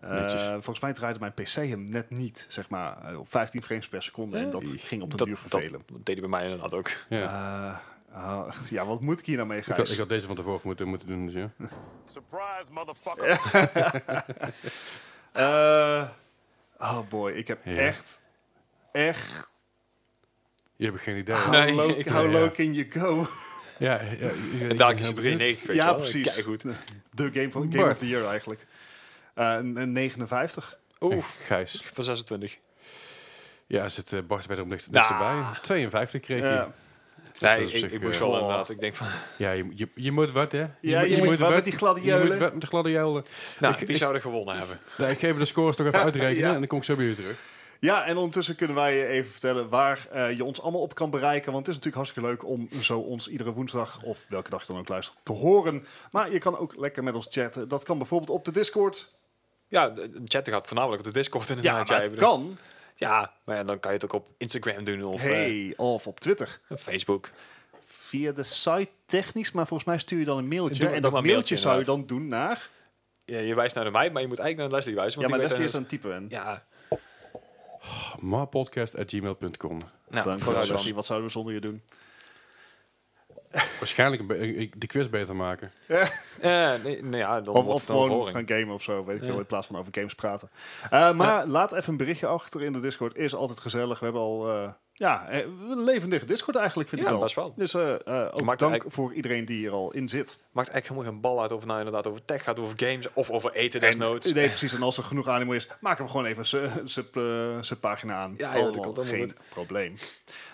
Eh,
Netjes.
volgens mij draaide mijn PC hem net niet, zeg maar, eh, op 15 frames per seconde. En dat
Eh,
ging op de
dat,
duur
dat
vervelen.
deed hij bij mij inderdaad ook.
Ja.
Eh, ah, ja, wat moet ik hier nou mee,
ik, had,
Gijs?
ik had deze van tevoren moeten, moeten doen. Dus ja.
Surprise, motherfucker.
Eh, oh boy, ik heb
Ja.
echt, echt...
Je hebt geen idee.
How,
hè?
Nee,
low,
ik-
how
[LAUGHS] ja.
low can you go?
Ja, ja, ja,
En
ik
daar
ben
is
heel
het 93, weet
Ja,
je wel.
precies.
goed.
[LAUGHS] De game, van, game
Bart.
of the year eigenlijk. Eh, een- een 59.
benieuwd.
Oef,
Gijs.
van 26.
Dus Ja, zit eh, Bart werd om dicht,
Nah.
dichterbij. 52 kreeg
Ja.
je. Dus dat
Nee,
is op
ik,
zich,
ik moest
eh,
wel
Oh.
inderdaad. Ik denk van,
Ja, je, je, je moet wat, hè? Je,
Ja,
moet-
je, moet wel
wat.
met die gladde
Je moet
juilen.
wat met de gladde juilen. [LAUGHS]
nou,
ik-
wie
ik-
zou er gewonnen hebben?
Nou, ik geef de scores toch even uitrekenen
Ja.
en dan kom ik zo bij u terug.
Ja, en ondertussen kunnen wij je even vertellen waar eh, je ons allemaal op kan bereiken. Want het is natuurlijk hartstikke leuk om zo ons iedere woensdag of welke dag je dan ook luistert te horen. Maar je kan ook lekker met ons chatten. Dat kan bijvoorbeeld op de Discord.
Ja, de de chat gaat voornamelijk op de Discord
Ja,
inderdaad.
maar het
bedoelt-
kan.
Ja, maar ja, dan kan je het ook op Instagram doen of eh,
hey, of op Twitter.
Facebook.
Via de site technisch, maar volgens mij stuur je dan een mailtje.
Doe- doe
en dat
maar een
mailtje,
mailtje,
zou je dan doen naar...
Ja, je wijst naar de mij, maar je moet eigenlijk naar Leslie wijzen.
Ja,
Want
maar
die
Leslie is
weet
aan het typen.
dan-
En
Ja,
Mapodcast.gmail.com
nou,
dan
vooruit dan.
Leslie, wat zouden we zonder je doen?
Waarschijnlijk een be- ik- de quiz beter maken.
Eh, nee, nou ja, dan
Of,
wordt
of
het wel een
gewoon
verhoring.
gaan gamen of zo, weet ik
Ja.
veel, in plaats van over games praten. Eh, maar laat even een berichtje achter in de Discord, is altijd gezellig. We hebben al, eh, ja, eh, een levendige Discord eigenlijk, vind ik
Ja,
wel.
best wel.
Dus eh, eh, ook
Maakt
dank
eigenlijk-
voor iedereen die hier al in zit.
Maakt eigenlijk helemaal geen bal uit of het nou inderdaad over tech gaat, over games of over eten desnoods.
En, nee, precies. En als er genoeg animo is, maken we gewoon even een su- sub, eh, subpagina aan.
Ja, joh, dat
Allemaal
komt allemaal
geen
goed.
probleem.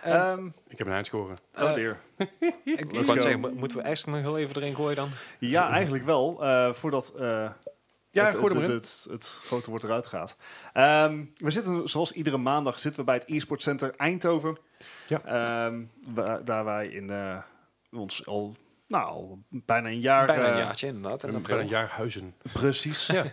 En-
Ehm,
Ik heb een eindscore.
oh
eh,
dear.
Ik- ik
Let's
wou
go.
zeggen, mo- moeten we echt nog heel even erin gooien dan?
Ja, eigenlijk wel. eh, voordat eh,
Ja,
het,
gooi
het,
er maar
het,
in.
het- het grote woord eruit gaat. Ehm, we zitten, zoals iedere maandag, zitten we bij het e-sport center Eindhoven.
Ja.
Ehm, wa- daar wij in eh, ons al, nou, al bijna een jaar...
Bijna een
eh,
jaartje inderdaad. En
Ik
april.
ben een jaar huizen. [LAUGHS]
Precies.
Ja.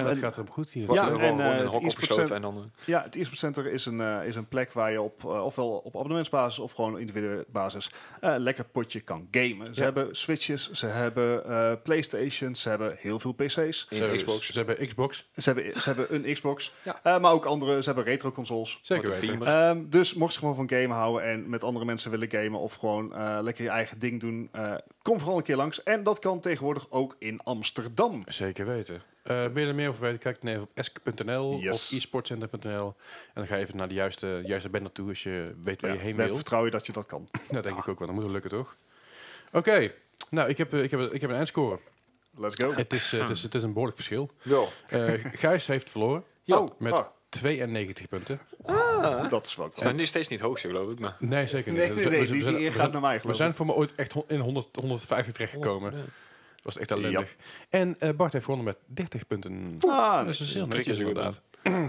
En dat
En-
gaat hem goed hier.
Ja,
Ja,
en,
en,
eh,
een
het
hok
e-sport
opgesloten en dan... eh,
[LAUGHS] Ja, het e-sport center is een, eh, is een plek waar je op, eh, ofwel op abonnementsbasis of gewoon individuele basis eh, lekker potje kan gamen. Ze
Ja.
hebben Switches, ze hebben eh, Playstations, ze hebben heel veel PC's.
in
Ze-
Xbox.
Ze hebben Xbox.
Ze hebben, ze hebben een Xbox,
Ja.
eh, maar ook andere. Ze hebben retro consoles.
Zeker
Wat een
weten.
beamer.
Ehm, dus mocht je gewoon van gamen houden en met andere mensen willen gamen of gewoon eh, lekker je eigen ding doen, eh, kom vooral een keer langs. En dat kan tegenwoordig ook in Amsterdam.
Zeker weten. Eh wil je er meer over weten, kijk dan even op esk.nl
Yes.
of e esportcenter.nl. En dan ga je even naar de juiste, juiste band naartoe als je weet waar
Ja,
je heen
we hebben
wil.
vertrouwen dat je dat kan.
[LAUGHS] Dat denk ik ook wel. Dat moet wel lukken, toch? Oké. Nou, ik heb, eh, ik, heb, ik heb een eindscore.
Let's
[LAUGHS]
go.
Het is, eh, het is, het is een behoorlijk verschil.
Ja.
Eh,
[LAUGHS]
Gijs heeft verloren
Ja,
oh,
met
ah,
92 punten.
dat is wel
Is nou Ah. nu steeds niet het hoogste, geloof ik. Maar.
Nee, zeker niet.
Nee, nee, nee, die, die eer
we
gaat naar mij
we
geloof ik.
zijn voor me ooit echt hon- in 100, 150 terechtgekomen.
Ja.
Dat was echt ellendig. En eh, Bart heeft gewonnen met 30 punten.
Ah,
Dat is dus heel
Drie
netjes
keer zo goed
inderdaad. [CLEARS THROAT]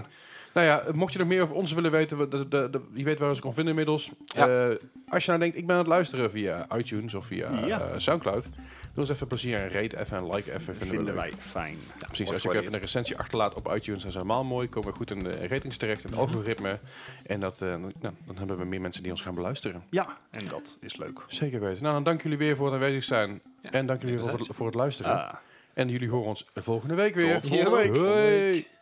nou ja, mocht je nog meer over ons willen weten, we- de, de, de- je weet waar we ons kon vinden inmiddels.
Ja.
Eh, als je nou denkt, ik ben aan het luisteren via iTunes of via
Ja.
eh, Soundcloud. Doe ons even plezier en rate even en like even. Vinden, we
vinden
leuk.
wij fijn.
Ja, precies. Als
wordt
je ook even
gewaardeerd.
een recensie achterlaat op iTunes, dat is helemaal mooi. Komen we goed in de ratings terecht, in het
Mhm.
algoritme. En dat, eh, nou, dan hebben we meer mensen die ons gaan beluisteren.
Ja, en dat is leuk.
Zeker weten. Nou, dan dank jullie weer voor het aanwezig zijn.
Ja,
en dank jullie weer voor het,
inderdaad.
voor het luisteren.
Ah.
En jullie horen ons volgende week weer.
Tot volgende
week.
Hoi.